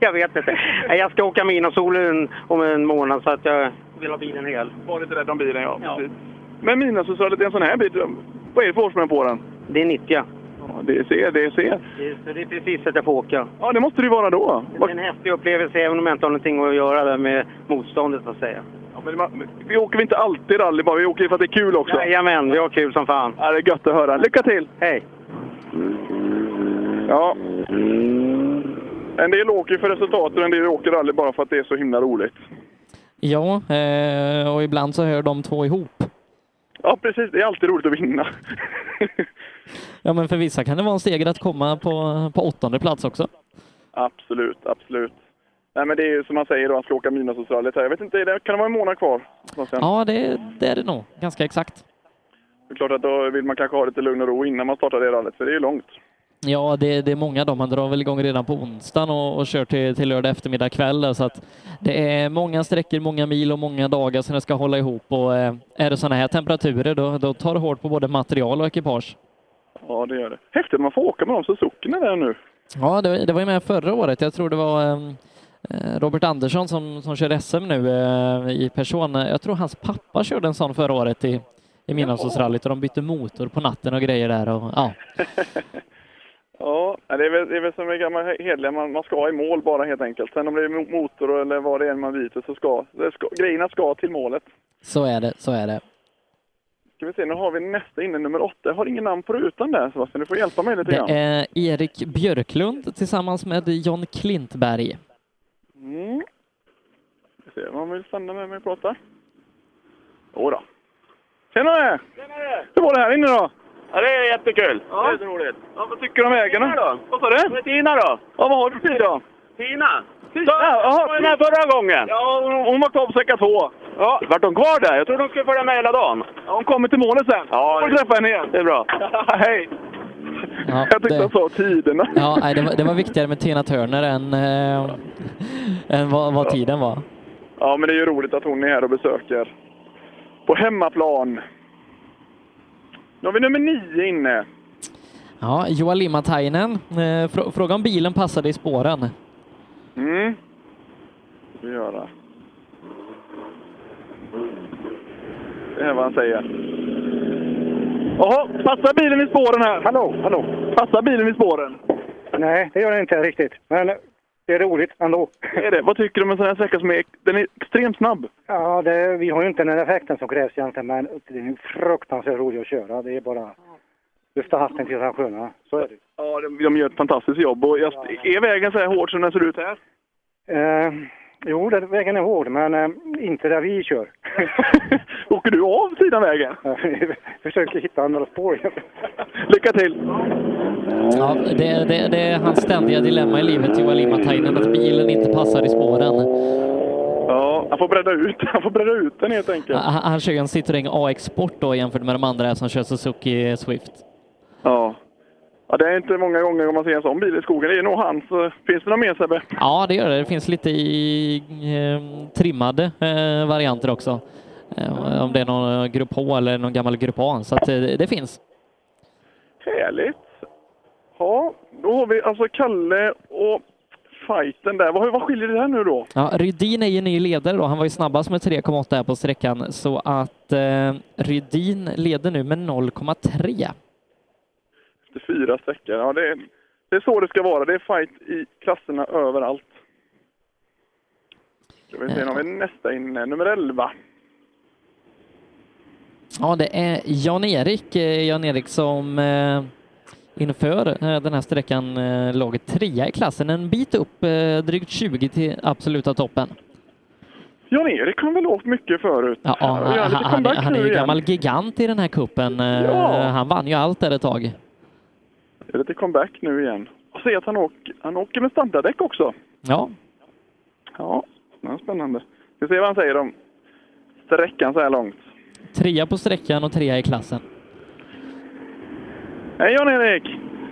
Jag vet inte. Nej, Jag ska åka Midnattssolen om en månad så att jag... Vill ha bilen hel. Var lite rädd om bilen, ja. ja. Men mina så sa lite en sån här bil. Vad är det för årsmodell på den? Det är 90. Ja, det ser, det ser. Så det är precis att jag får åka. Ja, det måste det ju vara då. Det är en häftig upplevelse även om jag inte har någonting att göra där med motståndet så att säga. Ja, men man, vi åker väl inte alltid rally bara, vi åker för att det är kul också. Jajamän, vi har kul som fan. Ja, det är gött att höra. Lycka till! Hej! Ja. En del åker för resultat och en del åker rally bara för att det är så himla roligt. Ja, eh, och ibland så hör de två ihop. Ja, precis. Det är alltid roligt att vinna. Ja, men för vissa kan det vara en seger att komma på, på åttonde plats också. Absolut, absolut. Nej, men det är ju som man säger då, han ska åka Midnattsrallyt här. Jag vet inte, är det, kan det vara en månad kvar? Sebastian? Ja, det, det är det nog. Ganska exakt. Det är klart att då vill man kanske ha lite lugn och ro innan man startar det rallyt, för det är ju långt. Ja, det, det är många dagar. Man drar väl igång redan på onsdagen och, och kör till, till lördag eftermiddag kväll. där, Så att det är många sträckor, många mil och många dagar som det ska hålla ihop. Och eh, är det sådana här temperaturer, då, då tar det hårt på både material och ekipage. Ja, det gör det. Häftigt att man får åka med de Suzukierna där nu. Ja, det, det var ju med förra året. Jag tror det var eh, Robert Andersson som, som kör SM nu eh, i person. Jag tror hans pappa körde en sån förra året i, i Midnattsåsrallyt och de bytte motor på natten och grejer där. Och, ja. Ja, det är väl, det är väl som en gammal hederlig, man, man ska i mål bara helt enkelt. Sen om det är mo- motor eller vad det är man byter så ska, det ska grejerna ska till målet. Så är det, så är det. Ska vi se, nu har vi nästa inne, nummer åtta. Jag har ingen namn på rutan där Sebastian, du får hjälpa mig lite Det grann. är Erik Björklund tillsammans med John Klintberg. Mm. Ska vi se om han vill stanna med mig och prata. Jodå. Tjenare! Tjenare! Hur var det här inne då? Ja, det är jättekul. Ja. Det är så roligt. Ja, vad tycker du om ägarna? Då? Vad sa du? Vad är Tina då? Ja, vad har du för tid då? Tina! Jaha, var den här förra gången? Ja, hon, hon var kvar på säcka två. Ja, vart hon kvar där? Jag trodde hon skulle följa med hela dagen. Ja, hon kommer till målet sen. Ja, får du träffa henne igen. Det är bra. (laughs) Hej! Ja, Jag tyckte han sa tiderna. Ja, nej, det, var, det var viktigare med Tina Turner än, eh, än vad, vad tiden var. Ja, men det är ju roligt att hon är här och besöker. På hemmaplan. Nu har vi nummer nio inne. Ja, Joa Limatainen, eh, frå, fråga om bilen passade i spåren. Mm. Det ska vi göra. Det är vad han säger. Jaha, passar bilen i spåren här? Hallå, hallå. Passar bilen i spåren? Nej, det gör det inte riktigt. Men eh, det är roligt ändå. Är det? Vad tycker du om en sån här sträcka som är, den är extremt snabb? Ja, det, vi har ju inte den effekten som krävs egentligen, men det är ju fruktansvärt roligt att köra. Det är bara lyfta hatten till den sköna. Så är det. Ja, de, de gör ett fantastiskt jobb. Och jag, är vägen så här hård som den ser ut här? Eh, jo, den vägen är hård, men eh, inte där vi kör. (laughs) Åker du av sidan (laughs) vägen? försöker hitta andra (laughs) spår. Lycka till! Ja, det, det, det är hans ständiga dilemma i livet, Joa Limatainen, att bilen inte passar i spåren. Ja, han får bredda ut, han får bredda ut den helt enkelt. Han, Ah, han kör ju en Citroën AX Sport då jämfört med de andra som kör Suzuki Swift. Ja. ja. Det är inte många gånger man ser en sån bil i skogen. Det är nog hans. eh, Finns det någon mer Sebbe? Ja, det gör det. Det finns lite i eh, trimmade eh, varianter också. Eh, om det är någon grupp H eller någon gammal grupp A. Så att, eh, det finns. Härligt! Ja, då har vi alltså Kalle och fighten där. Vad, vad skiljer det här nu då? Ja, Rydin är ju ny ledare då. Han var ju snabbast med 3,8 här på sträckan. Så att eh, Rydin leder nu med 0,3. 54 sträckor. Ja, det, är, det är så det ska vara. Det är fight i klasserna överallt. Ska vi se, nu har vi nästa inne. Nummer 11. Ja, det är Jan-Erik. eh, Jan-Erik som eh, inför eh, den här sträckan eh, laget trea i klassen. En bit upp, eh, drygt 20 till absoluta toppen. Jan-Erik har väl åkt mycket förut? Ja, gör han, lite han, han, comeback han är nu ju igen. gammal gigant i den här kuppen. Eh, Ja. Han vann ju allt där ett tag. Det är lite comeback nu igen. Jag ser att han åker, han åker med standarddäck också. Ja, Ja, det är spännande. Vi ser vad han säger om sträckan så här långt. trea på sträckan och trea i klassen. Hej Jan-Erik!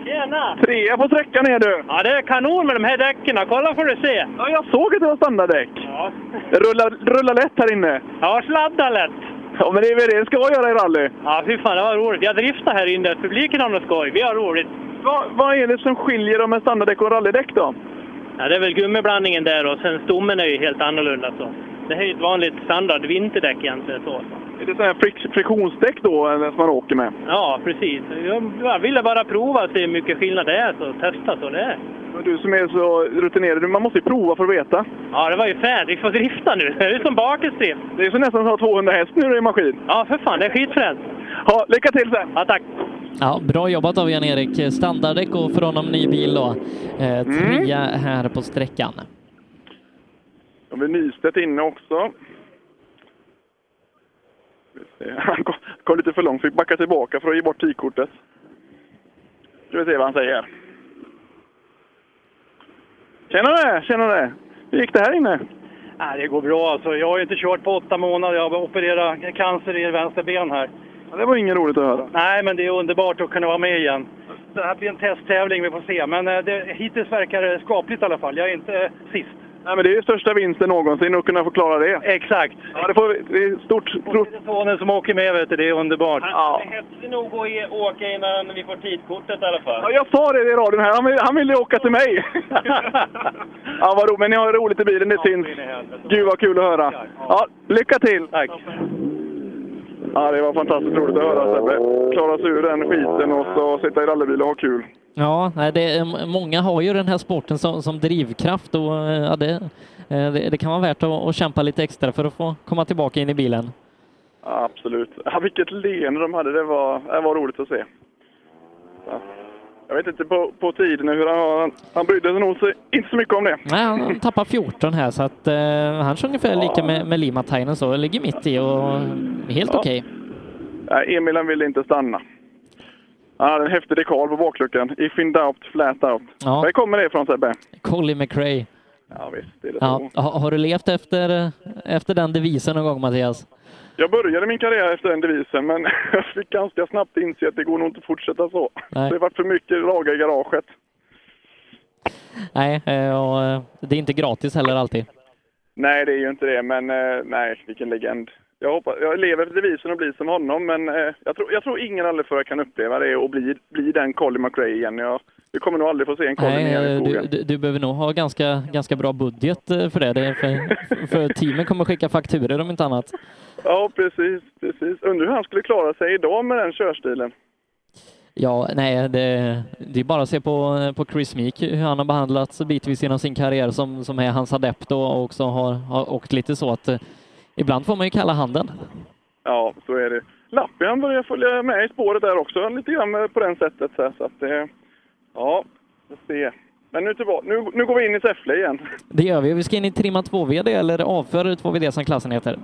Tjena! Trea på sträckan är du! Ja, det är kanon med de här däcken. Kolla får du se. Ja, jag såg att det var standarddäck. Ja, Det rullar, rullar lätt här inne. ja sladda lätt. Ja, men det är väl det det ska göra i rally. Ja, fy fan, det var roligt. Jag driftar här inne. Publiken har något skoj. Vi har roligt. Vad, vad är det som skiljer dem med standarddäck och rallydäck då? Ja, det är väl gummiblandningen där och sen stommen är ju helt annorlunda. Så. Det här är ju ett vanligt standard vinterdäck egentligen. Så. Är det sådana här frik- friktionsdäck då eller, som man åker med? Ja, precis. Jag jag ville bara prova och se hur mycket skillnad det är, så testa så det är. Men Du som är så rutinerad, man måste ju prova för att veta. Ja, det var ju fränt. Vi får drifta nu. Det är som bakisdrift. Det är så nästan att ha 200 häst nu i maskin. Ja, för fan. Det är skitfränt. Ja, lycka till sen! Ja, tack. Ja, bra jobbat av Jan-Erik. Standarddäck och för honom ny bil då. Eh, trea Mm. här på sträckan. Då har vi Nystedt inne också. Ska vi se. (laughs) Han kom- kom lite för långt, fick backa tillbaka för att ge bort tidkortet. Ska vi se vad han säger. Tjenare, tjenare! Hur gick det här inne? Nej, det går bra alltså. Jag har ju inte kört på åtta månader. Jag har opererat cancer i vänster ben här. Ja, Det var inget roligt att höra. Nej, men det är underbart att kunna vara med igen. Det här blir en testtävling, vi får se. Men eh, det, hittills verkar det skapligt i alla fall. Jag är inte eh, sist. Nej, men det är ju största vinsten någonsin att kunna förklara det. Exakt. Ja, det, får vi, det är stort... stort. Sonen som åker med, vet du, det är underbart. Ja. hetsig nog att e- åka innan vi får tidkortet i alla fall. Ja, jag sa det i radion här. Han, vill, han ville åka till (laughs) mig. ja, vad roligt. Men ni har roligt i bilen, det syns. Gud vad kul att höra. Ja, lycka till! Tack! Ja, det var fantastiskt roligt att höra Sebbe. Klara sig ur den skiten och så sitta i rallybil och ha kul. Ja, nej, det, är- många har ju den här sporten som, som drivkraft och eh, ja, det, eh, det, det kan vara värt att, att kämpa lite extra för att få komma tillbaka in i bilen. Ja, absolut. Ja, vilket leende de hade. Det var, det var roligt att se. Ja. Jag vet inte på, på tiden hur han har... Han, han brydde sig nog så, inte så mycket om det. Nej, han han tappar 14 här så att eh, han kör ungefär lika med, med Limatainen så, ligger mitt i och helt Ja. okej. Nej, Emil han ville inte stanna. Han hade en häftig dekal på bakluckan. If in doubt, flat out. Ja. Var kommer det ifrån Sebbe? Colin McRae. Ja, visst. Det är det Ja, så. ha- har du levt efter, eh, efter den devisen någon gång Mattias? Jag började min karriär efter den devisen, men (laughs) jag fick ganska snabbt inse att det går nog inte att fortsätta så. Nej. Det har varit för mycket lagar i garaget. Nej, eh, och eh, det är inte gratis heller alltid. Nej, det är ju inte det, men eh, nej, vilken legend. Jag, hoppas, jag lever efter devisen och blir som honom, men eh, jag, tror, jag tror ingen rallyförare kan uppleva det och bli, bli den Colin McRae igen. Jag, vi kommer nog aldrig få se en Colin Nej, igen i eh, skogen. du, du, du behöver nog ha ganska, ganska bra budget eh, för det. det är för, för teamen kommer skicka fakturer om inte annat. Ja, precis, precis. Undrar hur han skulle klara sig idag med den körstilen. Ja, nej, det, det är bara att se på, på Chris Meek, hur han har behandlats bitvis genom sin karriär som, som är hans adept och också har, har åkt lite så att eh, ibland får man ju kalla handen. Ja, så är det. Lappi han börjar följa med i spåret där också, lite grann eh, på det sättet. Så, här, så att, eh, ja, vi får se. Men nu, tillbaka, nu, nu går vi in i Säffle igen. Det gör vi. Vi ska in i trimma 2VD, eller avförare 2VD som klassen heter.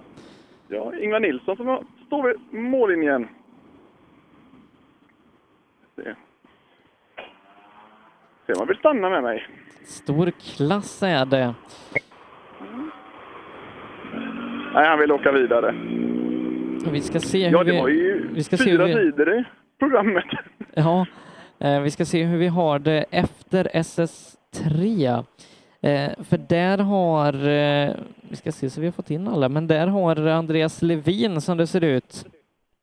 Ja, Ingvar Nilsson som har- står vid mållinjen. Se. Se om han vill stanna med mig. Stor klass är det. Nej, han vill åka vidare. Vi ska se hur Ja, det var ju vi, vi ska se hur fyra vi, sidor i programmet. (laughs) ja, eh, vi ska se hur vi har det efter SS3. Eh, för där har, eh, vi ska se så vi har fått in alla, men där har Andreas Levin som det ser ut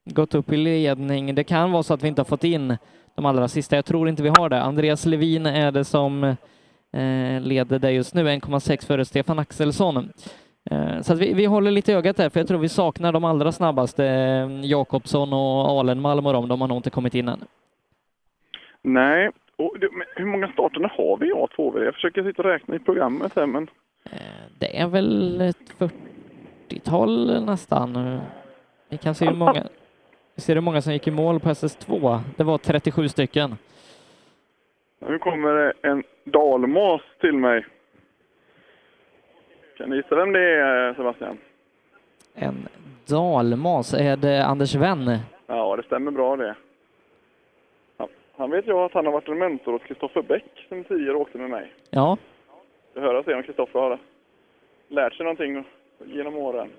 gått upp i ledning. Det kan vara så att vi inte har fått in de allra sista. Jag tror inte vi har det. Andreas Levin är det som eh, leder det just nu, 1,6 före Stefan Axelsson. Eh, Så att vi, vi håller lite i ögat där, för jag tror vi saknar de allra snabbaste. eh, Jakobsson och Alenmalm och de, de har nog inte kommit in än. Nej. Och, det- men hur många starterna har vi i A2V? Jag försöker sitta och räkna i programmet här, men... Det är väl ett 40-tal nästan. Vi kan se hur många, vi ser hur många som gick i mål på SS2. Det var 37 stycken. Nu kommer det en dalmas till mig. Kan ni gissa vem det är, Sebastian? En dalmas. Är det Anders Wenn? Ja, det stämmer bra det. Ja, Han vet jag att han har varit en mentor åt Kristoffer Bäck som tio år åkte med mig. Ja. Det hör jag se om Kristoffer har lärt sig någonting genom åren.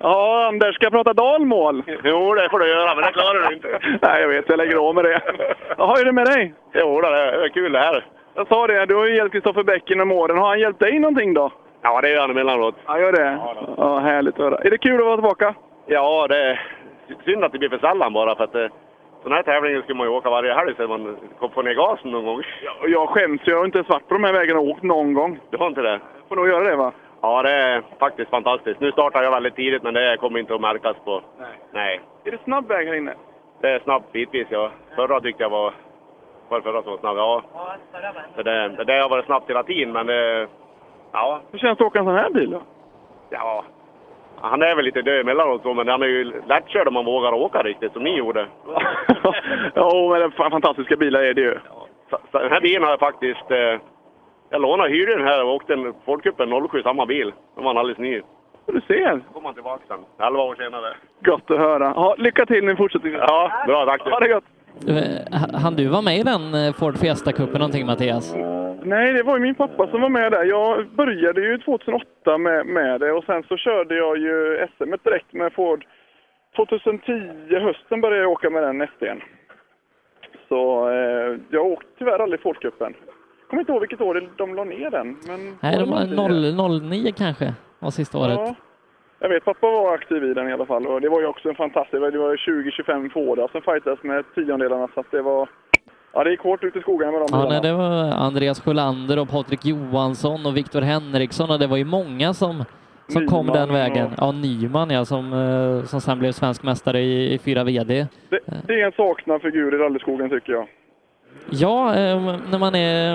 Ja, Anders, ska jag prata dalmål? Jo, det får du göra, men det klarar du inte. (laughs) Nej, jag vet. Jag lägger av med det. Jaha, är det med dig? Jo, det är kul det här. Jag sa det, du har ju hjälpt Kristoffer Bäck genom åren. Har han hjälpt dig någonting då? Ja, det gör han emellanåt. Ja, gör det. Ja, härligt att höra. Är det kul att vara tillbaka? Ja, det är synd att det blir för sällan bara för att eh, sådana här tävlingar skulle man ju åka varje helg så man kom få ner gasen någon gång. Och Jag skäms ju. Jag har inte ens varit på de här vägarna och åkt någon gång. Du har inte det? Får nog göra det va? Ja, det är faktiskt fantastiskt. Nu startar jag väldigt tidigt men det kommer inte att märkas på... Nej. Nej. Är det snabb väg här inne? Det är snabbt bitvis ja. Förra tyckte jag var... Var det förra som var snabb? Ja. Så det, det där har varit snabbt hela tiden men det... Ja, Hur känns det att åka en sån här bil då? Ja, han är väl lite död emellanåt så, men han är ju lättkörd om man vågar åka riktigt som ni gjorde. Jo, men det är fan- fantastiska bilar är det ju. Så, så den här bilen har jag faktiskt... Eh, jag lånade, hyrde den här och åkte en Fordcupen 07, samma bil. Den var alldeles ny. Du ser. Då kom han tillbaka sen, 11 år senare. Gott att höra. Ha, lycka till nu i fortsättningen. Ja, bra tack. Ha det gott. Han Eh, du var med i den eh, Ford Fiesta-cupen någonting Mattias? Nej, det var ju min pappa som var med där. Jag började ju 2008 med, med det och sen så körde jag ju SM et direkt med Ford. 2010, hösten, började jag åka med den SD'n. Så eh, jag åkte tyvärr aldrig Fordcupen. Kommer inte ihåg vilket år de la ner den. Men Nej, det var 0- 09 kanske var sista året. Ja. Jag vet, pappa var aktiv i den i alla fall. Och det var ju också en fantastisk... Det var ju 20-25 Fordar som fightades med tiondelarna. Så att det var... Ja, det gick hårt ut i skogen med de Ja, bilarna. nej, det var Andreas Sjölander och Patrik Johansson och Viktor Henriksson och det var ju många som, som kom Nyman den vägen. och- Ja, Nyman ja, som, eh, som sen blev svensk mästare i, i 4 VD. Det, det är en saknad figur i rallyskogen tycker jag. Ja, eh, när man, är,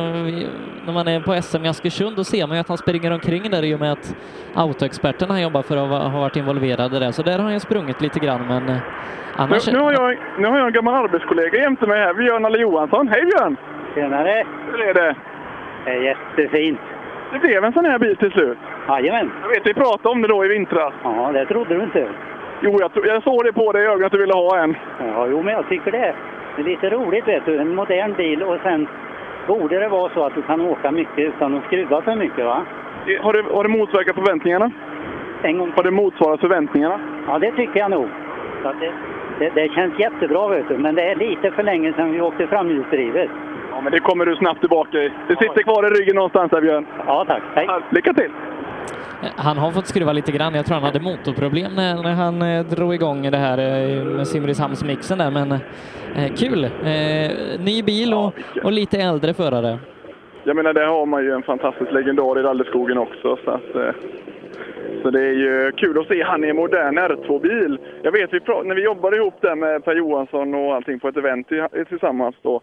när man är på SM i Askersund då ser man ju att han springer omkring där i och med att autoexperterna han jobbar för har va- har varit involverade där. Så där har han ju sprungit lite grann men eh, annars... Nu, nu, har jag, nu har jag en gammal arbetskollega jämte mig här, Björn Alle Johansson. Hej Björn! Tjenare! Hur är det? Det är jättefint. Det blev en sån här bil till slut. Jajamän. Jag vet, vi pratade om det då i vintras. Ja, det trodde du inte. Jo, jag, tro, jag såg det på dig i ögonen att du ville ha en. Ja, jo, men jag tycker det. Det är lite roligt, vet du. En modern bil och sen borde det vara så att du kan åka mycket utan att skruva för mycket, va? Har det, har det motverkat förväntningarna? En gång. Har det motsvarat förväntningarna? Ja, det tycker jag nog. Så att det, det, det känns jättebra, vet du. Men det är lite för länge sedan vi åkte framhjulsdrivet. Ja, men det kommer du snabbt tillbaka i. Det sitter kvar i ryggen någonstans där Björn. Ja, tack. Lycka till! Han har fått skruva lite grann. Jag tror han hade motorproblem när, när han eh, drog igång det här eh, med Simrishamnsmixen där, men eh, kul! Eh, ny bil och, och lite äldre förare. Jag menar, där har man ju en fantastisk legendar i rallyskogen också. Så, att, eh, så det är ju kul att se han i en modern R2-bil. Jag vet, vi pra- när vi jobbade ihop där med Per Johansson och allting på ett event i, tillsammans då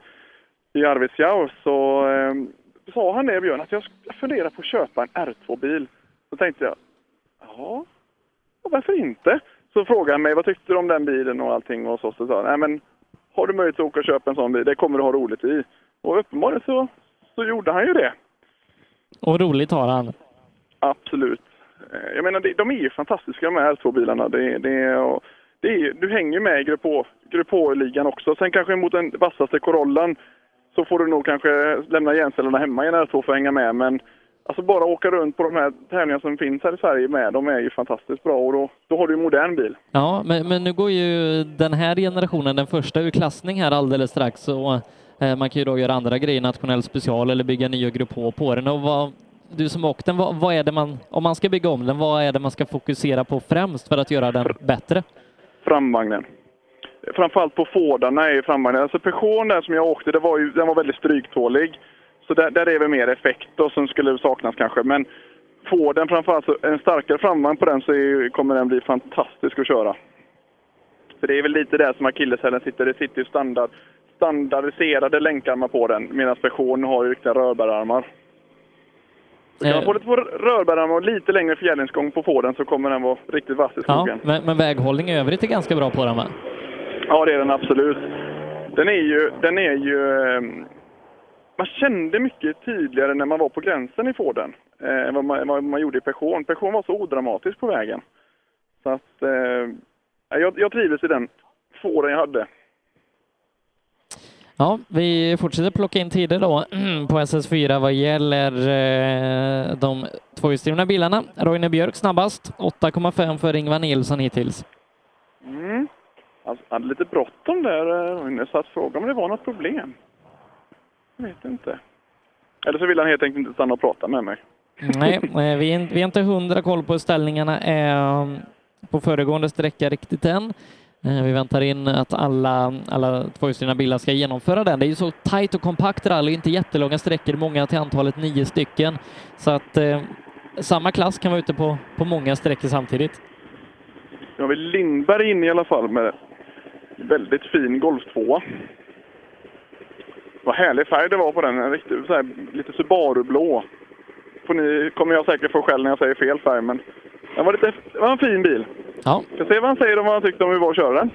i Arvidsjaur så eh, sa han det, Björn, att jag sk- jag funderar på att köpa en R2-bil. Så tänkte jag, ja, och varför inte? Så frågade han mig, vad tyckte du om den bilen och allting och så. Så sa han, nej men har du möjlighet att åka och köpa en sån bil, det kommer du ha roligt i. Och uppenbarligen så, så gjorde han ju det. Och roligt har han. Absolut. Eh, Jag menar, det- de är ju fantastiska de här R2-bilarna. Det, det, och det är, ju- du hänger ju med i Grupp H- Grupp H-ligan också. Sen kanske mot den vassaste Corollan så får du nog kanske lämna hjärncellerna hemma i en R2 för att hänga med. Men alltså bara åka runt på de här tävlingarna som finns här i Sverige med, de är ju fantastiskt bra. Och då, då har du en modern bil. Ja, men, men nu går ju den här generationen, den första ur klassning här alldeles strax, så eh, man kan ju då göra andra grejer, nationell special eller bygga nya grupp H på den. Och vad, du som åkt den, vad, vad är det man, om man ska bygga om den, vad är det man ska fokusera på främst för att göra den bättre? framvagnen. Framförallt på Fordarna är ju framvagnen. Alltså Peugeot där som jag åkte, det var ju, den var väldigt stryktålig. Så där, där är väl mer effekt då, som skulle saknas kanske. Men Forden framförallt, så en starkare framvagn på den så är, ju- kommer den bli fantastisk att köra. För det är väl lite där som akilleshälen sitter. Det sitter ju standard, standardiserade länkarmar på den medan versionen har ju riktiga rörbärarmar. Så Eh, kan man få lite på rörbärarmar och lite längre fjädringsgång på fåren så kommer den vara riktigt vass i Ja, skogen. men, men väghållning i övrigt är ganska bra på den va? Ja, det är den absolut. Den är ju... Den är ju ehm, man kände mycket tydligare när man var på gränsen i Forden eh, än vad, man, vad man gjorde i Peugeot. Peugeot var så odramatisk på vägen. Så att, eh, jag, jag trivdes i den Forden jag hade. Ja, vi fortsätter plocka in tider då (clears throat) på SS4 vad gäller eh, de tvåhjulsdrivna bilarna. Roine Björk snabbast, 8,5 för Ingvar Nilsson hittills. Mm. Alltså, jag hade lite bråttom där, eh, Rune, så att fråga om det var något problem. Jag vet inte. Eller så ville han helt enkelt inte stanna och prata med mig. Nej, eh, vi är, in- vi är inte hundra koll på hur ställningarna är um, på föregående sträcka riktigt än. Eh, Vi väntar in att alla, alla tvåhjulsdrivna bilar ska genomföra den. Det är ju så tajt och kompakt rally, inte jättelånga sträckor, många till antalet nio stycken. Så att eh, samma klass kan vara ute på, på många sträckor samtidigt. Nu har vi Lindberg inne i alla fall med väldigt fin golftvåa. Vad härlig färg det var på den. En riktig, så här, lite Subaru-blå. Får ni, kommer jag säkert få skäll när jag säger fel färg, men den var, lite, det var en fin bil. Ja. Ska se vad han säger om vad han tyckte om hur det var att köra den.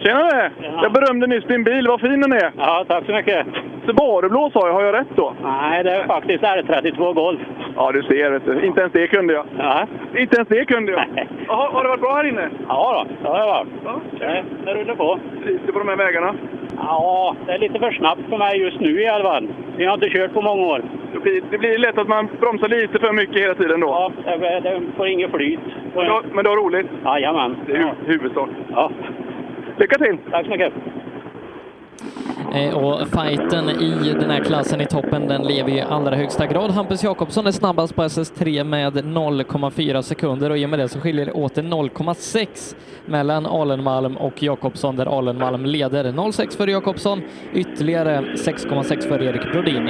Tjenare! Jag berömde nyss din bil. Vad fin den är! Ja, tack så mycket. Subaru-blå sa jag. Har jag rätt då? Nej, det är faktiskt R32 Golf. Ja, du ser. Vet du. Inte ens det kunde jag. Ja. Inte ens det kunde jag. Jaha, har det varit bra här inne? Ja, då, det har det varit. Det, det rullar på. Trivs du på de här vägarna? Ja, det är lite för snabbt för mig just nu i alla fall. Vi har inte kört på många år. Det blir, det blir lätt att man bromsar lite för mycket hela tiden då. Ja, det, det får inget flyt. Men, då, men det var roligt? Jajamän. Det är hu- huvudsak. Ja. Lycka till! Tack så mycket. Eh, Och fighten i den här klassen i toppen, den lever ju i allra högsta grad. Hampus Jakobsson är snabbast på SS3 med 0,4 sekunder och i och med det så skiljer det åter 0,6 mellan Alenmalm och Jakobsson där Alenmalm leder. 0,6 för Jakobsson, ytterligare 6,6 för Erik Brodin.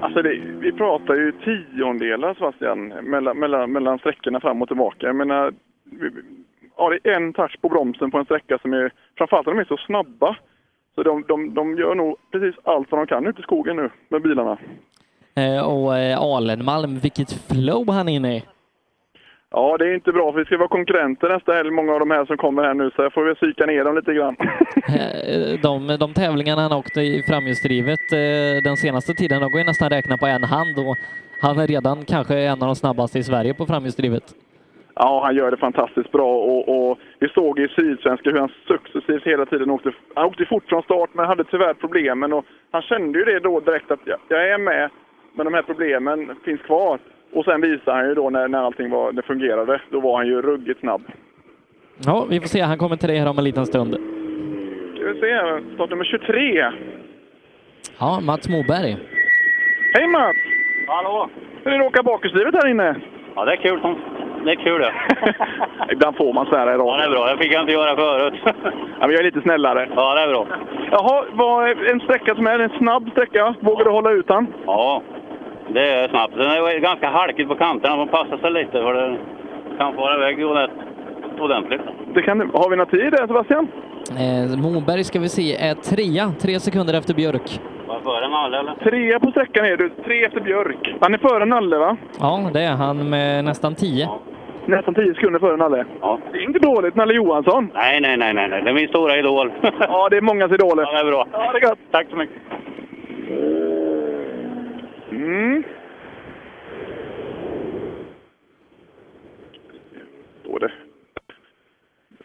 Alltså det, vi pratar ju tiondelar Sebastian, mellan, mellan, mellan sträckorna fram och tillbaka. Jag menar, vi- vi- ja, det är en touch på bromsen på en sträcka som är... Framförallt när de är så snabba. Så de, de, de gör nog precis allt vad de kan ute i skogen nu med bilarna. Eh, Och eh, Alenmalm, vilket flow han är inne i. Ja, det är inte bra för vi ska vara konkurrenter nästa helg, många av de här som kommer här nu. Så jag får väl psyka ner dem lite grann. (laughs) Eh, De, de tävlingarna han åkte i framhjulsdrivet eh, den senaste tiden, de går ju nästan räkna på en hand och han är redan kanske en av de snabbaste i Sverige på framhjulsdrivet. Ja, han gör det fantastiskt bra och, och vi såg i Sydsvenska hur han successivt hela tiden åkte. Han åkte fort från start men hade tyvärr problemen och han kände ju det då direkt att jag, jag är med men de här problemen finns kvar. Och sen visade han ju då när, när allting var, det fungerade, då var han ju ruggigt snabb. Ja, vi får se. Han kommer till dig här om en liten stund. Ska vi se, start nummer 23. Ja, Mats Moberg. Hej Mats! Hallå! Hur är det att åka bakhjulsdrivet här inne? Ja, det är kul. som- Det är kul det. Ibland får man svära i radio. Ja, det är bra. Det fick jag inte göra förut. Ja, men jag är lite snällare. Ja, det är bra. Jaha, vad, en sträcka som är en snabb sträcka. Vågar du hålla ut han? Ja, det är snabbt. Sen är det ganska halkigt på kanterna. Man passar sig lite för det kan fara iväg ordent- ordentligt. Det kan, har vi någon tid där Sebastian? Eh, Moberg ska vi se är trea, tre sekunder efter Björk. Var före Nalle eller? Trea på sträckan är du. Tre efter Björk. Han är före Nalle va? Ja, det är han med nästan tio. Nästan tio sekunder före Nalle. Ja. Det är inte dåligt Nalle Johansson. Nej, nej, nej, nej, nej. Det är min stora idol. ja, det är mångas idoler. (laughs) Ja, det är bra. Ja, det är gott. Tack så mycket. Mm. Står det.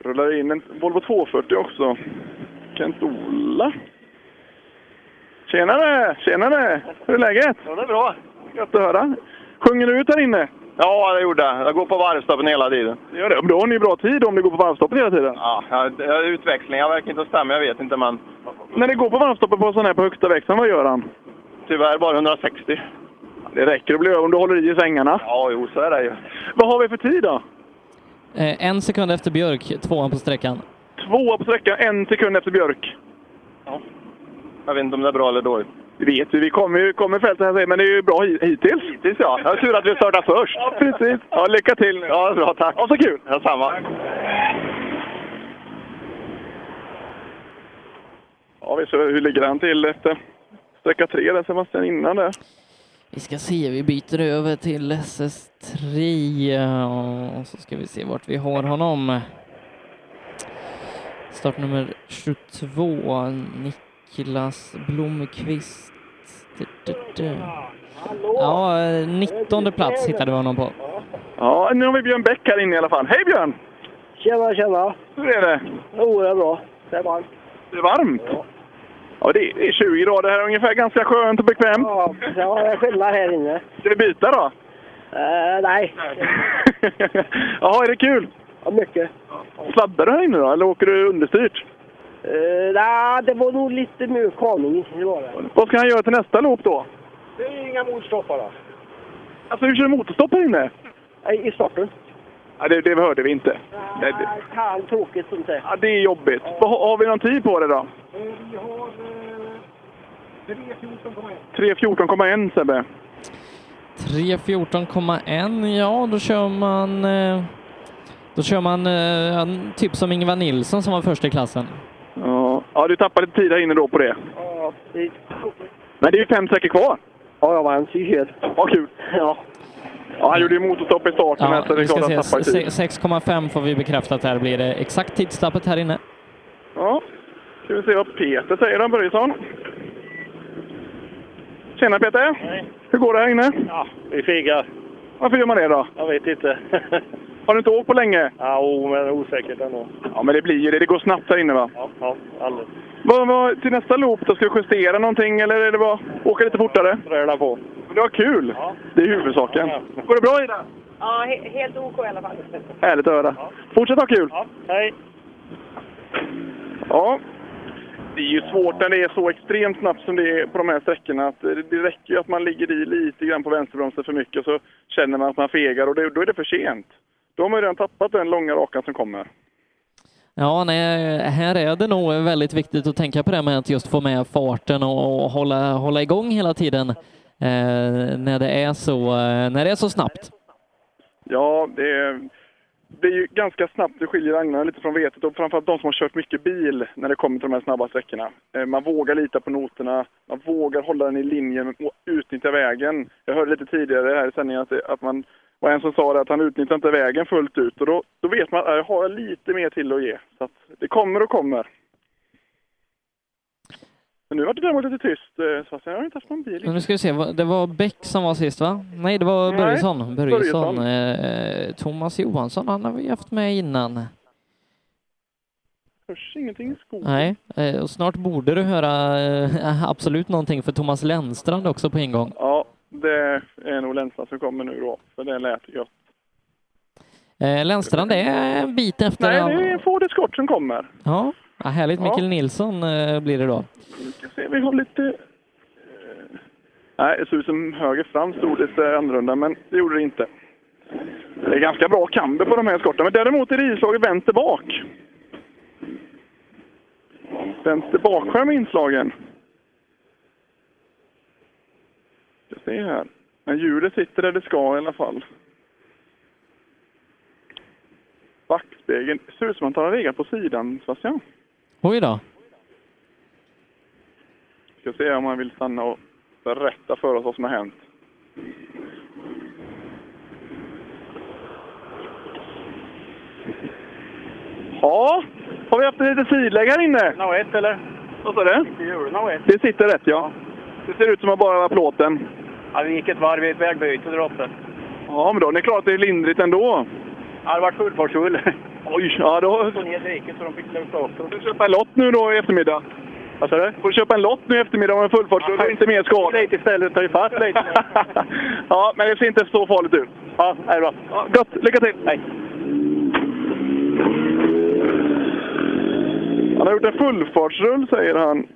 Rullar in en Volvo 240 också. Kent-Ola. Tjenare! Tjenare! Hur är läget? Ja, det är bra. Gött att höra. Sjunger du ut här inne? Ja, det gjorde jag. Jag går på varvstoppen hela tiden. Gör det. Då har ni bra tid om ni går på varvstoppen hela tiden. Ja, ja, det- ja, utväxlingar verkar inte stämma. Jag vet inte, men När det går på varvstoppen på sån här på högsta växeln, vad gör han? tyvärr bara 160. Det räcker att bli över om du håller i svängarna. Ja, jo, så är det ju. Vad har vi för tid då? Eh, en sekund efter Björk, tvåan på sträckan. Tvåa på sträckan, en sekund efter Björk. Jag vet inte om det är bra eller dåligt. Vi vet ju, vi kommer ju kommer fältet här, men det är ju bra hi- hittills. Hittills ja. Jag tur att vi startar först. Ja, precis. Ja, lycka till. Ja, bra tack. Ja, så kul. Ja, samma. Ja, vi ser hur ligger han till efter sträcka tre där Sebastian innan där. Vi ska se, vi byter över till SS3 och så ska vi se vart vi har honom. Startnummer 22, Niklas Blomqvist. Du, du, du. Ja, 19 plats hittade vi honom på. Ja, nu har vi Björn Bäck här inne i alla fall. Hej Björn! Tjena, tjena. Hur är det? Jo, det är bra. Det är varmt. Det är varmt. Ja, det är det är 20 grader här ungefär. Ganska skönt och bekvämt. Ja, ja det är skillnad här inne. Ska vi byta då? (laughs) Eh, nej. Jaha, är det kul? Ja, mycket. Sladdar du här inne då, eller åker du understyrt? Eh, nej, det var nog lite mjuk kaning. Det var det. Vad ska han göra till nästa lopp då? Det är inga motstoppar då? Alltså, hur kör motorstopp här inne? I starten. Ja, det, det hörde vi inte. Nej, det, Fan, tråkigt sånt där. ja, det är jobbigt. Vad- Har vi någon tid på det då? Vi har... Eh, 3.14,1. 3.14,1 Sebbe. 3.14,1, ja då kör man eh, då kör man eh, en- typ som Ingvar Nilsson som var först i klassen. Ja. ja, du tappade lite tid här inne då på det. Ja, det... Men det är ju fem sträckor kvar. Ja, jag vann syr. Vad kul! Ja. Ja, han gjorde ju motorstopp i starten här, så det är vi ska klart att se, han tappar tid. se- 6,5 får vi bekräftat här blir det exakt tidstappet här inne. Ja, ska vi se vad Peter säger då, Börjesson. Tjena Peter! Hur går det här inne? Ja, vi fegar. Varför gör man det då? Jag vet inte. (laughs) Har du inte åkt på länge? ja, o, men osäkert ändå. Ja, men det blir ju det. Det går snabbt här inne va? Ja, ja alldeles. Vad, vad, till nästa loop då? Ska du justera någonting eller är det bara åka lite fortare? Röla på. Men det var kul! Det är huvudsaken. Går det bra Ida? Ja, he- helt OK i alla fall. Härligt att höra. Fortsätt ha kul! Ja, hej. Ja. Det är ju svårt när det är så extremt snabbt som det är på de här sträckorna. Att det det räcker ju att man ligger i lite grann på vänsterbromsen för mycket så känner man att man fegar och det, då är det för sent. Då har man ju redan tappat den långa rakan som kommer. Ja, nej, här är det nog väldigt viktigt att tänka på det med att just få med farten och, och hålla, hålla igång hela tiden eh, när, det är så, eh, när det är så snabbt. Ja, det är, det är ju ganska snabbt det skiljer agnarna lite från vetet och framförallt de som har kört mycket bil när det kommer till de här snabba sträckorna. Eh, Man vågar lita på noterna, man vågar hålla den i linjen och utnyttja vägen. Jag hörde lite tidigare här i sändningen att, det- att man var en som sa det att han utnyttjar inte vägen fullt ut och då, då vet man att jag har jag lite mer till att ge. Så att det kommer och kommer. Men nu vart det däremot lite tyst eh, Sebastian, jag har inte haft någon bil. Men nu ska vi se, vad- det var Bäck som var sist va? Nej, det var Nej, Börjesson. Börjesson. Börjesson. Eh, Thomas Johansson, han har vi haft med innan. Hörs ingenting i skogen. Nej, eh, och snart borde du höra eh, (laughs) absolut någonting för Thomas Lennstrand också på ingång. Ja, det är nog Länsan som kommer nu då, för det lät gött. Eh, Lennstrand är en bit efter. Nej, det är en Ford Escort som kommer. Ja, ja härligt. Ja. Mikael Nilsson eh, blir det då. Vi ska se, vi har lite... eh, Nej, det såg ut som höger fram stod lite annorlunda, men det gjorde det inte. Det är ganska bra camber på de här Escorterna, men däremot är det islaget vänster bak. Vänster bakskärm är inslagen. Ska se här. Men hjulet sitter där det ska i alla fall. Backspegeln. Det ser ut som att han har legat på sidan, Sebastian. Oj då. Ska se om han vill stanna och berätta för oss vad som har hänt. Ja, har vi haft lite sidlägg här inne? Nå ett eller? Vad sa du? Hjulna ett. Det sitter rätt, ja. Det ser ut som att bara var plåten. Ja, vi gick ett varv i ett vägbyte där uppe. Ja, men då det är klart att det är lindrigt ändå. Ja, det vart fullfartshull. Oj, ja då... Tog ner diket så de fick sluta upp. Får du köpa en lott nu då i eftermiddag? Vad sa du? Får du köpa en lott nu i eftermiddag om en fullfartsrulle och inte mer skador? Lite istället, ta ifatt lite. (laughs) ja, men det ser inte så farligt ut. Ja, det är bra. Ja, gott, lycka till! Hej! Han har gjort en fullfartsrull, säger han.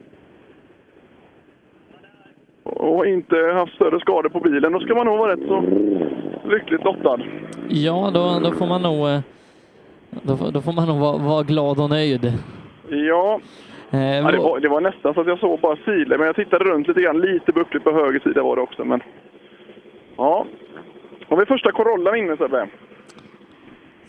Och inte haft större skador på bilen. Då ska man nog vara rätt så lyckligt lottad. Ja, då, då får Eh, man nog eh, då, får- då får man nog vara, vara glad och nöjd. Ja, Ja, det, var, det var nästan så att jag såg bara filer, men jag tittade runt lite grann. Lite buckligt på höger sida var det också. Men... Ja. Har vi första Corollan inne Sebbe?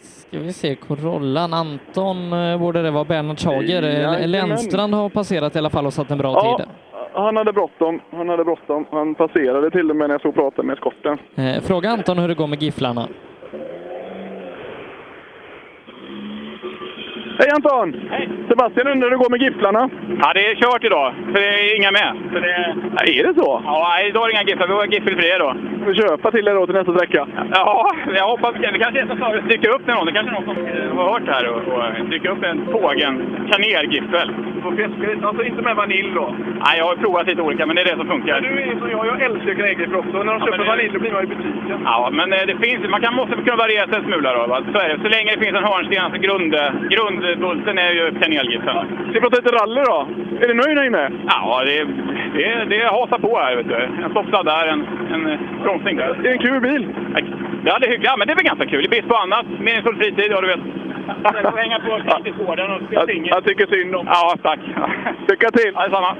Ska vi se, Corollan, Anton eh, borde det vara, Bernhard Schager. Eh, Jajamän. Lennstrand har passerat i alla fall och satt en bra Ja, tid. han hade bråttom. Han hade bråttom. Han passerade till och med när jag stod och pratade med skotten. Eh, Fråga Anton hur det går med gifflarna. Hej Anton! Hej! Sebastian undrar hur det går med gifflarna. Ja, det är kört idag, för det är inga med. Så det... Ja, är det så? Ja, nej, idag är det inga gifflar. Vi var giffelfria idag. Får köpa till er då till nästa sträcka. Ja, jag hoppas det kanske är som sa, dyker upp någon. Det kanske är någon som eh, har hört det här och, och dyker upp en pågen kanergiffel. Alltså inte med vanilj då? Nej, jag har provat lite olika, men det är det som funkar. Men du är som jag, jag älskar kanergiffel också. När de köper vanilj, då blir man i butiken. Ja, men eh, det finns, man kan, måste kunna variera sig en smula då. va? Så, är det. så länge det finns en hörnsten, alltså grund, grundbulten är ju kanelgiffeln. Ska vi prata lite rally då? Är ni nöjda (laughs) inne? Ja, det, det, det hasar på här. Vet du. En stoppsladd där, en, en eh, bromsning där. Det är en kul bil. Ja, det är hyggligt. Ja, men det är väl ganska kul. I brist på annat. Meningsfull fritid, ja du vet. Sen får vi hänga på fritidsgården och spela singel. Jag tycker synd om Ja, tack. Lycka till! Ja, detsamma.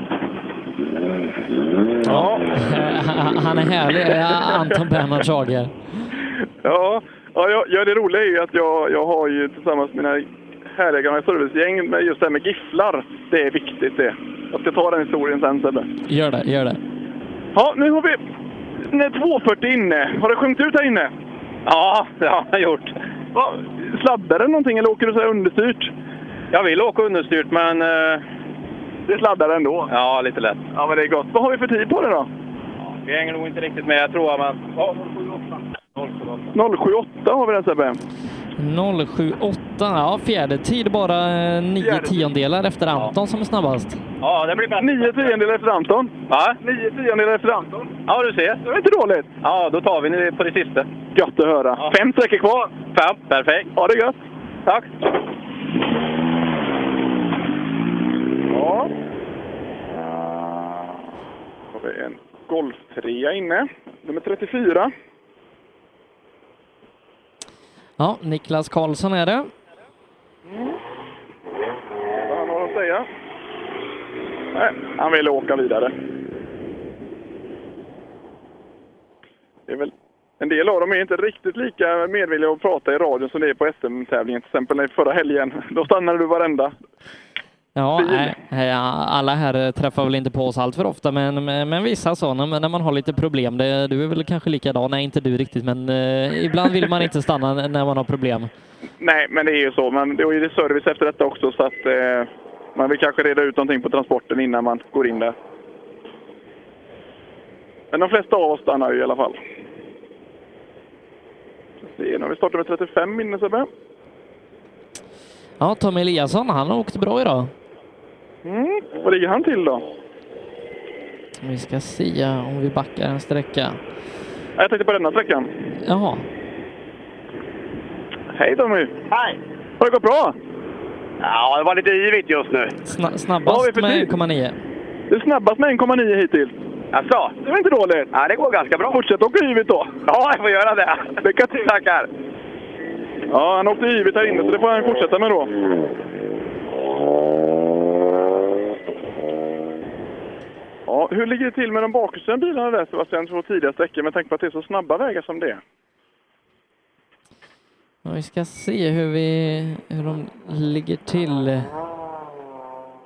Ja. Eh, han- (laughs) Han är härlig, eh, Anton Bernhard Schager. Ja, ja, ja, ja det roliga är ju att jag, jag har ju tillsammans med mina härliga gamla servicegäng med just det här med gifflar. Det är viktigt det. Jag ska ta den historien sen Sebbe. Gör det, gör det. Ja, nu har vi nu är 240 inne. Har det sjunkit ut här inne? Ja, det har jag gjort. Va, sladdar det någonting eller åker du så här understyrt? Jag vill åka understyrt men... eh, Det sladdar ändå? Ja, lite lätt. Ja, men det är gott. Vad har vi för tid på det då? Vi hänger nog inte riktigt med, jag tror men... Ja, 078 har vi den Sebbe. 078, ja fjärde tid bara eh, nio tiondelar efter Anton som är snabbast. Ja, det blir bättre. Nio tiondelar efter Anton. Va? Nio tiondelar efter Anton. Ja, du ser. Det var inte dåligt. Ja, då tar vi det på det sista. Gött att höra. Fem sträckor kvar. Fem, perfekt. Ha det gött! Tack! Ja. Då har vi en Golf 3 inne. Nummer 34. Ja, Niklas Karlsson är det. Vad han har att säga. Nej, han vill åka vidare. Det är väl, en del av dem är inte riktigt lika medvilliga att prata i radion som det är på SM-tävlingen. Till exempel när förra helgen. Då stannade du varenda. Ja, eh, eh, alla här eh, träffar väl inte på oss allt för ofta, men, men men vissa sådana, men när man har lite problem. Det, du är väl kanske likadan? Nej, inte du riktigt, men eh, ibland vill man inte stanna n- när man har problem. Nej, men det är ju så. Men det är ju service efter detta också. Så att eh, man vill kanske reda ut någonting på transporten innan man går in där. Men de flesta av oss stannar ju i alla fall. Ska se, Nu har vi startat med 35 inne Sebbe. Ja, Tommy Eliasson, han har åkt bra idag. Mm. Vad ligger han till då? Vi ska se om vi backar en sträcka. Ja, Jag tänkte på denna sträckan. Jaha. Hej Tommy! Hej! Har det gått bra? Ja, det var lite yvigt just nu. Sna- Vad har vi snabbast för med tid? 1,9. Du är snabbast med 1,9 hittills. Jaså? Det var inte dåligt. Ja, det går ganska bra. Fortsätt åka yvigt då. Ja, jag får göra det. Lycka till. Tackar. Ja, han åkte yvigt här inne så det får han fortsätta med då. Ja, hur ligger det till med de bakhjulsdrivna bilarna där Sebastian, två tidiga sträckor med tanke på att det är så snabba vägar som det är? Ja, Vi ska se hur, vi, hur de ligger till.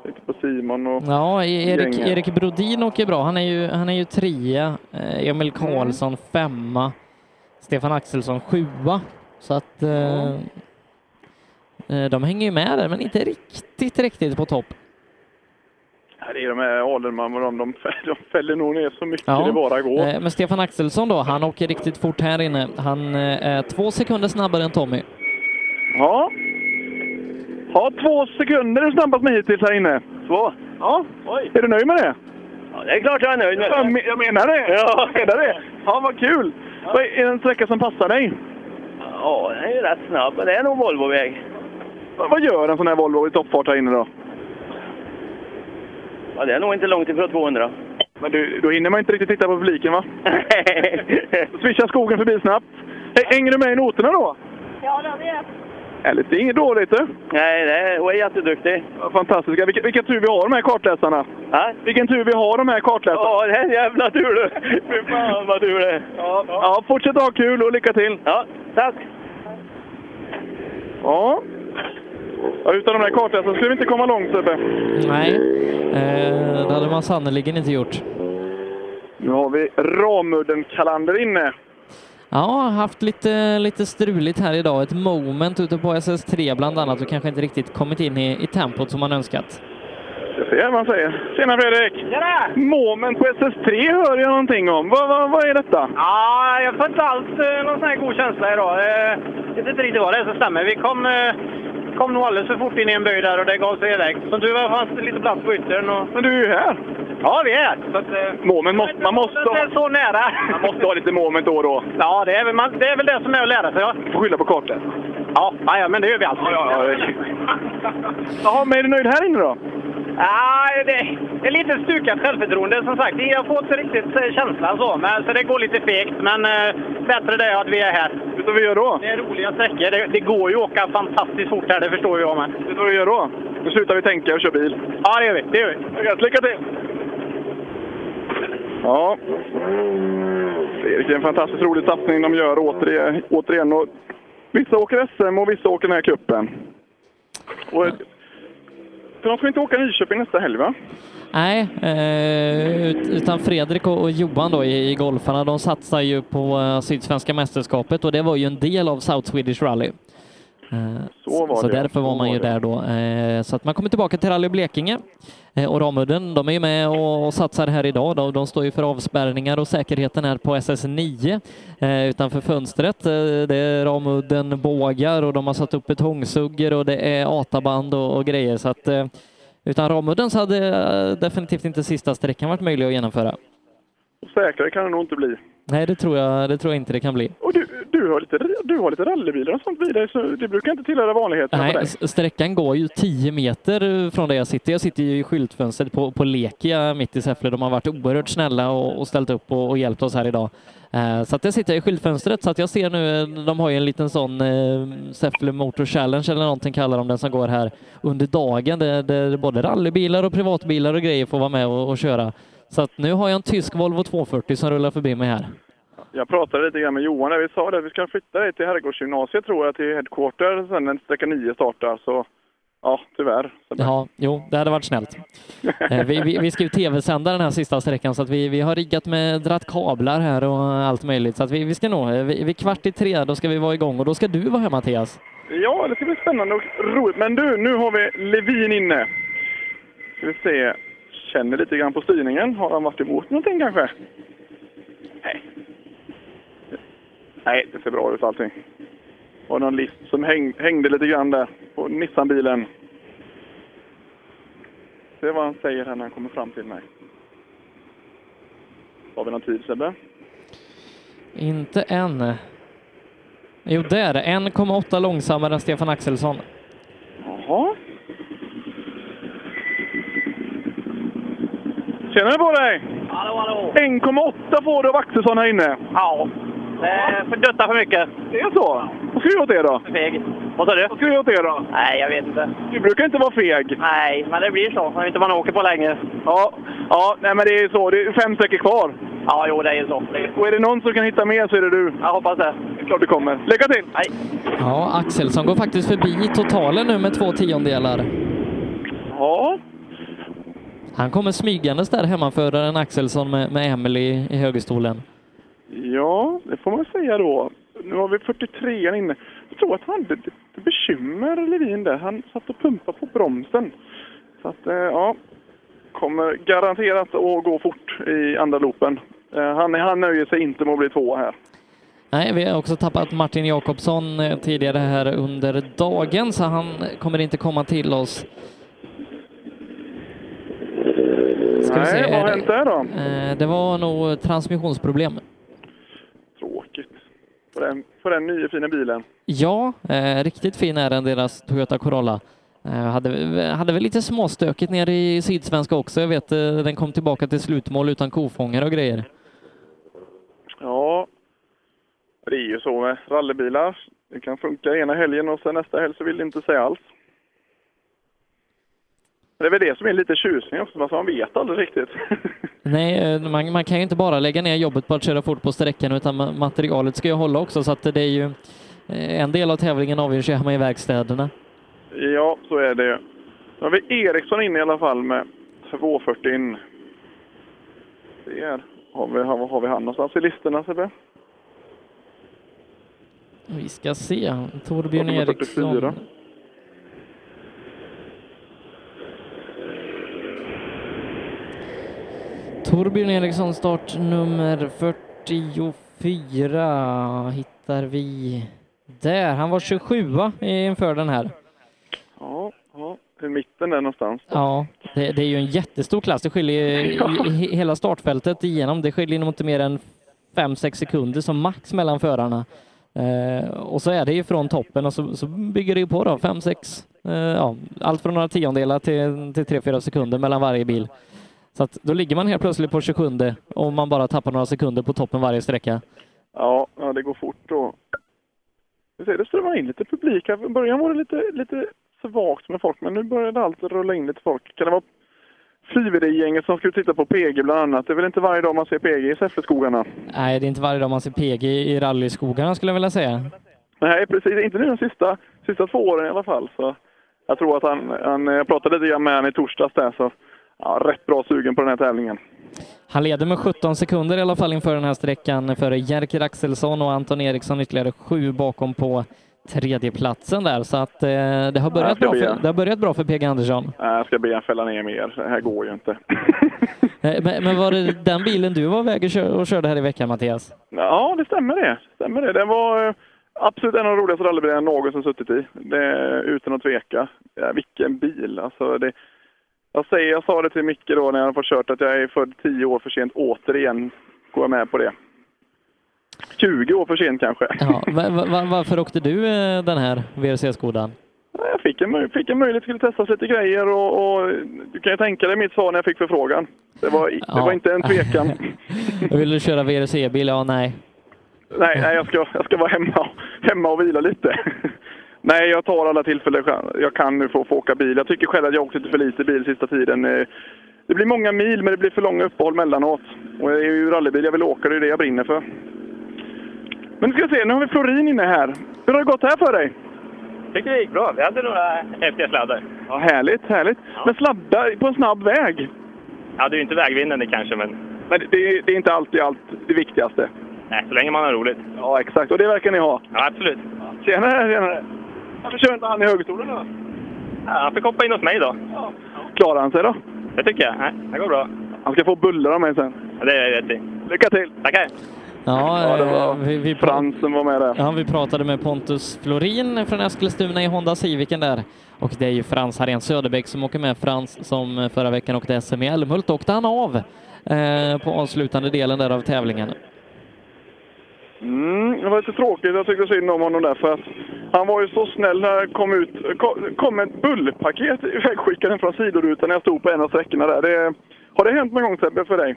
Lite på Simon och Ja, E- Erik, gänget. Erik Brodin åker bra. Han är ju, han är ju trea. Eh, Emil Mm. Karlsson femma. Stefan Axelsson sjua. Så att eh, eh, de hänger ju med där, men inte riktigt, riktigt på topp. Ja, det är de här Adelman och de, de, de fäller nog ner så mycket Ja. det bara går. Eh, Men Stefan Axelsson då, han åker riktigt fort här inne. Han eh, är två sekunder snabbare än Tommy. Ja. Ja, två sekunder är du snabbast med hittills här inne. Två? Ja. Oj. Är du nöjd med det? Ja, det är klart jag är nöjd med det. Jag, men- jag menar det. Ja. Jag menar det. Ja, vad kul. Vad Är det en sträcka som passar dig? Ja, den är ju rätt snabb, men det är nog Volvoväg. Vad vad gör en sån här Volvo i toppfart här inne då? Ja, det är nog inte långt ifrån 200. Men du, då hinner man inte riktigt titta på publiken va? Swishar skogen förbi snabbt. Hä- Hänger du med i noterna då? Ja, det är det. Härligt. Det är inget dåligt du. Nej, nej, hon är jätteduktig. Fantastiska. Vilken, vilken tur vi har de här kartläsarna. Ja? Vilken tur vi har de här kartläsarna. Ja, det är jävla tur du! Fy fan vad tur det är! Ja, Ja, fortsätt ha kul och lycka till! Ja, tack! Ja. ja utan de där kartläsarna skulle vi inte komma långt Sebbe. Nej, eh, det hade man sannerligen inte gjort. Nu har vi Ramudden-kalender inne. Ja, haft lite, lite struligt här idag. Ett moment ute på SS3 bland annat och kanske inte riktigt kommit in i, i tempot som man önskat. Jag ser vad han säger. Tjena Fredrik! Tjena! Moment på SS3 hör jag någonting om. Vad, vad, vad är detta? Ja, jag får inte alls eh, någon sån här god känsla idag. Eh, Jag vet inte riktigt vad det är som stämmer. Vi kom, eh, kom nog alldeles för fort in i en böj där och det gav sig iväg. Som tur var fanns det lite plats på yttern. Och... Men du är ju här! Ja, vi är här. Så att, eh, Moment måste, man måste det är ha, så nära. man måste ha lite moment då och då. Ja, det är, väl, man, det är väl det som är att lära sig. Ja, Får skylla på kartläsarna. ja, ja, ja men det gör vi alltid. Ja, ja, ja. Jaha, men är du nöjd här inne då? Ja, det det är lite stukat självförtroende som sagt. Jag får inte riktigt eh, känslan så, men, så det går lite fegt. Men eh, bättre det är att vi är här. Vet du vad vi gör då? Det är roliga sträckor. Det, det går ju att åka fantastiskt fort här, det förstår jag med. Vet du vad vi gör då? Nu slutar vi tänka och kör bil. Ja, det gör vi. Det gör vi. Lycka till! Ja. Fredrik, det är en fantastiskt rolig satsning de gör återigen. återigen. Och vissa åker SM och vissa åker den här cupen. Och, eh, för de ska inte åka Nyköping nästa helg va? Nej, eh, ut- utan Fredrik och och Johan då i, i golfarna, de satsar ju på eh, Sydsvenska mästerskapet och det var ju en del av South Swedish Rally. Eh, Så var så det. därför var man ju där då. Eh, så att man kommer tillbaka till Rally Blekinge. Eh, och Ramudden, de är ju med och, och satsar här idag. Då. De står ju för avspärrningar och säkerheten här på SS9 eh, utanför fönstret. Eh, det är Ramudden bågar och de har satt upp betongsuggor och det är ataband och, och grejer. Så att, eh, utan Ramudden så hade eh, definitivt inte sista sträckan varit möjlig att genomföra. Och säkrare kan det nog inte bli. Nej, det tror jag, det tror jag inte det kan bli. Och du, du, har, lite, du har lite rallybilar och sånt vid dig, så det brukar inte tillhöra vanligheterna Nej, för dig. s- sträckan går ju 10 meter eh, från där jag sitter. Jag sitter ju i skyltfönstret på, på Lekia mitt i Säffle. De har varit oerhört snälla och, och ställt upp och, och hjälpt oss här idag. Eh, så att jag sitter jag i skyltfönstret så att jag ser nu, eh, de har ju en liten sån eh, Säffle Motor Challenge eller någonting kallar de den som går här under dagen där, där både rallybilar och privatbilar och grejer får vara med och, och köra. Så att nu har jag en tysk Volvo 240 som rullar förbi mig här. Jag pratade lite grann med Johan där. Vi sa det, att vi ska flytta dig till herrgårdsgymnasiet tror jag, till headquarter sen när sträcka 9 startar. Så ja, tyvärr. Så- Ja, jo, det hade varit snällt. Eh, Vi, vi, vi ska ju tv-sända den här sista sträckan så att vi, vi har riggat med dratt kablar här och allt möjligt. Så att vi, vi ska nog, eh, vi, vi kvart i tre, då ska vi vara igång och då ska du vara här Mattias. Ja, det ska bli spännande och roligt. Men du, nu har vi Levin inne. Ska vi se. Känner lite grann på styrningen. Har han varit emot någonting kanske? Nej. Nej, det ser bra ut allting. Var någon list som häng, hängde lite grann där på Nissan-bilen. Se vad han säger här när han kommer fram till mig. Har vi någon tid Sebbe? Inte än. Jo, där. 1,8 långsammare än Stefan Axelsson. Jaha. Tjenare på dig! Hallå, hallå! 1,8 får du av Axelsson här inne. Ja. Eh, för dutta för mycket. Det är så? Vad ska du göra åt det då? För feg. Vad sa du? Vad ska du göra åt det då? Nej, jag vet inte. Du brukar inte vara feg. Nej, men det blir så. Om inte man åker på länge. Ja, ja nej men det är så. Det är fem sträckor kvar. Ja, jo, det är ju så. Det är- Och är det någon som kan hitta mer så är det du. Jag hoppas det. Det är klart du kommer. Lycka till! Nej. Ja, Axelsson går faktiskt förbi totalen nu med två tiondelar. Ja, Han kommer smygandes där hemmaföraren Axelsson med, med Emily i högerstolen. ja, det får man väl säga då. Nu har vi 43 inne. Jag tror att han hade lite bekymmer, Levin, där. Han satt och pumpade på bromsen. Så att, eh, ja. Kommer garanterat att gå fort i andra loopen. Eh, Han, han nöjer sig inte med att bli tvåa här. Nej, vi har också tappat Martin Jakobsson eh, tidigare här under dagen, så han kommer inte komma till oss. Ska vi Nej, se, vad är har det- hänt där då? Eh, Det var nog transmissionsproblem. Tråkigt. På den, på den nya fina bilen. Ja, eh, riktigt fin är den, deras Toyota Corolla. Eh, hade, hade väl lite småstökigt nere i Sydsvenska också. Jag vet, eh, den kom tillbaka till slutmål utan kofångare och grejer. Ja. Det är ju så med rallybilar. Det kan funka ena helgen och sen nästa helg så vill det inte säga alls. Det är väl det som är lite tjusning också, alltså man vet aldrig riktigt. Nej, eh, man, man kan ju inte bara lägga ner jobbet på att köra fort på sträckan utan ma- materialet ska ju hålla också så att det är ju eh, en del av tävlingen avgörs ju hemma i verkstäderna. Ja, så är det ju. Nu har vi Eriksson inne i alla fall med 240 in. Där har vi, har, har vi han någonstans i listorna Sebbe? Vi ska se. Torbjörn Nummer 44. Eriksson. Torbjörn Eriksson start nummer 44 hittar vi där. Han var 27 inför den här. Ja, ja, i mitten där någonstans. Ja, det, det är ju en jättestor klass. Det skiljer ju i- i hela startfältet igenom. Det skiljer nog inte mer än 5-6 sekunder som max mellan förarna. Eh, och så är det ju från toppen och så, så bygger det ju på då, 5-6, eh, ja, allt från några tiondelar till, till 3-4 sekunder mellan varje bil. Så att då ligger man helt plötsligt på 27 om man bara tappar några sekunder på toppen varje sträcka. Ja, ja det går fort då. Vi ser, det strömmar in lite publik här. I början var det lite, lite svagt med folk, men nu börjar det alltid rulla in lite folk. Kan det vara frivilliggänget som skulle titta på PG bland annat? Det är väl inte varje dag man ser PG i Säffleskogarna? Nej, det är inte varje dag man ser PG i rallyskogarna skulle jag vilja säga. Nej, precis. Inte nu de sista, sista två åren i alla fall. Så jag tror att han, han jag pratade lite grann med honom i torsdags där, så ja, rätt bra sugen på den här tävlingen. Han leder med 17 sekunder i alla fall inför den här sträckan före Jerker Axelsson och Anton Eriksson ytterligare sju bakom på tredjeplatsen där. Så att eh, det Ja, har börjat, det bra blir för, jag. det har börjat bra för PG Andersson. Nej, Jag ska be honom fälla ner mer. Det här går ju inte. Eh, Men, men var det den bilen du var väg och kör- och körde här i veckan Mattias? Ja, det stämmer det. stämmer det. Den var eh, absolut en av de roligaste rallybilarna jag någonsin suttit i. Det, utan att tveka. Ja, vilken bil! Alltså, det, jag, säger, jag sa det till Micke då när jag fått kört att jag är född 10 år för sent. Återigen går jag med på det. 20 år för sent kanske. Ja, va, va, va- varför åkte du eh, den här VRC-skodan? Ja, Jag fick en, möj- fick en möjlighet till att testa lite grejer och, och du kan ju tänka dig mitt svar när jag fick förfrågan. Det var, i- det Ja. var inte en (laughs) tvekan. Vill du köra VRC-bil? Ja, nej. nej, nej jag, ska, jag ska vara hemma, hemma och vila lite. (laughs) nej, jag tar alla tillfällen jag- jag kan nu för att få åka bil. Jag tycker själv att jag har åkt lite för lite bil sista tiden. Eh, Det blir många mil, men det blir för långa uppehåll mellanåt. Och det är ju rallybil jag vill åka, det är det jag brinner för. Men nu ska vi se, nu har vi Florin inne här. Hur har det gått här för dig? tycker det gick bra. Vi hade några häftiga sladdar. Ja, härligt, härligt. Men sladdar på en snabb väg. Ja, det är ju inte vägvinnande kanske, men Men det, det är inte alltid allt det viktigaste. nej, så länge man har roligt. Ja, exakt. Och det verkar ni ha. Ja, absolut. Tjenare, tjenare. Varför kör inte han i högerstolen då? Ja, han fick hoppa in hos mig då. Klarar han sig då? Det tycker jag. Nej, det går bra. Han ska få bullar av mig sen. Ja, det är jag rätt i. Lycka till! Tackar! Ja, Ja, det var eh, vi, vi Fransen var med där. Ja, vi pratade med Pontus Florin från Eskilstuna i Honda Civicen där. Och det är ju Frans Harén Söderbäck som åker med. Frans som eh, förra veckan åkte SM i Älmhult, då åkte han av eh, på avslutande delen där av tävlingen. Mm, det var lite tråkigt. Jag tyckte synd om honom där. För att han var ju så snäll när det kom ut. kom- kom ett bullpaket (laughs) i vägskickaren från sidorutan när jag stod på en av sträckorna där. Det, har det hänt någon gång Sebbe för dig?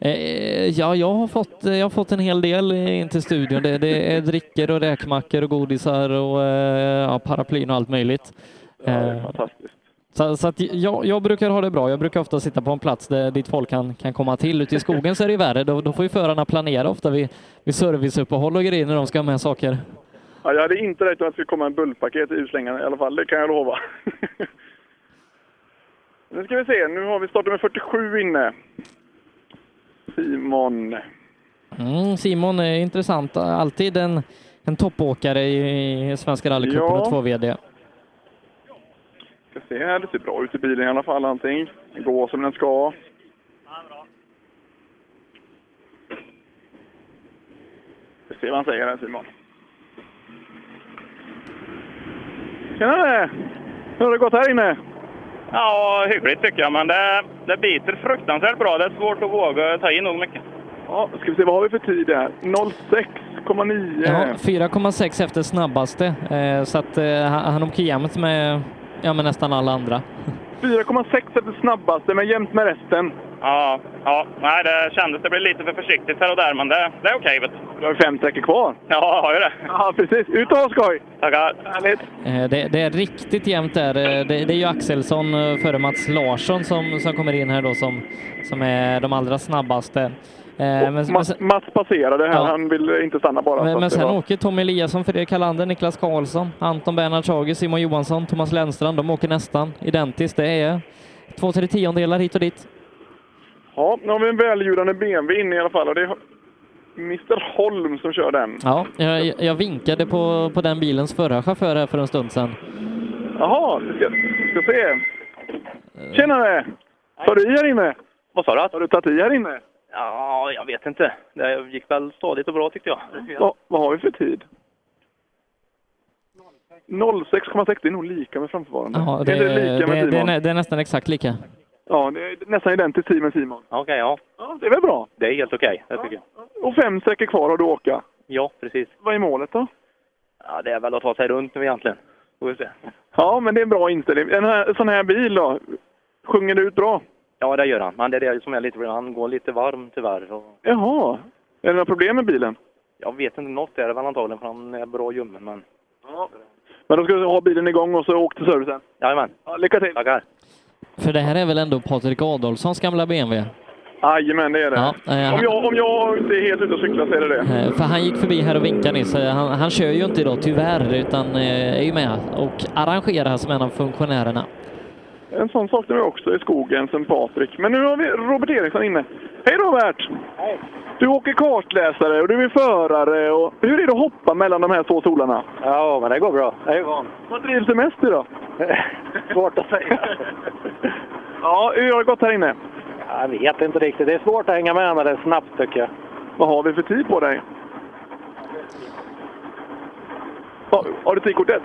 Eh, ja, jag har, fått, jag har fått en hel del eh, in till studion. Det, det är drickor och räkmackor och godisar och eh, ja, paraplyn och allt möjligt. Eh, Så, så att jag, jag brukar ha det bra. Jag brukar ofta sitta på en plats där ditt folk kan, kan komma till. Ute i skogen så är det ju värre. Då, då får ju förarna planera ofta vid, vid serviceuppehåll och grejer när de ska ha med saker. Ja, jag hade inte räknat med att det skulle komma en bullpaket i utslängarna i alla fall. Det kan jag lova. (laughs) nu ska vi se. Nu har vi startnummer 47 inne. Simon. Mm, Simon är intressant. Alltid en, en toppåkare i, i Svenska rallycupen Ja. och två VD. Ska se här. Det ser bra ut i bilen i alla fall allting. Den går som den ska. Vi ser vad han säger här Simon. Tjenare! Hur har det gått här inne? Ja, hyggligt tycker jag, men det, det biter fruktansvärt bra. Det är svårt att våga ta in nog mycket. Ja, ska vi se. Vad har vi för tid här? 06,9. Ja, 4,6 efter snabbaste. Eh, så att eh, han han åker jämnt med, ja, med nästan alla andra. 4,6 efter snabbaste, men jämnt med resten. Ja, ja. Nej, det kändes det blev lite för försiktigt här och där, men det, det är okej. vet du. Du har ju fem sträckor kvar. Ja, jag har ju det. Ja, precis. Ut och ha skoj! Tackar. Härligt. Eh, Det, det är riktigt jämnt där. Eh, Det, det är ju Axelsson eh, före Mats Larsson som, som kommer in här då som, som är de allra snabbaste. Eh, Men, men, Mats, sen, Mats passerade här. Ja. Han ville inte stanna bara. så men, att men det sen var- åker Tommy Eliasson, Fredrik Hallander, Niklas Karlsson, Anton Bernhard Schager, Simon Johansson, Thomas Lennstrand. De åker nästan identiskt. Det är två, tre tiondelar hit och dit. Ja, nu har vi en välljudande BMW inne i alla fall och det är Mr Holm som kör den. Ja, jag, jag- jag vinkade på, på den bilens förra chaufför här för en stund sedan. Jaha, vi ska, vi ska se. Eh. Tjenare! Tar du i här inne? Vad sa du? Har du tagit i här inne? Ja, jag vet inte. Det gick väl stadigt och bra tyckte jag. Va, vad har vi för tid? 06,6. Det är nog lika med framförvarande. Ja, det, är det det, lika med det, Simon? är nä- det är nästan exakt lika. Ja, det är nästan identiskt tid med Simon. Okej, ja. Ja, det är väl bra. Det är helt okej, det tycker jag. Och fem sträckor kvar har du att åka. Ja, precis. Vad är målet då? Ja, det är väl att ta sig runt nu egentligen. Får vi se. Ja, men det är en bra inställning. En här, sån här bil då? Sjunger du ut bra? Ja, det gör han. Men det är det som är lite problem. Han går lite varm tyvärr. Och Jaha. Är det några problem med bilen? jag vet inte, något är det väl antagligen för han är bra ljummen. Men... Men då ska du ha bilen igång och så åk till servicen. Jajamän. Ja, lycka till! Tackar! För det här är väl ändå Patrik Adolfssons gamla BMW? Jajamän, det är det. eh, om, jag, om jag inte är helt ute och cyklar så är det det. Eh, För han gick förbi här och vinkade nyss. Eh, Han, han kör ju inte idag tyvärr, utan eh, är ju med och arrangerar som en av funktionärerna. En sån saknar vi också i skogen sen Patrik. Men nu har vi Robert Eriksson inne. Hej Robert! Hej. Du åker kartläsare och du är förare. Och hur är det att hoppa mellan de här två stolarna? Ja, men det går bra. Jag är van. Vad trivs du mest (laughs) i då? Svårt att säga. ja, hur har det gått här inne? Jag vet inte riktigt. Det är svårt att hänga med när det är snabbt tycker jag. Vad har vi för tid på dig? Har, har du tidkortet?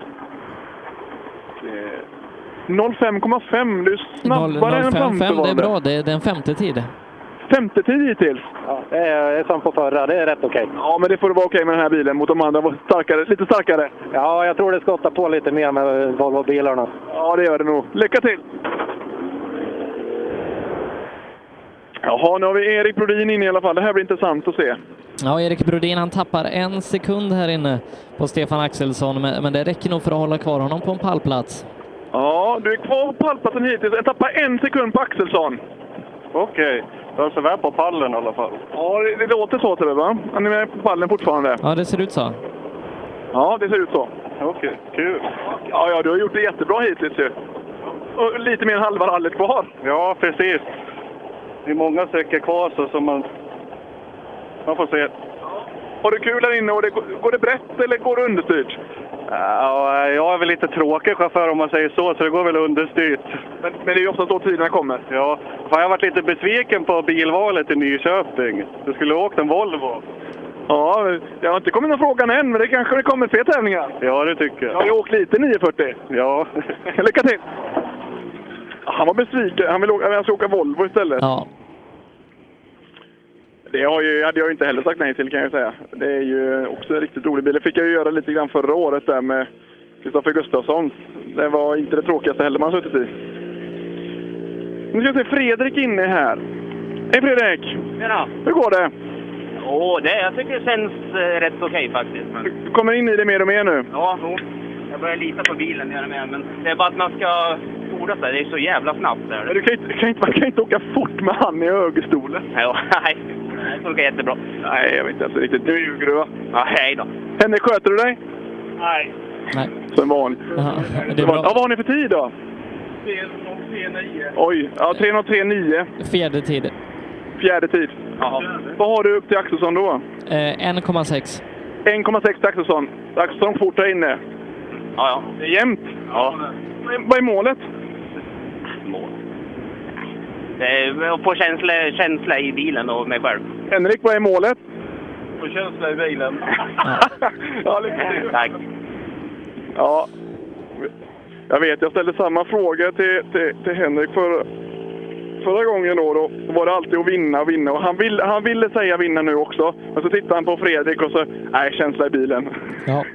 Eh, 05,5. Du är snabbare än 0,55, det är framförvarande. bra. Det är, det är en femtetid. Femte tid hittills. Ja, det är, det är som på förra. Det är rätt okej. Ja, men det får vara okej med den här bilen mot de andra. Var Starkare, lite starkare. Ja, jag tror det skottar på lite mer med Volvo-bilarna. Ja, det gör det nog. Lycka till! Jaha, nu har vi Erik Brodin inne i alla fall. Det här blir intressant att se. Ja, Erik Brodin han tappar en sekund här inne på Stefan Axelsson, men, men det räcker nog för att hålla kvar honom på en pallplats. Ja, du är kvar på pallplatsen hittills. Jag tappar en sekund på Axelsson. Okej, du har så väl på pallen i alla fall. Ja, det, det låter så till det, va? Han är med på pallen fortfarande. Ja, det ser ut så. Ja, det ser ut så. Okej, kul. Ja, ja, du har gjort det jättebra hittills ju. Och lite mer än halva rallyt kvar. Ja, precis. Det är många sträckor kvar så som man... Man får se. Har du kul där inne? Och det, går det brett eller går det understyrt? Ja, jag är väl lite tråkig chaufför om man säger så, så det går väl understyrt. Men, men det är ju oftast då tiderna kommer. Ja, fan, jag har varit lite besviken på bilvalet i Nyköping. Du skulle ha åkt en Volvo. Ja, det har inte kommit någon fråga än, men det kanske det kommer fler tävlingar. Ja, det tycker Jag har ju jag. åkt lite 940. Ja. (laughs) Lycka till! Han var besviken. Han vill åka, han ska åka Volvo istället. Ja. Det har ju, hade jag ju inte heller sagt nej till kan jag ju säga. Det är ju också en riktigt rolig bil. Det fick jag ju göra lite grann förra året där med Kristoffer Gustafsson. Det var inte det tråkigaste heller man har suttit i. Nu ska vi se, Fredrik inne här. Hej Fredrik! Tjena! Hur går det? Åh, det, jag tycker det känns eh, rätt okej faktiskt. Men, Du kommer in i det mer och mer nu. ja, jo. Jag börjar lita på bilen mer och mer. Men det är bara att man ska skoda sig. Det är så jävla snabbt där. Men Du kan ju inte, kan inte, man kan ju inte åka fort med han i ögestolen. Ja, (laughs) nej. Det funkar jättebra. Nej, jag vet inte ens riktigt. Nu ljuger du va? Ja, hej då. Henrik, sköter du dig? Nej. Nej. Som vanligt. Ja, det Ja, är vad bra. har ni för tid då? Oj, ja 3.03,9. Fjärde tid. Fjärde tid. Vad har du upp till Axelsson då? Eh, 1,6. 1,6 till Axelsson. Axelsson fort där inne. Ja, ja. Det är jämnt. Ja. Vad är- Vad är målet? Det är att få känsla, känsla i bilen och mig själv. Henrik, vad är målet? Få känsla i (laughs) bilen? ja, lycka till. Tack. Ja. Jag vet, jag ställde samma fråga till, till, till Henrik för, förra gången. Då, då var det alltid att vinna och vinna. Och han, vill, han ville säga vinna nu också. Men så tittade han på Fredrik och så, nej, känsla i bilen. Ja. (laughs)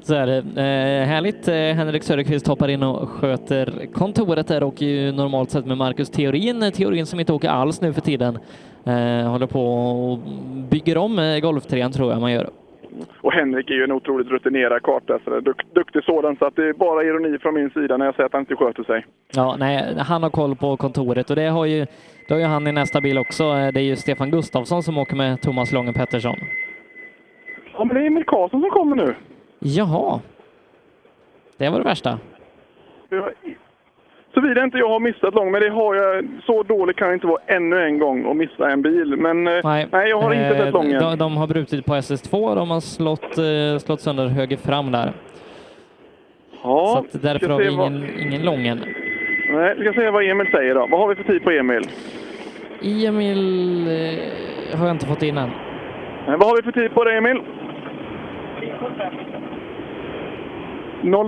Så är det. Eh, härligt. Eh, Henrik Söderqvist hoppar in och sköter kontoret där och ju normalt sett med Marcus Theorin. Theorin som inte åker alls nu för tiden. Eh, håller på och bygger om eh, golftrean tror jag man gör. (laughs) Och Henrik är ju en otroligt rutinerad kartläsare, dukt, duktig sådan, så att det är bara ironi från min sida när jag säger att han inte sköter sig. Ja, nej, han har koll på kontoret och det har ju, det har ju han i nästa bil också. Eh, Det är ju Stefan Gustafsson som åker med Thomas Lången Pettersson. Ja, men det är Emil Karlsson som kommer nu. Jaha. Det var det värsta. Såvida inte jag har missat lång, men det har jag. Så dålig kan jag inte vara ännu en gång och missa en bil. Men (laughs) eh, nej, jag har inte Eh, sett lången. De, de har brutit på SS2, de har slått, eh, slått sönder höger fram där. Ja, Så att därför ska har vi se vad- ingen, ingen lången. Nej, vi ska se vad Emil säger då. Vad har vi för tid på Emil? Emil eh, har jag inte fått in än. Nej, vad har vi för tid på dig Emil?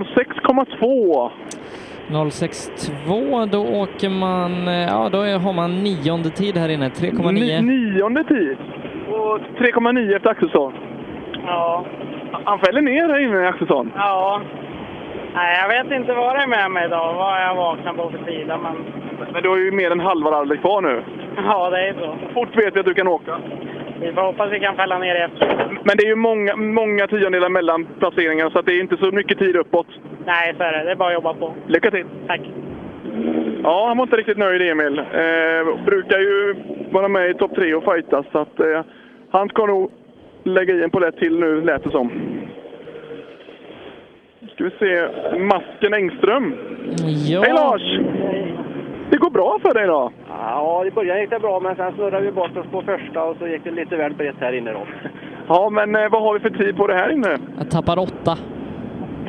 06,2. 062, då åker man, eh, ja då är- har man nionde tid här inne, Ni- 3,9. nionde tid. Och 3,9 efter Axelsson. Ja. Han fäller ner här inne, Axelsson. Ja. Nej, jag vet inte vad det är med mig idag, vad jag vaknar på för sida, men Men du har ju mer än halva rallyt kvar nu. ja, det är så. Fort vet vi att du kan åka. Vi får hoppas vi kan fälla ner efter. Men det är ju många, många tiondelar mellan placeringarna så att det är inte så mycket tid uppåt. Nej, så är det. Det är bara att jobba på. Lycka till! Tack. Ja, han var inte riktigt nöjd Emil. Eh, brukar ju vara med i topp tre och fightas så att eh, han ska nog lägga i en polett till nu lät det som. Ska vi se, Masken Engström. Ja. Hej Lars! Det går bra för dig idag? Ja, i början gick det bra, men sen snurrade vi bort oss på första och så gick det lite väl brett här inne då. Ja, men eh, vad har vi för tid på det här inne? Jag tappar åtta.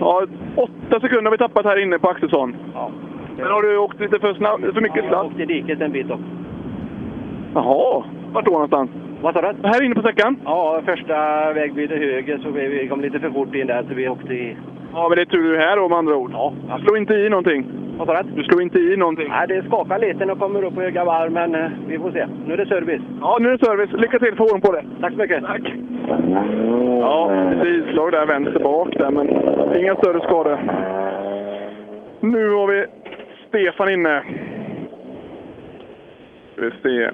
Ja, åtta sekunder har vi tappat här inne på Axelsson. Men har du åkt lite för, snabb, för mycket snabbt? Ja, jag åkte i diket en bit upp. Jaha, vart då någonstans? Vad sa du? Här inne på säckan? Ja, första vägbytet höger så vi, vi kom lite för fort in där så vi åkte i... Ja, men det är tur du är här då med andra ord. Ja. Slå inte i någonting. Vad sa du? Du slår inte i någonting. Nej, det skakar lite när jag kommer upp på höga varv, men eh, vi får se. Nu är det service. Ja, nu är det service. Lycka till, få ordning på det. Tack så mycket. Tack. Ja, lite islag där vänster bak där, men inga större skador. Nu har vi Stefan inne. Ska vi se.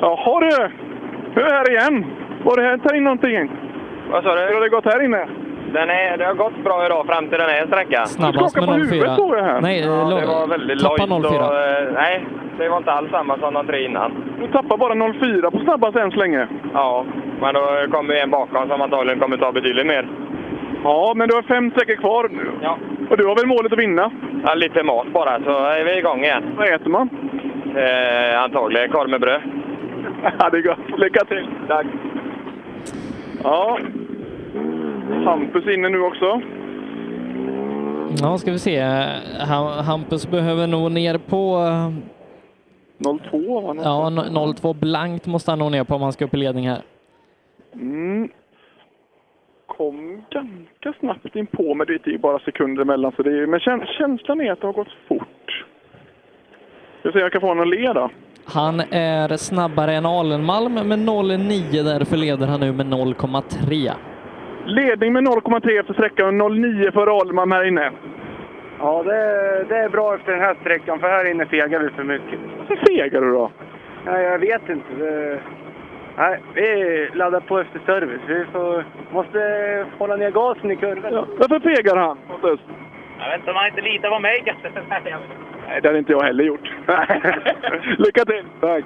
Jaha du! Nu är jag här igen. Var det här tar in någonting? Vad sa du? Hur har det gått här inne? Den är, det har gått bra idag fram till den här sträckan. Snabbast med 04. Nej, eh, ja, lo- det var väldigt tappa lojt och, 04. eh, Nej, det var inte alls samma som de tre innan. Du tappar bara 04 på snabbast än så länge. Ja, men då kommer en bakom som antagligen kommer ta betydligt mer. Ja, men du har fem sträckor kvar nu. Ja. Och du har väl målet att vinna? Ja, lite mat bara så är vi igång igen. Vad äter man? Eh, antagligen korv med bröd. Ja, det är gott. Lycka till! Tack! Ja. Hampus inne nu också. Ja, ska vi se. Ha- Hampus behöver nog ner på... eh, 02 va? Ja, no- 02 blankt måste han nog ner på om han ska upp i ledning här. Mm. Kom ganska snabbt in på men det är ju bara sekunder emellan. Så det är, ju- men käns- känslan är att det har gått fort. Jag ser jag kan få honom att le då. Han är snabbare än Alenmalm med 0,9. Därför leder han nu med 0,3. Ledning med 0,3 efter sträckan och 0,9 för Ahlman här inne. Ja, det, det är bra efter den här sträckan, för här inne fegar vi för mycket. Hur fegar du då? Nej, jag vet inte. Det, nej, vi laddar på efter service. Vi får, måste hålla ner gasen i kurvan. Varför fegar han? Jag vet inte om han inte litar på mig (laughs) kanske. Nej, det hade inte jag heller gjort. Lycka till! Tack!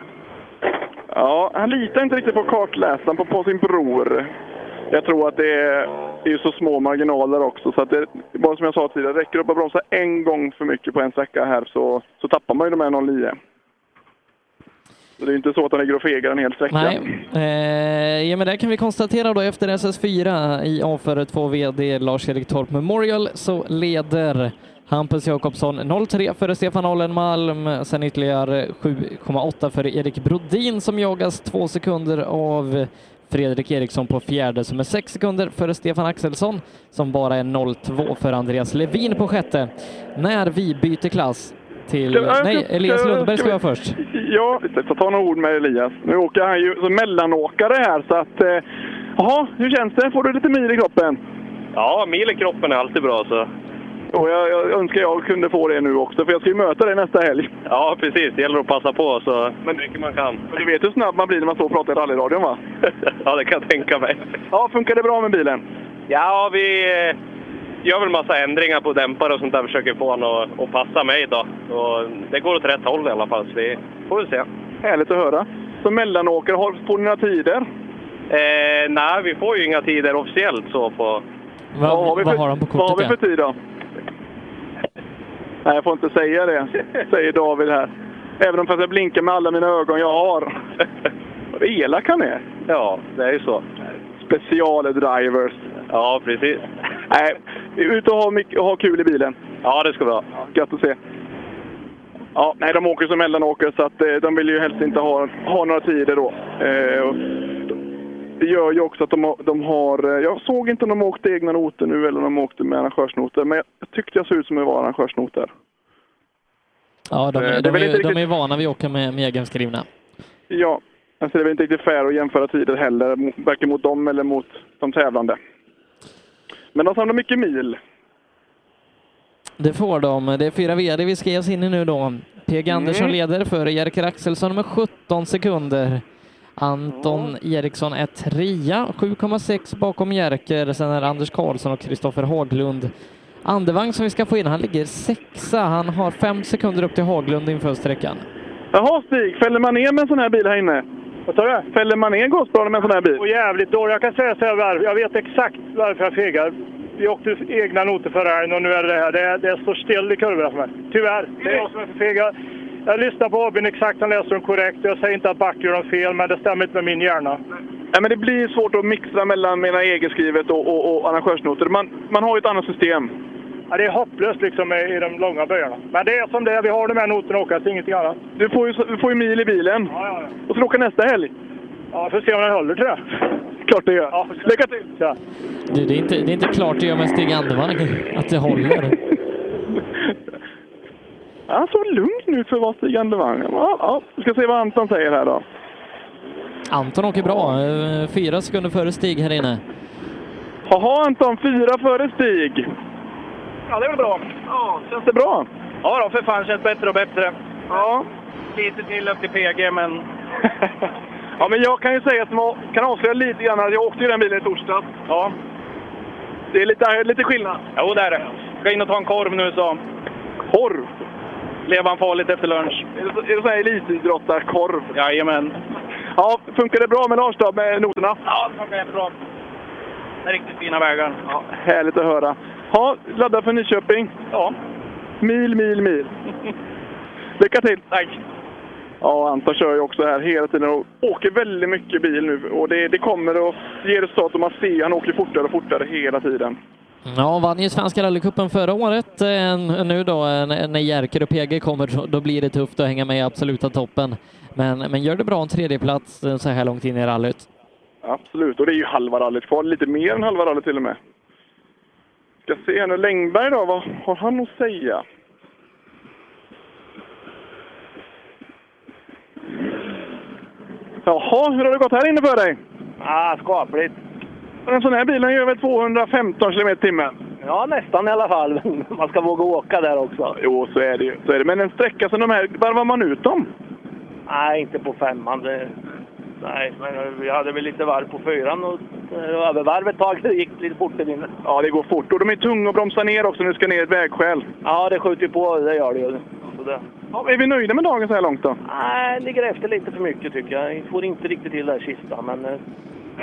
Ja, han litar inte riktigt på kartläsaren, på, på sin bror. Jag tror att det är, det är ju så små marginaler också, så att det, bara som jag sa tidigare, räcker det upp att bromsa en gång för mycket på en sträcka här så, så tappar man ju de här 09. Så det är ju inte så att han ligger och fegar en hel sträcka. Nej, eh, ja, men där kan vi konstatera då efter SS4 i avföret 2 VD Lars-Erik Torp Memorial så leder Hampus Jakobsson 0-3 före Stefan Alenmalm, sen ytterligare 7,8 för Erik Brodin som jagas två sekunder av Fredrik Eriksson på fjärde som är sex sekunder före Stefan Axelsson som bara är 0,2 för Andreas Levin på sjätte. När vi byter klass till... Ska- äh, Nej, ska- Elias ska- Lundberg ska ska vi- vara först. Ja, jag får ta några ord med Elias. Nu åker han ju som mellanåkare här så att... eh, Jaha, hur känns det? Får du lite mil i kroppen? Ja, mil i kroppen är alltid bra så. Och jag, jag önskar jag kunde få det nu också för jag ska ju möta dig nästa helg. Ja, precis. Det gäller att passa på så. Men mycket man kan. Du vet hur snabb man blir när man står och pratar i rallyradion va? (laughs) ja, det kan jag tänka mig. Ja, funkar det bra med bilen? Ja, vi eh, gör väl massa ändringar på dämpare och sånt där. Försöker få honom att, att passa mig då. Och det går åt rätt håll i alla fall, så vi får väl se. Härligt att höra. Som mellanåkare, har- får ni några tider? Eh, nej, vi får ju inga tider officiellt så på... vad, har vi för, vad har vi för tid då? Nej, jag får inte säga det, säger David här. Även om fast jag blinkar med alla mina ögon jag har. Vad elak han är. Ja, det är ju så. Specialdrivers. Ja, precis. Nej, ut och ha, mycket, ha kul i bilen. Ja, det ska vi ha. Gött att se. Ja, nej, de åker som mellanåkare så att, eh, de vill ju helst inte ha, ha några tider då. Eh, och det gör ju också att de, har- de har... eh, Jag såg inte om de åkte egna noter nu eller om de åkte med arrangörsnoter. Men jag tyckte jag såg ut som att det var arrangörsnoter. Ja, de, Eh, det är- är de, väl inte är, de är riktigt- vana vid att åka med, med egenskrivna. Ja, alltså det är väl inte riktigt fair att jämföra tider heller, mo- varken mot dem eller mot de tävlande. Men de samlar mycket mil. Det får de. Det är fyra VD vi ska ge oss in i nu då. PG Andersson Mm. leder före Jerker Axelsson med 17 sekunder. Anton Eriksson är trea, 7,6 bakom Jerker. Sen är det Anders Karlsson och Kristoffer Haglund. Andevang som vi ska få in, han ligger sexa. Han har fem sekunder upp till Haglund inför sträckan. Jaha Stig, fäller man ner med en sån här bil här inne? Vad sa du? Fäller man ner gasbladen med en sån här bil? Och jävligt dålig. Jag kan säga så här, varför- jag vet exakt varför jag fegar. Vi åkte egna noter förra helgen och nu är det det här. Det, det står still i kurvorna för mig. Tyvärr. Det är jag som är för feg. Jag- Jag lyssnar på ABn exakt, han läser dem korrekt. Jag säger inte att Back gör dem fel, men det stämmer inte med min hjärna. Nej, men det blir svårt att mixa mellan mina egenskrivet och, och, och arrangörsnoter. Man, man har ju ett annat system. Ja, det är hopplöst liksom i, i de långa böjarna. Men det är som det är. Vi har de här noterna att åka till, ingenting annat. Du får ju, du får ju mil i bilen. Ja, ja, ja. Och ska åka nästa helg. Ja, får se om den håller till det. Klart det gör. Lycka till! Ja. Du, det, är inte, det är inte klart det gör med Stig Andevang att det håller. Han såg lugn ut för att vara Stig Andevang. Ja, ja. Vi ska se vad Anton säger här då. Anton åker bra, eh, fyra sekunder före Stig här inne. Jaha Anton, fyra före Stig. Ja, det är väl bra. Ja, Känns det bra? ja då, för fan känns bättre och bättre. Ja. Lite till upp till PG, men... Ja, men jag kan ju säga som jag kan avslöja lite grann att jag åkte ju den bilen i torsdags. Ja. Det är lite, lite skillnad. Jo, det är det. Ska in och ta en korv nu så. Korv? Levan farligt efter lunch. Är det, så- är det sån här elitidrottarkorv? Jajamän. Ja, funkar det bra med Lars då, med noterna? Ja, det funkar jättebra. Det är riktigt fina vägar. Ja. Härligt att höra. Ja, ladda för Nyköping. Ja. Mil, mil, mil. Lycka till! Tack! Ja, Anton kör ju också här hela tiden och åker väldigt mycket bil nu. Och det, det kommer att ge resultat och man ser han åker fortare och fortare hela tiden. Ja, vann ju Svenska rallycupen förra året. Eh, Nu då eh, när när Jerker och PG kommer då- då blir det tufft att hänga med i absoluta toppen. Men, men gör det bra en tredjeplats eh, så här långt in i rallyt. Absolut, och det är ju halva rallyt kvar. Lite mer än halva rallyt till och med. Ska se här nu. Längberg då, vad har han att säga? Jaha, hur har det gått här inne för dig? Ah, skapligt. Men En sån här bil den gör väl 215 km i timmen? Ja, nästan i alla (laughs) fall. Man ska våga åka där också. Jo, så är det ju. Så är det. Men en sträcka som de här, varvar man ut dem? Nej, inte på femman. Det... Nej, men vi hade väl lite varv på fyran och eh, övervarv ett tag. Det gick lite fort i vinden. Ja, det går fort. Och de är tunga att bromsa ner också när du ska ner i ett vägskäl. Ja, det skjuter ju på. Det gör det ju. Så det... Ja, är vi nöjda med dagen så här långt då? Nej, ligger efter lite för mycket tycker jag. Vi får inte riktigt till där sista, men eh,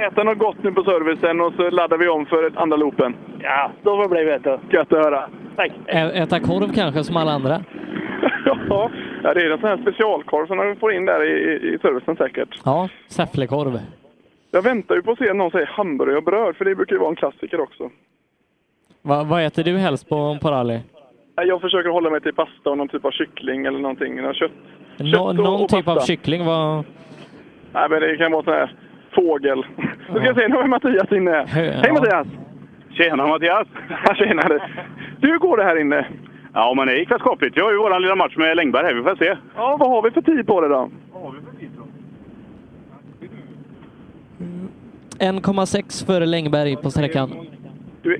Äta något gott nu på servicen och så laddar vi om för ett andra loopen. ja, då får det bli vet du. Gött att höra. Tack! Ä- Äta korv kanske som alla andra. Ja, det är en sån här specialkorv som de får in där i, i- i servicen säkert. Ja, säfflekorv. Jag väntar ju på att se någon säga hamburgare och bröd, för det brukar ju vara en klassiker också. Va, vad äter du helst på, på rally? Nej, Jag försöker hålla mig till pasta och någon typ av kyckling eller någonting. Någon kött. Nå, och- någon och typ av pasta. kyckling? Vad, Nej, men det kan vara sån här fågel. Nu ska jag se, nu har vi Mattias inne. Hej (laughs) ja. Mattias! Tjena Mattias! Ja, tjenare! Du går det här inne? Ja, men det gick väl skapligt. Vi har ju vår lilla match med Längberg här. Vi får se. Ja, vad har vi för tid på det då? 1,6 före Längberg på sträckan. Du,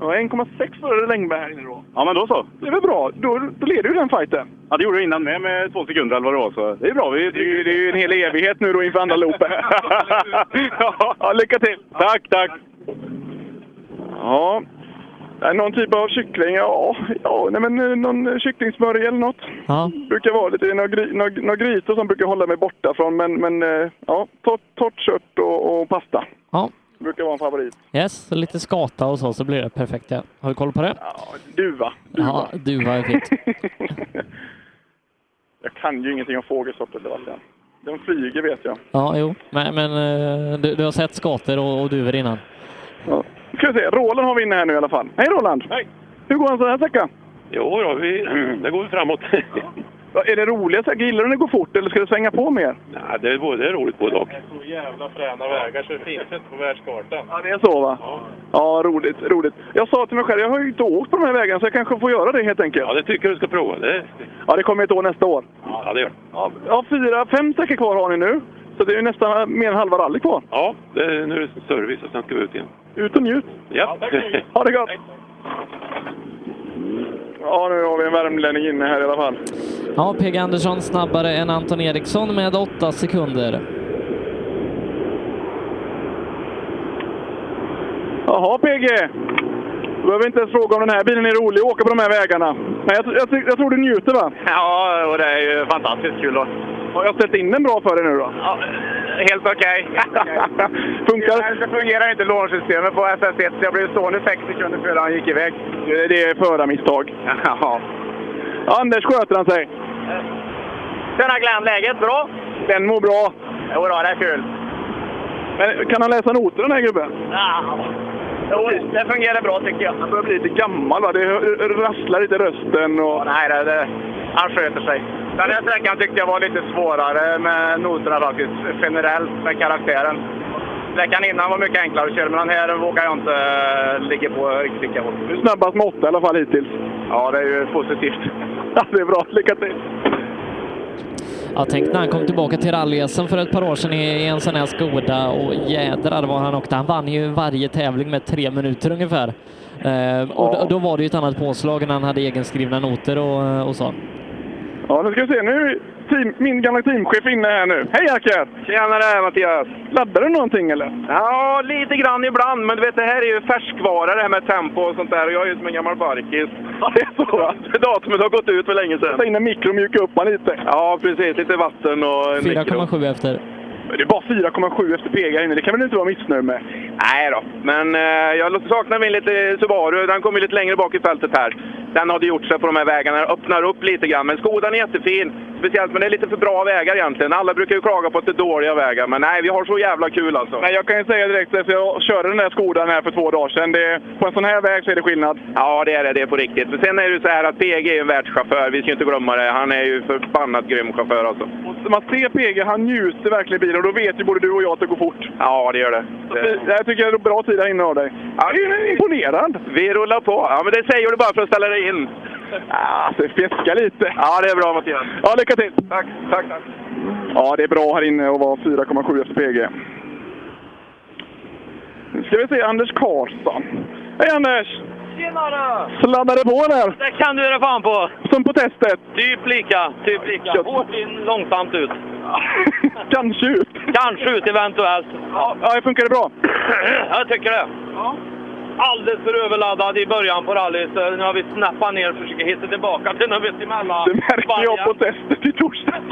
ja, 1,6 före Längberg här inne då. Ja, men då så. Det är väl bra. Då, då leder ju den fighten. Ja, det gjorde jag innan med, med två sekunder eller vad det var. Så det är bra. Vi, det, är ju- det är ju en hel evighet nu då inför andra (laughs) loopen. ja, lycka till! Tack, tack! Ja. Nej, Någon typ av kyckling? Ja, ja nej, men eh, någon eh, kycklingsmörja eller något. Ja. brukar vara lite några, gri, några, några grytor som brukar hålla mig borta från. Men, men eh, ja, torrt, torrt kött och, och pasta Ja, brukar vara en favorit. yes. Lite skata och så, så blir det perfekt. Ja. Har du koll på det? Duva. Ja, duva är (laughs) fint. (laughs) Jag kan ju ingenting om fågelsorter, Sebastian. De flyger vet jag. Ja, jo. Men, men eh, du, du har sett skator och, och duvor innan? Ska vi se, Roland har vi inne här nu i alla fall. Hej Roland! Hej! Hur går en sån här sträcka? Jo då, vi, Mm. Mm, det går ju framåt. Ja, Är det roliga sträckor? Gillar du när det går fort eller ska du svänga på mer? Nej, det, är både, det är roligt både och. Så jävla fräna vägar så det finns inte på världskartan. Ja, det är så va? Ja. Ja, roligt, roligt. Jag sa till mig själv, jag har ju inte åkt på de här vägarna så jag kanske får göra det helt enkelt. Ja, det tycker jag du ska prova. Det, Ja, det kommer ett år nästa år. ja, det gör det. ja, Ja, fyra, fem sträckor kvar har ni nu. Så det är ju nästan mer än halva rally kvar. ja, det, nu är det service och sen ska vi ut igen. Ut och njut! Ja, (laughs) Ha det gott! Ja, nu har vi en värmlänning inne här i alla fall. Ja, PG Andersson snabbare än Anton Eriksson med åtta sekunder. Jaha, PG! Du behöver inte ens fråga om den här bilen är rolig att åka på de här vägarna. Men jag, jag, jag tror du njuter va? Ja, och det är ju fantastiskt kul. Och, Har jag ställt in den bra för dig nu då? ja, helt okej. (laughs) Funkar? Det fungerar inte lånesystemet på SS1 så jag blev stående sex sekunder före han gick iväg. Det är (laughs) förarmisstag. Ja. Anders sköter han sig. Tjena Glenn, läget bra? Den mår bra. Jo då, det är kul. Men kan han läsa noter den här gubben? Ja. Jo, det fungerar bra tycker jag. Han börjar bli lite gammal va? Det r- r- rasslar lite i rösten och... Nej, det, det, han sköter sig. Den här sträckan tyckte jag var lite svårare med noterna faktiskt, generellt med karaktären. Sträckan innan var mycket enklare att köra, men den här vågar jag inte eh, ligga på riktigt lika hårt. Du är snabbast med åtta i alla fall hittills. (laughs) Ja, det är ju positivt. Ja, det är bra. Lycka till! Ja, tänk när han kom tillbaka till rally för ett par år sedan i, i en sån här Skoda och jädrar vad han åkte. Han vann ju varje tävling med tre minuter ungefär. Eh, och d- då var det ju ett annat påslag när han hade egenskrivna noter och, och så. Ja, nu ska vi se. Nu är team, min gamla teamchef inne här nu. Hej Jerker! Tjenare Mattias! Laddar du någonting eller? Ja, lite grann ibland, men du vet det här är ju färskvara det här med tempo och sånt där och jag är ju som en gammal barkis. Ja, det är så va? (laughs) Datumet har gått ut för länge sedan. Ta in en mikro och mjuka upp man lite. Ja, precis. Lite vatten och en mikro. 4,7 efter. Men det är bara 4,7 efter PG här inne. Det kan väl inte vara missnöjd med? Nej då, men eh, jag saknar min lite Subaru. Den kommer lite längre bak i fältet här. Den hade gjort sig på de här vägarna. Den öppnar upp lite grann. Men Skodan är jättefin. Speciellt, men det är lite för bra vägar egentligen. Alla brukar ju klaga på att det är dåliga vägar. Men nej, vi har så jävla kul alltså. Nej, jag kan ju säga direkt efter jag körde den där Skodan här för två dagar sedan. Det, på en sån här väg så är det skillnad. Ja, det är det. Det är på riktigt. Men sen är det ju så här att PG är ju en världschaufför. Vi ska ju inte glömma det. Han är ju förbannat grym chaufför alltså. Man ser PG, han njuter verkligen i bilen och då vet ju både du och jag att det går fort. Ja, det gör det. det... Det här tycker jag är bra tid här inne av dig. Ja, jag är imponerad! Vi rullar på. Ja, men det säger du bara för att ställa dig in. Alltså, fjäska lite. Ja, det är bra Mattias. Ja, lycka till! Tack, tack, tack. Ja, det är bra här inne att vara 4,7 efter PG. Nu ska vi se Anders Karlsson. Hej Anders! Tjenare! Sladdade på där! Det kan du göra fan på! Som på testet! Typ lika, typ lika. Hårt in, (laughs) långsamt ut. Kanske ut! Kanske ut eventuellt. Ja, det funkade bra. Jag tycker det. Alldeles för överladdad i början på rallyt. så Nu har vi snappat ner och försöker hitta tillbaka till något vettigt mellan. Det märkte jag på testet i torsdags.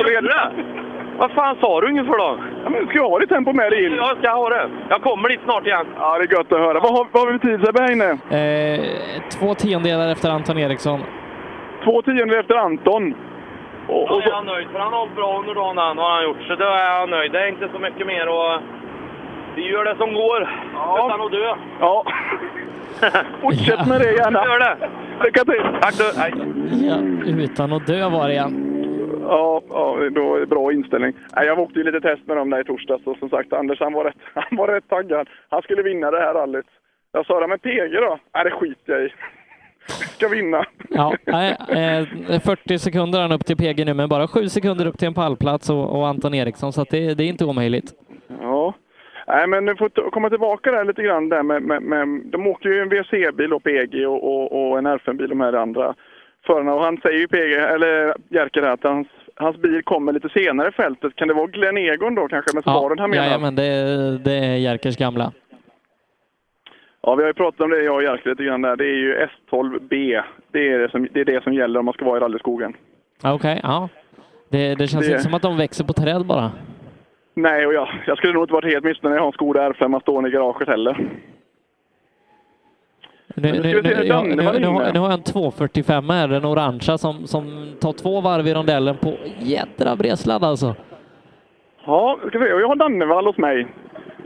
Vad fan sa du ungefär då? Ja, men ska jag ha ditt tempo med dig in? Jag ska ha det. Jag kommer dit snart igen. Ja, det är gött att höra. Vad har, vad har vi för tid Sebbe här inne? Eh, två tiondelar efter Anton Eriksson. Två tiondelar efter Anton. Och, Då och är så, jag nöjd, för han har hållit bra under dagen han, har han gjort. Så då är jag nöjd. Det är inte så mycket mer och Vi gör det som går, utan att dö. (laughs) ja. Fortsätt med det gärna. Gör det. Lycka till! Tack du! Hej. Ja, utan att dö var det ja. Ja, ja då är det bra inställning. Nej, jag åkte ju lite test med dem där i torsdags och som sagt Anders han var rätt, (laughs) han var rätt taggad. Han skulle vinna det här rallyt. Jag sa det, men PG då? Nej, det skiter jag i. (laughs) ska vinna. Ja, nej, eh, det är 40 sekunder han upp till PG nu, men bara 7 sekunder upp till en pallplats och, och Anton Eriksson, så att det, det är inte omöjligt. Ja. Nej, men du får t- komma tillbaka där lite grann. Där med, med, med, de åker ju en WRC-bil och PG och, och, och en R5-bil, de här andra förarna. Och han säger ju PG, eller Jerker här, att hans, hans bil kommer lite senare i fältet. Kan det vara Glenn Egon då kanske, med sparen han menar? men det, det är Jerkers gamla. Ja, vi har ju pratat om det jag och Jerker lite grann där. Det är ju S12B. Det är det som, det, är det som gäller om man ska vara i rallyskogen. Ja, Okej, ja. Det, det känns Det- inte som att de växer på träd bara. Nej, och jag, jag skulle nog inte varit helt missnöjd när jag har en Skoda R5 stående i garaget heller. Nu, Men nu, nu nu, ska vi se, ja, nu, Danne var nu, har- inne. nu har jag en 245 här, den orangea, som, som tar två varv i rondellen på jädra bredsladd alltså. Ja, ska vi se. Och jag har Dannevall hos mig.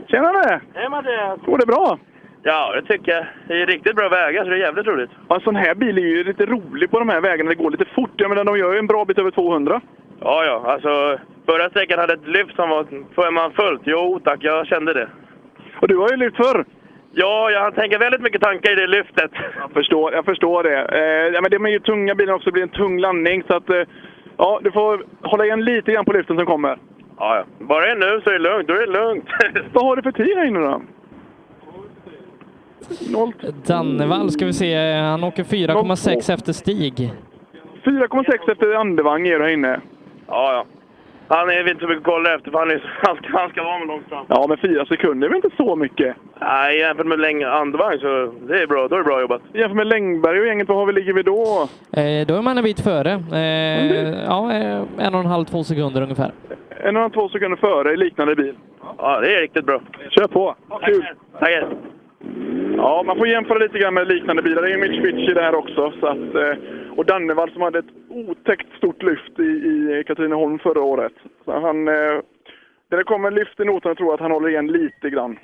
Tjenare! Hej Mattias! Går det bra? Ja, det tycker jag. Det är riktigt bra vägar, så det är jävligt roligt. Ja, En sån här bil är ju lite rolig på de här vägarna. Det går lite fort. Jag menar, de gör ju en bra bit över 200. Ja, ja, alltså förra sträckan hade ett lyft som var... Får man fullt? Jo tack, jag kände det. Och du har ju lyft förr. Ja, jag tänker väldigt mycket tankar i det lyftet. Jag förstår, jag förstår det. Eh, ja, men de är ju tunga bilarna också. Det blir en tung landning. Så att, eh, ja, du får hålla igen lite grann på lyften som kommer. Ja, ja. Bara det är nu så är det lugnt, då är det lugnt. (laughs) Vad har du för tid här inne då? Dannevall ska vi se, han åker 4,6 efter Stig. 4,6 efter Andevang är du här inne. ja, ja. Han är vi inte så mycket att kolla efter, för han, är, (laughs) han, ska, han ska vara med långt fram. Ja, men fyra sekunder är väl inte så mycket? Nej, jämfört med längre andevagn så det är bra. Då är det bra jobbat. Jämfört med Längberg och gänget, vad har vi, ligger vi då? Eh, då är man en bit före. Eh, ja, eh, en och en halv, två sekunder ungefär. En och en två sekunder före i liknande bil. Ja, det är riktigt bra. Kör på! Kul! Tackar! Ja, man får jämföra lite grann med liknande bilar. Det är ju Mitsubishi det här också. Så att, eh, och Dannevall som hade ett otäckt stort lyft i, i Katrineholm förra året. Så han, eh, när det kommer lyft i notan tror jag att han håller igen lite grann.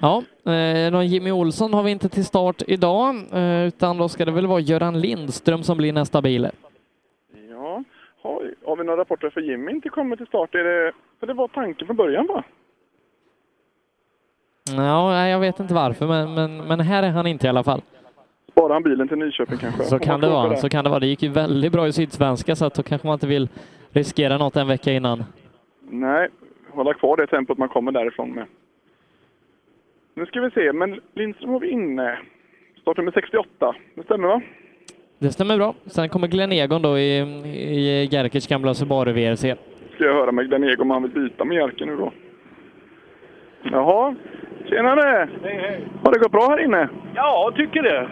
Ja, eh, någon Jimmy Olsson har vi inte till start idag, eh, utan då ska det väl vara Göran Lindström som blir nästa bil. Ja, har, har vi några rapporter för Jimmy inte kommer till start? Är det, för det var tanken från början va? Ja, nej, jag vet inte varför, men, men, men här är han inte i alla fall. Sparar han bilen till Nyköping kanske? Så Om man kan det tror på vara. Så kan det vara. Det gick ju väldigt bra i Sydsvenska, så att då kanske man inte vill riskera något en vecka innan. Nej, hålla kvar det tempot man kommer därifrån med. Nu ska vi se, men Lindström har vi inne. Startnummer 68, det stämmer va? Det stämmer bra. Sen kommer Glenn Egon då i, i Gerkerts gamla Subaru VRC. Ska jag höra med Glenn Egon om han vill byta med Jerker nu då. Jaha, tjenare! Hej, hej. Har det gått bra här inne? Ja, tycker det.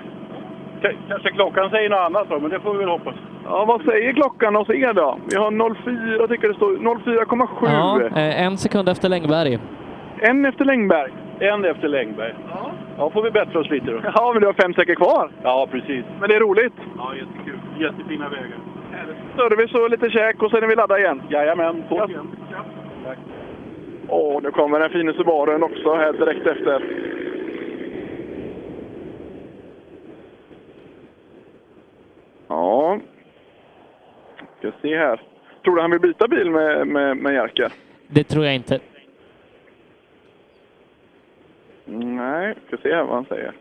K- kanske klockan säger något annat då, men det får vi väl hoppas. Ja, vad säger klockan hos er då? Vi har 04, tycker det står 04,7. Ja, eh, en sekund efter Längberg. En efter Längberg. En efter Längberg. Ja. Ja, får vi bättra oss lite då. Ja, men du har fem säker kvar. Ja, precis. Men det är roligt. Ja, jättekul. Jättefina vägar. Service och lite käk och sen är vi laddade igen. Jajamän, på igen. Åh, nu kommer den fina Subaruen också här direkt efter. Ja. Ska se här. Tror du han vill byta bil med, med, med Jerker? Det tror jag inte. Nej, ska se här vad han säger.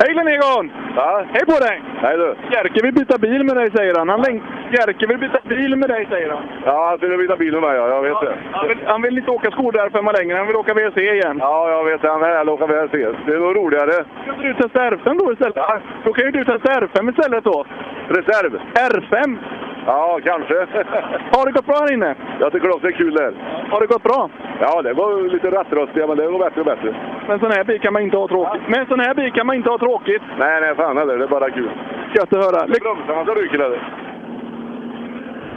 Hej Glenn Egon! Hej på dig! Hej du! Jerker vill byta bil med dig säger han. han läng- Jerker vill byta bil med dig säger han. Ja, han skulle byta bil med mig, ja, jag vet det. Han vill, han vill inte åka Skoda R5 längre, han vill åka WRC igen. Ja, jag vet det. Han vill åka VRC. Det var roligare. Ska inte du testa R5 då istället? Då kan ju du testa R5 istället då. Reserv. R5? Ja, kanske. Har det gått bra här inne? Jag tycker också det är kul där. Har det gått bra? Ja, det var lite rattrostiga, men det går bättre och bättre. Men sån här bil kan man inte ha tråkigt. Men sån här bil kan man inte ha tråkigt. Nej, nej, fan heller. Det är bara kul. Gött att höra. Lyck- Bromsarna som ryker, eller?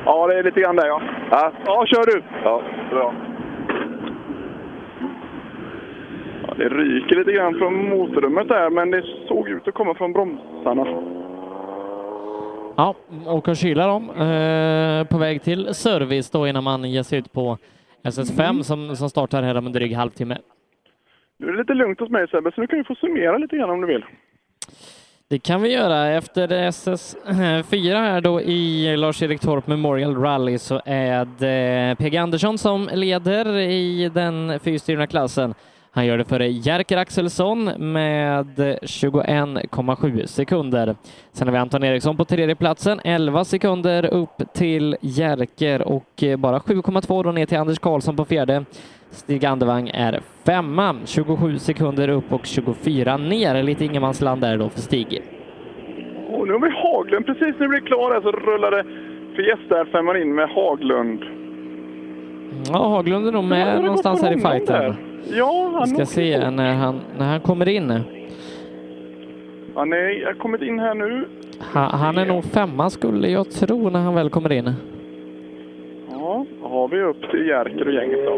Ja, det är lite grann där ja. Ja. Ja, kör du. Ja, bra. Ja, det ryker lite grann från motorrummet där, men det såg ut att komma från bromsarna. Ja, och och kyla dem eh, på väg till service då innan man ger sig ut på SS5 som, som startar här om en dryg halvtimme. Nu är det lite lugnt hos mig Sebbe, så nu kan du få summera lite grann om du vill. Det kan vi göra. Efter SS4 här då i Lars-Erik Torp Memorial Rally så är det PG Andersson som leder i den fyrstyrna klassen. Han gör det före Jerker Axelsson med 21,7 sekunder. Sen har vi Anton Eriksson på tredje platsen, 11 sekunder upp till Jerker och bara 7,2 då ner till Anders Karlsson på fjärde. Stig Andevang är femma, 27 sekunder upp och 24 ner. Lite ingenmansland där då för Stig. Och nu har vi Haglund. Precis när vi blev klara här så rullade Fiesta R5 in med Haglund. Ja, Haglund är nog med det någonstans går här på i honom där. fighten. Ja, han Vi ska åker se fort. när han, när han kommer in. Ja, nej, jag har kommit in här nu. Han, han är nog femma skulle jag tro när han väl kommer in. Ja, då har vi upp till Jerker och gänget då.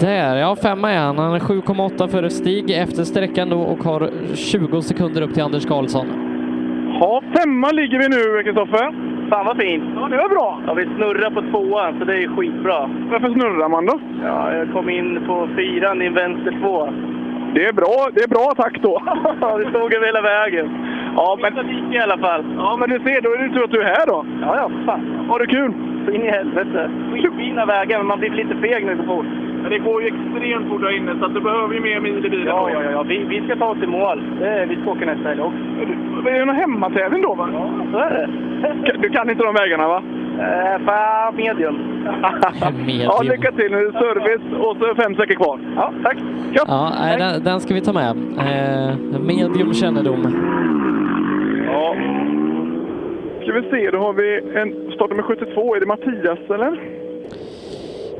Där, ja femma är han. Han är 7,8 före Stig efter sträckan då och har 20 sekunder upp till Anders Karlsson. Ja, femma ligger vi nu, Kristoffer. Fan vad fint. Ja, det var bra. Ja, vi snurrar på tvåan, så det är skitbra. Varför snurrar man då? Ja, jag kom in på fyran i vänster två. Det är bra, det är bra (laughs) tack då. det stod över hela vägen. Ja, men... i alla fall. Ja, men du ser, då är det tur att du är här då. Ja, ja, fan. Har du kul? Så in i helvete. Skitfina vägar, men man blir lite feg när det går fort. Men det går ju extremt fort där inne, så att du behöver ju mer mil i bilen. Ja, ja, ja, ja. Vi, vi ska ta oss i mål. Det, vi ska åka nästa helg också. Det är ju någon hemmatävling då, va? Ja, så är det. Du kan inte de vägarna, va? Eh, fan, medium. ja, lycka till nu. Service och så fem säker kvar. Ja, tack. Ja, nej, den, den ska vi ta med. Eh, medium kännedom. Ja. Ska vi se, då har vi en startnummer 72. Är det Mattias, eller?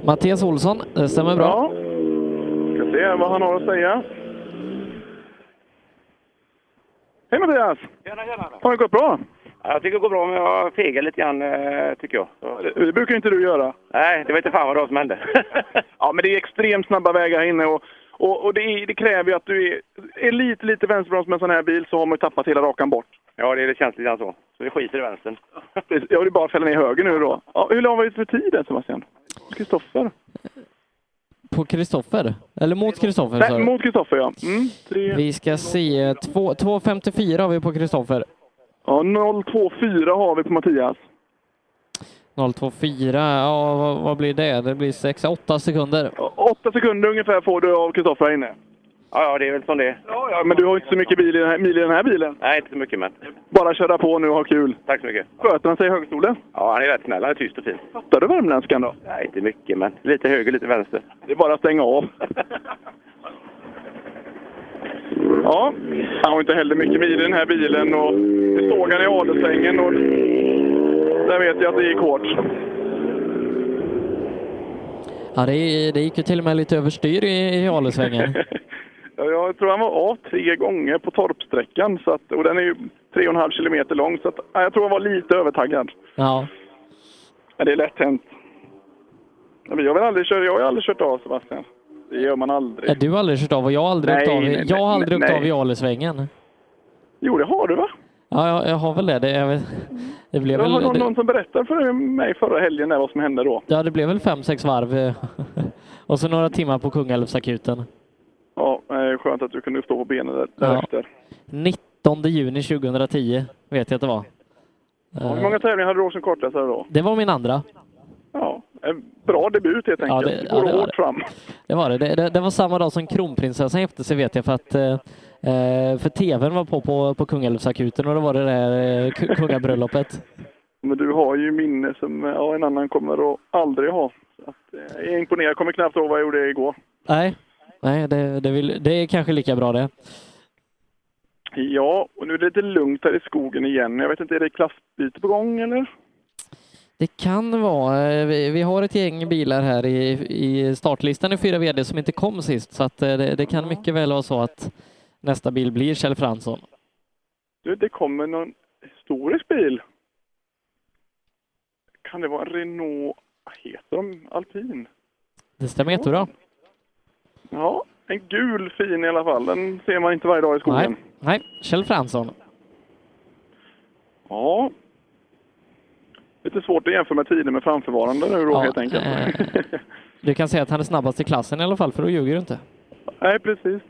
Mattias Olsson, det stämmer bra. Ska se vad han har att säga. Hej Mattias! Tjena, tjena. Har det gått bra? Ja, Jag tycker det går bra, men jag fegar lite grann, eh, tycker jag. Så- Det brukar inte du göra. Nej, det var inte fan vad det var som hände. (laughs) Ja, men det är extremt snabba vägar här inne och, och, och det, är, det kräver ju att du är, är lite, lite vänsterbroms med en sån här bil så har man ju tappat hela rakan bort. ja, det, det känns lite grann så. Så det skiter i vänstern. Precis. Jag vill bara fälla ner höger nu då. Ja, hur lång var det för tiden Sebastian? Kristoffer? På Kristoffer. Eller mot Kristoffer. sa Nej, du. mot Kristoffer ja. Mm, tre. Vi ska se. två- 2.54 har vi på Kristoffer. Ja, 024 har vi på Mattias. 0.24, ja vad, vad blir det? Det blir 6-8 sekunder. Åtta sekunder ungefär får du av Kristoffer här inne. Ja, ja, det är väl som det är. Ja, ja, men du har ju inte så mycket bil i den här, mil i den här bilen. Nej, inte så mycket, men Bara köra på nu och ha kul. tack så mycket. Sköter han sig i högstolen? Ja, han är rätt snäll. Han är tyst och (laughs) fin. Fattar du värmländskan då? Nej, inte mycket, men lite höger, lite vänster. Det är bara att stänga av. Ja, han har inte heller mycket mil i den här bilen och det såg han i adelssängen och där vet jag att det gick hårt. Ja, det, det gick ju till och med lite överstyr i, (laughs) i Alesvängen. Ja, Jag tror han var av tre gånger på torpsträckan så att, och den är ju tre och en halv kilometer lång så att, ja, jag tror han var lite övertaggad. Ja. Men det är lätt hänt. Ja, men Jag, vill aldrig köra, jag har ju aldrig kört av Sebastian. Det gör man aldrig. Ja, Du har aldrig kört av och jag har aldrig Nej, åkt av, nej, i- jag har nej, aldrig åkt nej. av i Alesvängen. Jo, det har du va? Ja, jag, jag har väl det. Det, jag vet, det Det blev var väl... någon, någon Det, som berättade för mig förra helgen där vad som hände då. ja, det blev väl fem, sex varv. (laughs) eh, och så några timmar på Kungälvsakuten. Ja, eh, skönt att du kunde stå på benen där, Ja. därefter. 19 juni 2010 vet jag att det var. Och Hur Eh, många tävlingar hade du som kortläsare då? Det var min andra. Ja, en bra debut helt Ja, enkelt. det- det, ja, går det var hårt det. fram. Det var det. Det, det. det var samma dag som kronprinsessan gifte sig vet jag för att eh, eh, för tvn var på på, på Kungälvsakuten och då var det där eh, ku- kungabröllopet. Men du har ju minne som eh, ja, en annan kommer att aldrig ha. Så att, eh, jag är imponerad. Jag kommer knappt ihåg vad jag gjorde igår. Nej, Nej det, det, vill, det är kanske lika bra det. Ja, och nu är det lite lugnt här i skogen igen. Jag vet inte, är det klassbyte på gång eller? Det kan vara. eh, Vi, vi har ett gäng bilar här i, i startlistan i fyra VD som inte kom sist så att eh, det, det kan mycket väl vara så att nästa bil blir Kjell Fransson. Du, det kommer någon historisk bil. Kan det vara en Renault? Vad heter de? Alpin? Det stämmer jättebra. Ja, en gul fin i alla fall. Den ser man inte varje dag i skogen. Nej, nej, Kjell Fransson. Ja. Lite svårt att jämföra med tiden med framförvarande nu då Ja, helt enkelt. eh. Du kan säga att han är snabbast i klassen i alla fall för då ljuger du inte. Nej, precis.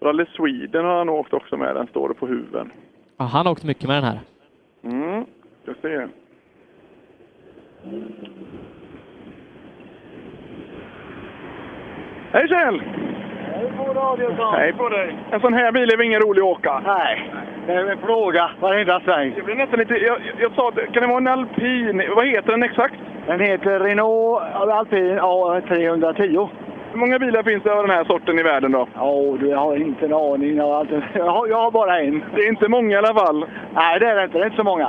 Rally Sweden har han åkt också med. Den står det på huven. Ja, han har åkt mycket med den här. Mm, jag ser. Hej Kjell! Hej på Adielsson! Hej på dig! En sån här bil är väl ingen rolig att åka? Nej, det är en plåga varenda sväng. Det blir nästan lite... Jag, jag sa att kan det vara en alpin? Vad heter den exakt? Den heter Renault Alpin A310. Hur många bilar finns det av den här sorten i världen då? Ja, du jag har inte en aning. Jag har, alltid, jag, har, jag har bara en. Det är inte många i alla fall. Nej, det är det inte. Det är inte så många.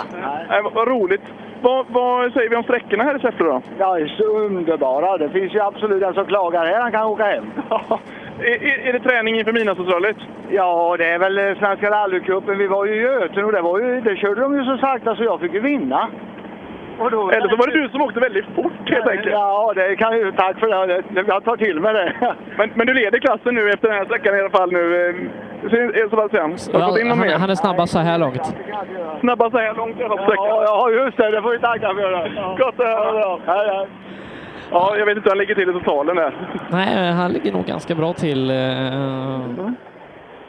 Nej, vad, vad roligt. Vad, vad säger vi om sträckorna här i Säffle då? Ja, det är så underbara. Det finns ju absolut den som klagar här, han kan åka hem. (laughs) Är, är, är det träning inför midnattsrallyt? Ja, det är väl eh, Svenska rallycupen. Vi var ju i Göten och det, var ju, det körde de ju så sakta så jag fick ju vinna. Eller så var det du som åkte väldigt fort helt enkelt. Ja, det kan ju... Tack för det. Det- Jag tar till mig det. (laughs) Men, men du leder klassen nu efter den här sträckan i alla fall nu. eh, Se- Sebastian, har du fått in någon Han, mer? han är snabbast så här långt. Snabbast så här långt i alla fall. Ja, ja, just det. Det får vi tacka för. Det. Gott att höra. Ja, jag vet inte hur han ligger till i totalen där. Nej, han ligger nog ganska bra till. eh.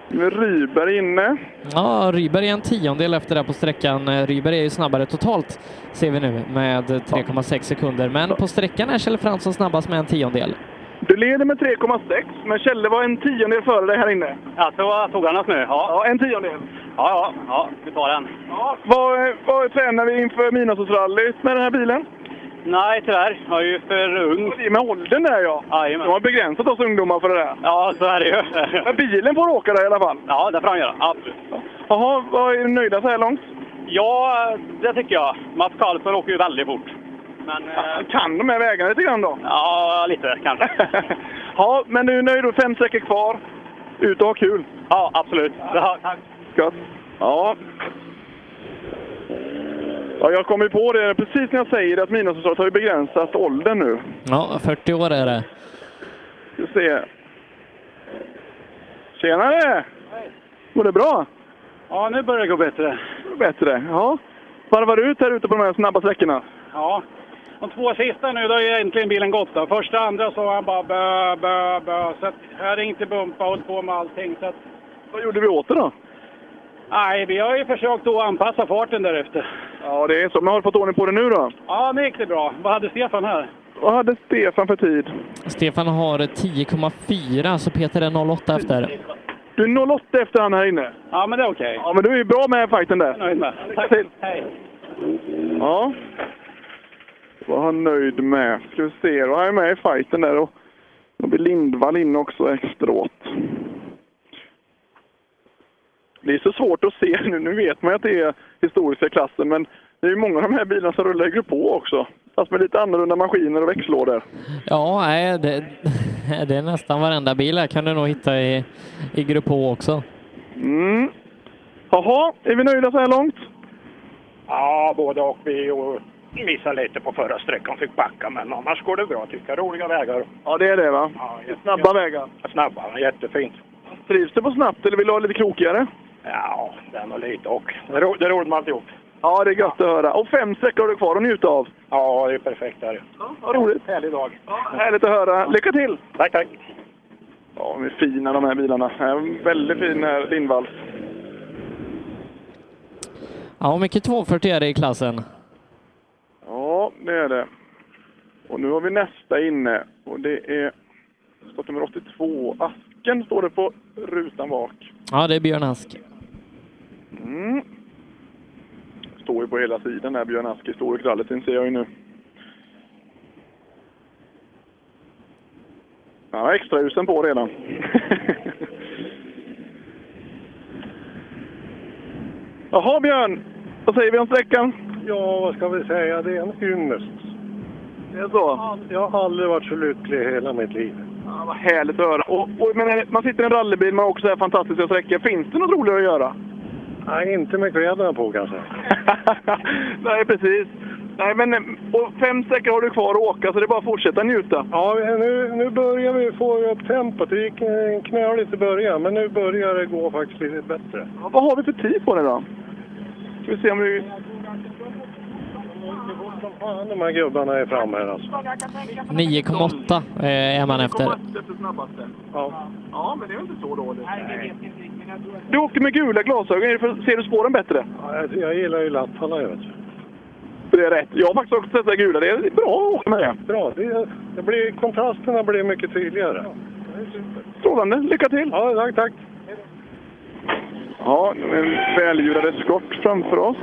Nu är Ryberg inne. Ja, Ryberg är en tiondel efter det här på sträckan. Eh, Ryberg är ju snabbare totalt, ser vi nu, med 3,6 sekunder. Men på sträckan är Kjell Fransson snabbast med en tiondel. Du leder med 3,6, men Kjelle var en tiondel före dig här inne. Ja, så tog han oss nu. Ja. ja, en tiondel. Ja, ja, ja, vi tar den. Vad, vad tränar vi inför midnattsrallyt med den här bilen? Nej, tyvärr. Jag är ju för ung. Det är med åldern där ja. De Jajamän. har begränsat oss ungdomar för det där. Ja, så är det ju. Men bilen får åka där i alla fall. Ja, det får han göra. Absolut. Jaha, vad är du nöjda så här långt? Ja, det tycker jag. Mats Karlsson åker ju väldigt fort. Men... eh, Kan de här vägarna lite grann då? Ja, lite kanske. Ja, (laughs) men du är nöjd då? Fem sträckor kvar. Ut och ha kul. Ja, absolut. Ja, tack. Gott. Ja. Ja, jag kommer ju på det precis när jag säger det att midnattsrallyt har ju begränsat åldern nu. Ja, 40 år är det. Ska se. Tjenare! Går det bra? Ja, nu börjar det gå bättre. Bättre. Ja. Varvar du ut här ute på de här snabba sträckorna? Ja. De två sista nu, då har ju äntligen bilen gått. Då. Första andra så var han bara bö, bö, bö. Så att här ringde Bumpa och höll på med allting. Så att, Vad gjorde vi åt det då? nej, vi har ju försökt att anpassa farten därefter. Ja, det är så. Men har du fått ordning på det nu då? Ja, nu gick det bra. Vad hade Stefan här? Vad hade Stefan för tid? Stefan har 10,4, så Peter är 0,8 efter. Du är 08 efter han här inne. Ja, men det är okej. Ja, men du är ju bra med fighten där. Nöjd med. Tack. Hej. Ja. Vad han nöjd med. Ska vi se. Då är han med i fighten där och då blir Lindvall inne också efteråt. Det är så svårt att se nu. Nu vet man ju att det är historiska klassen, men det är ju många av de här bilarna som rullar i grupp på också. Fast med lite annorlunda maskiner och växellådor. Ja, nej, det, (laughs) det är nästan varenda bil här kan du nog hitta i, i Grupp H också. Mm. Jaha, är vi nöjda så här långt? Ja, både och. Vi och missade lite på förra sträckan, fick backa, men annars går det bra tycker jag. Roliga vägar. Ja, det är det va? Snabba vägar. Snabba, jättefint. Trivs du på snabbt eller vill du ha lite krokigare? Ja, den och lite och. Det är ro- det är roligt med alltihop. Ja, det är gött att höra. Och fem sträckor har du kvar att njuta av. Ja, det är perfekt där. Ja, vad roligt. Härlig dag. Härligt att höra. Lycka till! Tack, tack. Ja, de är fina de här bilarna. Ja, Väldigt fin eh, Lindvall. Ja, mycket 240 är det i klassen. Ja, det är det. Och nu har vi nästa inne och det är startnummer 82. Asken står det på rutan bak. Ja, det är Björn Ask. Mm. Står ju på hela sidan där Björn Ask i Storkralletin ser jag ju nu. Han har extrahusen på redan. (laughs) Jaha Björn, vad säger vi om sträckan? Ja, vad ska vi säga? Det är en ynnest. Det är så? Jag har aldrig varit så lycklig i hela mitt liv. Ja, vad härligt att höra. Och, och, men är det- man sitter i en rallybil, man har också så här fantastiska sträckor. Finns det något roligare att göra? Nej, inte med kläderna på kanske. Nej, precis. Nej, men eh, och fem sträckor har du kvar att åka, så det är bara att fortsätta njuta. Ja, nu, nu börjar vi få upp tempot. Det gick eh, knöligt i början, men nu börjar det gå faktiskt lite bättre. Ja, Vad har vi för tid på det då? Ska vi se om vi... som fan de här gubbarna är framme här alltså. 9,8 eh, är man efter. snabbaste. Ja. ja, men det är väl inte så dåligt? Du åkte med gula glasögon. Är det för- Ser du spåren bättre? Ja, jag, jag gillar ju Lappala jag vet. Det är rätt. Jag har faktiskt också testat gula. Det är bra att åka med det. Bra, det, det blir, kontrasterna blir mycket tydligare. Strålande. Lycka till! Ja, tack, tack. Ja, en väljudad eskort framför oss.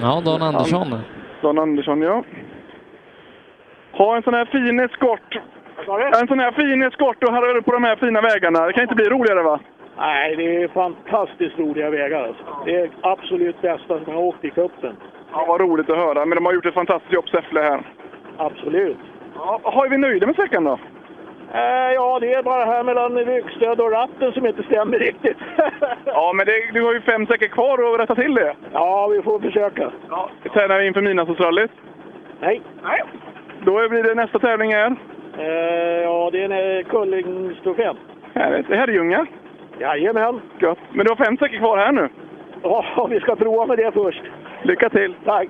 Ja, Dan Andersson. Dan Andersson, ja. Ha en sån här fin eskort. En sån här fin eskort och harra runt på de här fina vägarna. Det kan inte bli roligare va? Nej, det är fantastiskt roliga vägar. Alltså. Det är absolut bästa som jag har åkt i cupen. Ja, vad roligt att höra. Men de har gjort ett fantastiskt jobb Säffle här. Absolut. Ja, har vi nöjda med sträckan då? Eh, ja, det är bara det här mellan ryggstöd och ratten som inte stämmer riktigt. (laughs) Ja, men det, du har ju fem säckar kvar att rätta till det. ja, vi får försöka. Ja. Tränar vi inför midnattsrallyt? Nej. Nej. Då blir det nästa tävling här. Eh, ja, det är en eh, Kullingstrofén. Härligt. Det här är Herrljunga. Jajamän. Gött. Men du har fem säckar kvar här nu. Ja, vi ska prova med det först. Lycka till! Tack!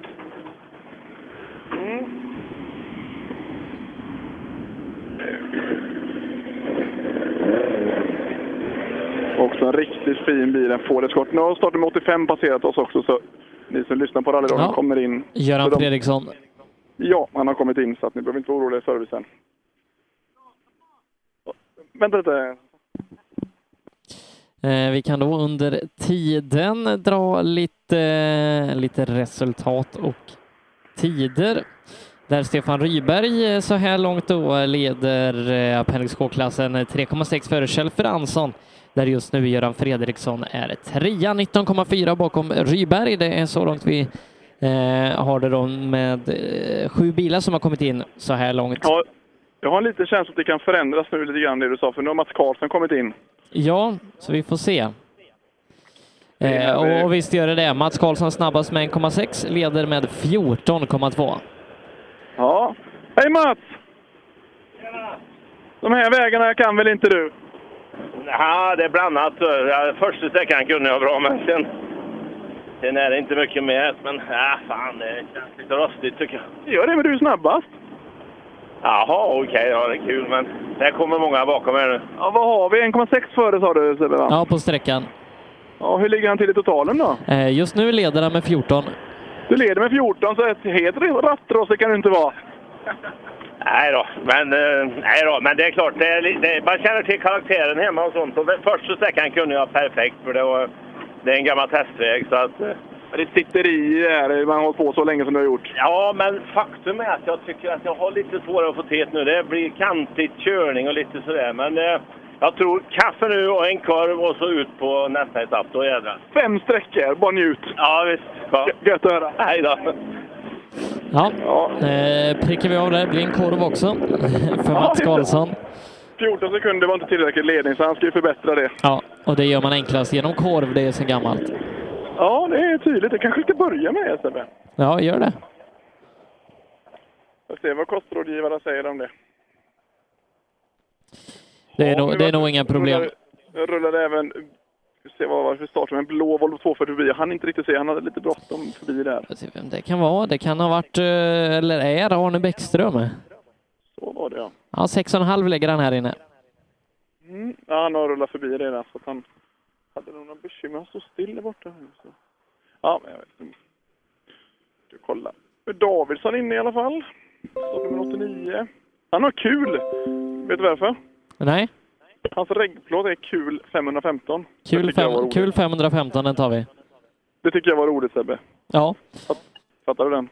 Också en riktigt fin bil, en Ford Escort. Nu har startnummer 85 passerat oss också, så ni som lyssnar på rallyradion Ja. kommer in. Göran Så de- Fredriksson. Ja, han har kommit in, så att ni behöver inte vara oroliga i servicen. Vänta lite. Eh, Vi kan då under tiden dra lite, lite resultat och tider. Där Stefan Ryberg eh, så här långt då leder eh, Appendix K-klassen eh, 3,6 före Kjell Fransson. Där just nu Göran Fredriksson är trea, 19,4 bakom Ryberg. Det är så långt vi eh, har det då med eh, sju bilar som har kommit in så här långt. Ja, jag har en liten känsla att det kan förändras nu lite grann det du sa, för nu har Mats Karlsson kommit in. Ja, så vi får se. Eh, och, och visst gör det det. Mats Karlsson snabbast med 1,6, leder med 14,2. Ja. Hej Mats! De här vägarna kan väl inte du? Ja, det är blandat. Ja, Första sträckan kunde jag bra, men sen, sen är det inte mycket mer. Men ja, fan, det känns lite rostigt tycker jag. Gör det, men du är snabbast. Jaha, okej, ja, det är kul, men det kommer många bakom här nu. Ja, vad har vi? 1,6 före sa du, Sebbe? va? Ja, på sträckan. Ja, hur ligger han till i totalen då? Eh, just nu leder han med 14. Du leder med 14, så ett helt rattrosse kan du inte vara. Nej då, men, eh, nej då, men det är klart, det är, li- det, man känner till karaktären hemma och sånt. Och den första sträckan kunde jag perfekt, för det, var, det är en gammal testväg. Så att, eh, Det sitter i där, man har hållit på så länge som du har gjort. Ja, men faktum är att jag tycker att jag har lite svårare att få till det nu. Det blir kantigt körning och lite sådär. Men eh, jag tror kaffe nu och en korv och så ut på nästa etapp. Då jädrar. Fem sträckor, bara njut! Ja, visst. Ja. Gött att höra. Hej då. Ja, eh, prickar vi av där. blir en korv också (laughs) för Mats Karlsson. 14 sekunder var inte tillräckligt ledning, så han ska ju förbättra det. Ja, och det gör man enklast genom korv. Det är så gammalt. Ja, det är tydligt. Jag kanske ska börja med det, Sebbe. Ja, gör det. Jag ser vad kostrådgivarna säger om det. Det är, nog, det är nog inga problem. Jag rullade även... vi ska Se vad var det för start, en blå Volvo 240 förbi. Jag hann inte riktigt se, han hade lite bråttom förbi där. Det kan vara, det kan ha varit, eh, eller är Arne Bäckström. Så var det ja. Ja, 6,5 lägger han här inne. Mm. ja han har rullat förbi redan, så att han hade nog några bekymmer. Han stod still där borta. nu, Så. Ja, men jag vet inte. Du kolla. Davidsson inne i alla fall. Startnummer 89. Han har kul! Vet du varför? Nej, Hans reggplåt är kul 515. kul, jag fem, var roligt. kul 515, den tar vi. Det tycker jag var roligt Sebbe. Ja, (laughs) Fattar du den?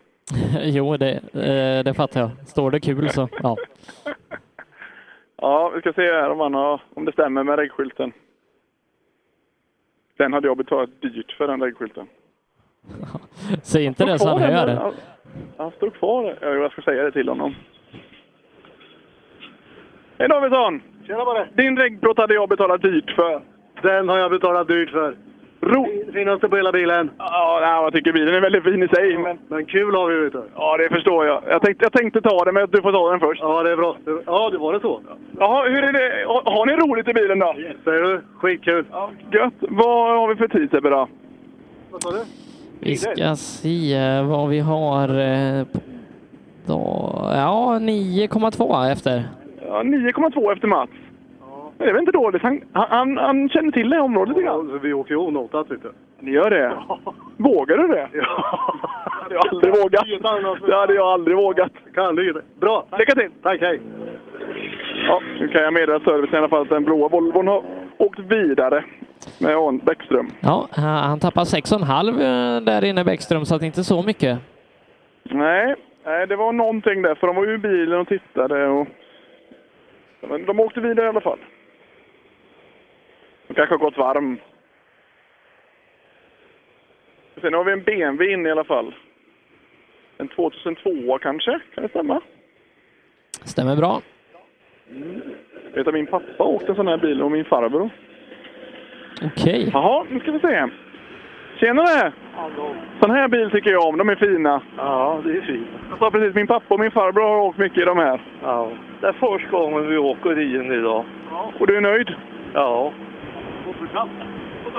jo, det, eh, det fattar jag. Står det kul så, ja. Ja, vi ska se här om, han har, om det stämmer med reggskylten. Den hade jag betalat dyrt för, den reggskylten. Säg inte det så han Kvar den, hör. han- Han står kvar där. Ja, Jag ska säga det till honom. Hej Davidsson! Tjena bara. Din regnplåt hade jag betalat dyrt för. Den har jag betalat dyrt för. Ro- Finaste på hela bilen. Ja, nej, jag tycker bilen är väldigt fin i sig. Men, men kul har vi vet du. Ja, det förstår jag. Jag tänkte, jag tänkte ta den, men du får ta den först. Ja, det är bra. Ja, det var det så. Jaha, hur är det? Har, har ni roligt i bilen då? Yes, säger du. Skitkul. Gött! Vad har vi för tid Sebbe då? Vad sa du? Vi ska se vad vi har. eh, på- Då, ja, 9,2 efter. Ja, 9,2 efter Mats. Men det är väl inte dåligt? Han, han, han känner till det här området lite grann. Vi åker ju onotat lite. Ni gör det? Vågar du det? Det har jag aldrig vågat. Det hade jag aldrig vågat. Kan du det. Bra. Lycka till! Tack, hej. Ja, nu kan jag meddela servicen i alla fall att den blåa Volvon har åkt vidare med Arn Bäckström. Ja, han han tappar 6,5 eh, där inne Bäckström, så att inte så mycket. Nej, nej, det var någonting där, för de var ju i bilen och tittade och... Men de åkte vidare i alla fall. De kanske har gått varm. Sen har vi en BMW inne i alla fall. En 2002 kanske? Kan det stämma? Stämmer bra. Jag vet att min pappa åkte en sån här bil och min farbror. Okej. Jaha, nu ska vi se. Tjenare! Sån här bil tycker jag om, de är fina. Ja, det är fint. Jag sa precis, min pappa och min farbror har åkt mycket i de här. Ja. Det är första gången vi åker i den idag. Och du är nöjd? Ja. Det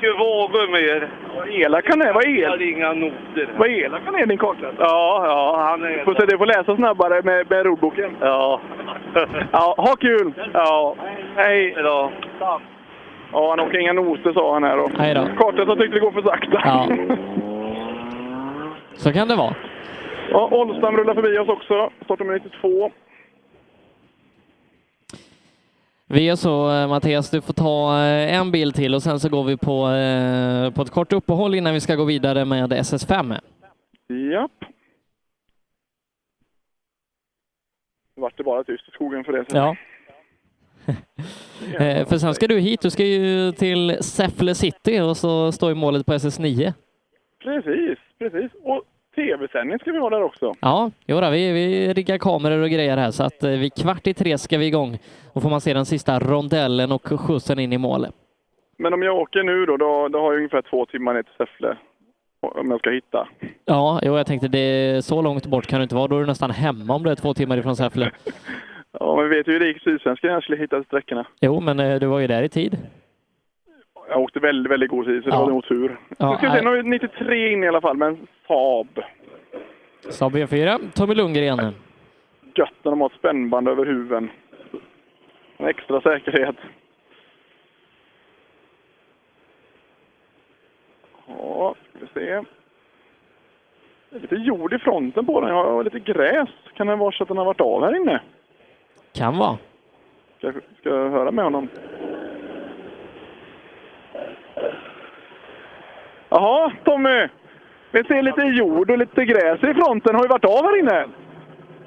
ska vågor mer. Elak han är, vad el- Jag har inga noter. Vad elak han är din kartläsare. Ja, ja, han är... Får se, du får läsa snabbare med, med ordboken. Ja. Ja, ha kul! Ja. Hej! Idag. Ja, han åker inga noter sa han här då. Hej då. Kartläsaren tyckte det går för sakta. Ja. Så kan det vara. Ja, Olstam rullar förbi oss också. Startnummer 92. Vi gör så eh, Mattias, du får ta eh, en bild till och sen så går vi på, eh, på ett kort uppehåll innan vi ska gå vidare med SS5. Japp. Nu vart det bara tyst i skogen för det. sen. Ja. Eh, För sen ska du hit, du ska ju till Säffle city och så står i målet på SS9. Precis, precis. Och tv-sändning ska vi ha där också. Ja, jo då, vi, vi riggar kameror och grejer här så att eh, vi kvart i tre ska vi igång och får man se den sista rondellen och skjutsen in i målet. Men om jag åker nu då, då, då har jag ungefär två timmar ner till Säffle. Om jag ska hitta. Ja, jo, jag tänkte det så långt bort kan du inte vara, då är du nästan hemma om du är två timmar ifrån Säffle. Ja, men vet du hur det gick i Sydsvenskan? Jag skulle hitta sträckorna. Jo, men eh, du var ju där i tid. Jag åkte väldigt, väldigt god tid, så det Ja. var nog tur. Ja, nu ska vi se, nej. nu har vi 93 in i alla fall, men Saab. Saab V4, Tommy Lundgren. Gött när de har ett spännband över huven. En extra säkerhet. Ja, ska vi se. Det är lite jord i fronten på den. Jag har lite gräs. Kan det vara så att den har varit av här inne? Kan vara. Ska, ska jag höra med honom? Jaha, Tommy! Vi ser lite jord och lite gräs i fronten. Har ju varit av här inne.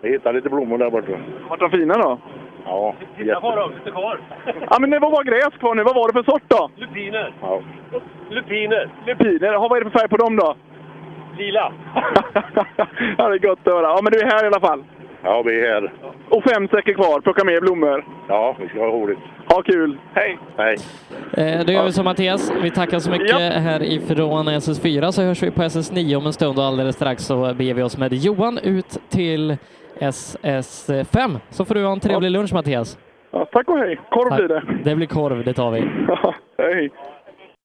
Jag hittade lite blommor där borta. Vart de fina då? Ja, Titta på dem, lite kvar. Ja, men det var bara gräs kvar nu. Vad var det för sort då? Lupiner. Lupiner. Lupiner. Jaha, vad är det för färg på dem då? (laughs) Lila. ja, det är gott att höra. Ja, men du är här i alla fall. Ja, vi är här. Och fem säckar kvar. Plocka med blommor. Ja, vi ska ha roligt. Ha kul. Hej! Hej. Eh, Då gör vi som Mattias. Vi tackar så mycket härifrån SS4 så hörs vi på SS9 om en stund och alldeles strax så beger vi oss med Johan ut till SS5. Så får du ha en trevlig lunch Mattias. Ja, tack och hej. Korv Tack. blir det. Det blir korv, det tar vi. hej.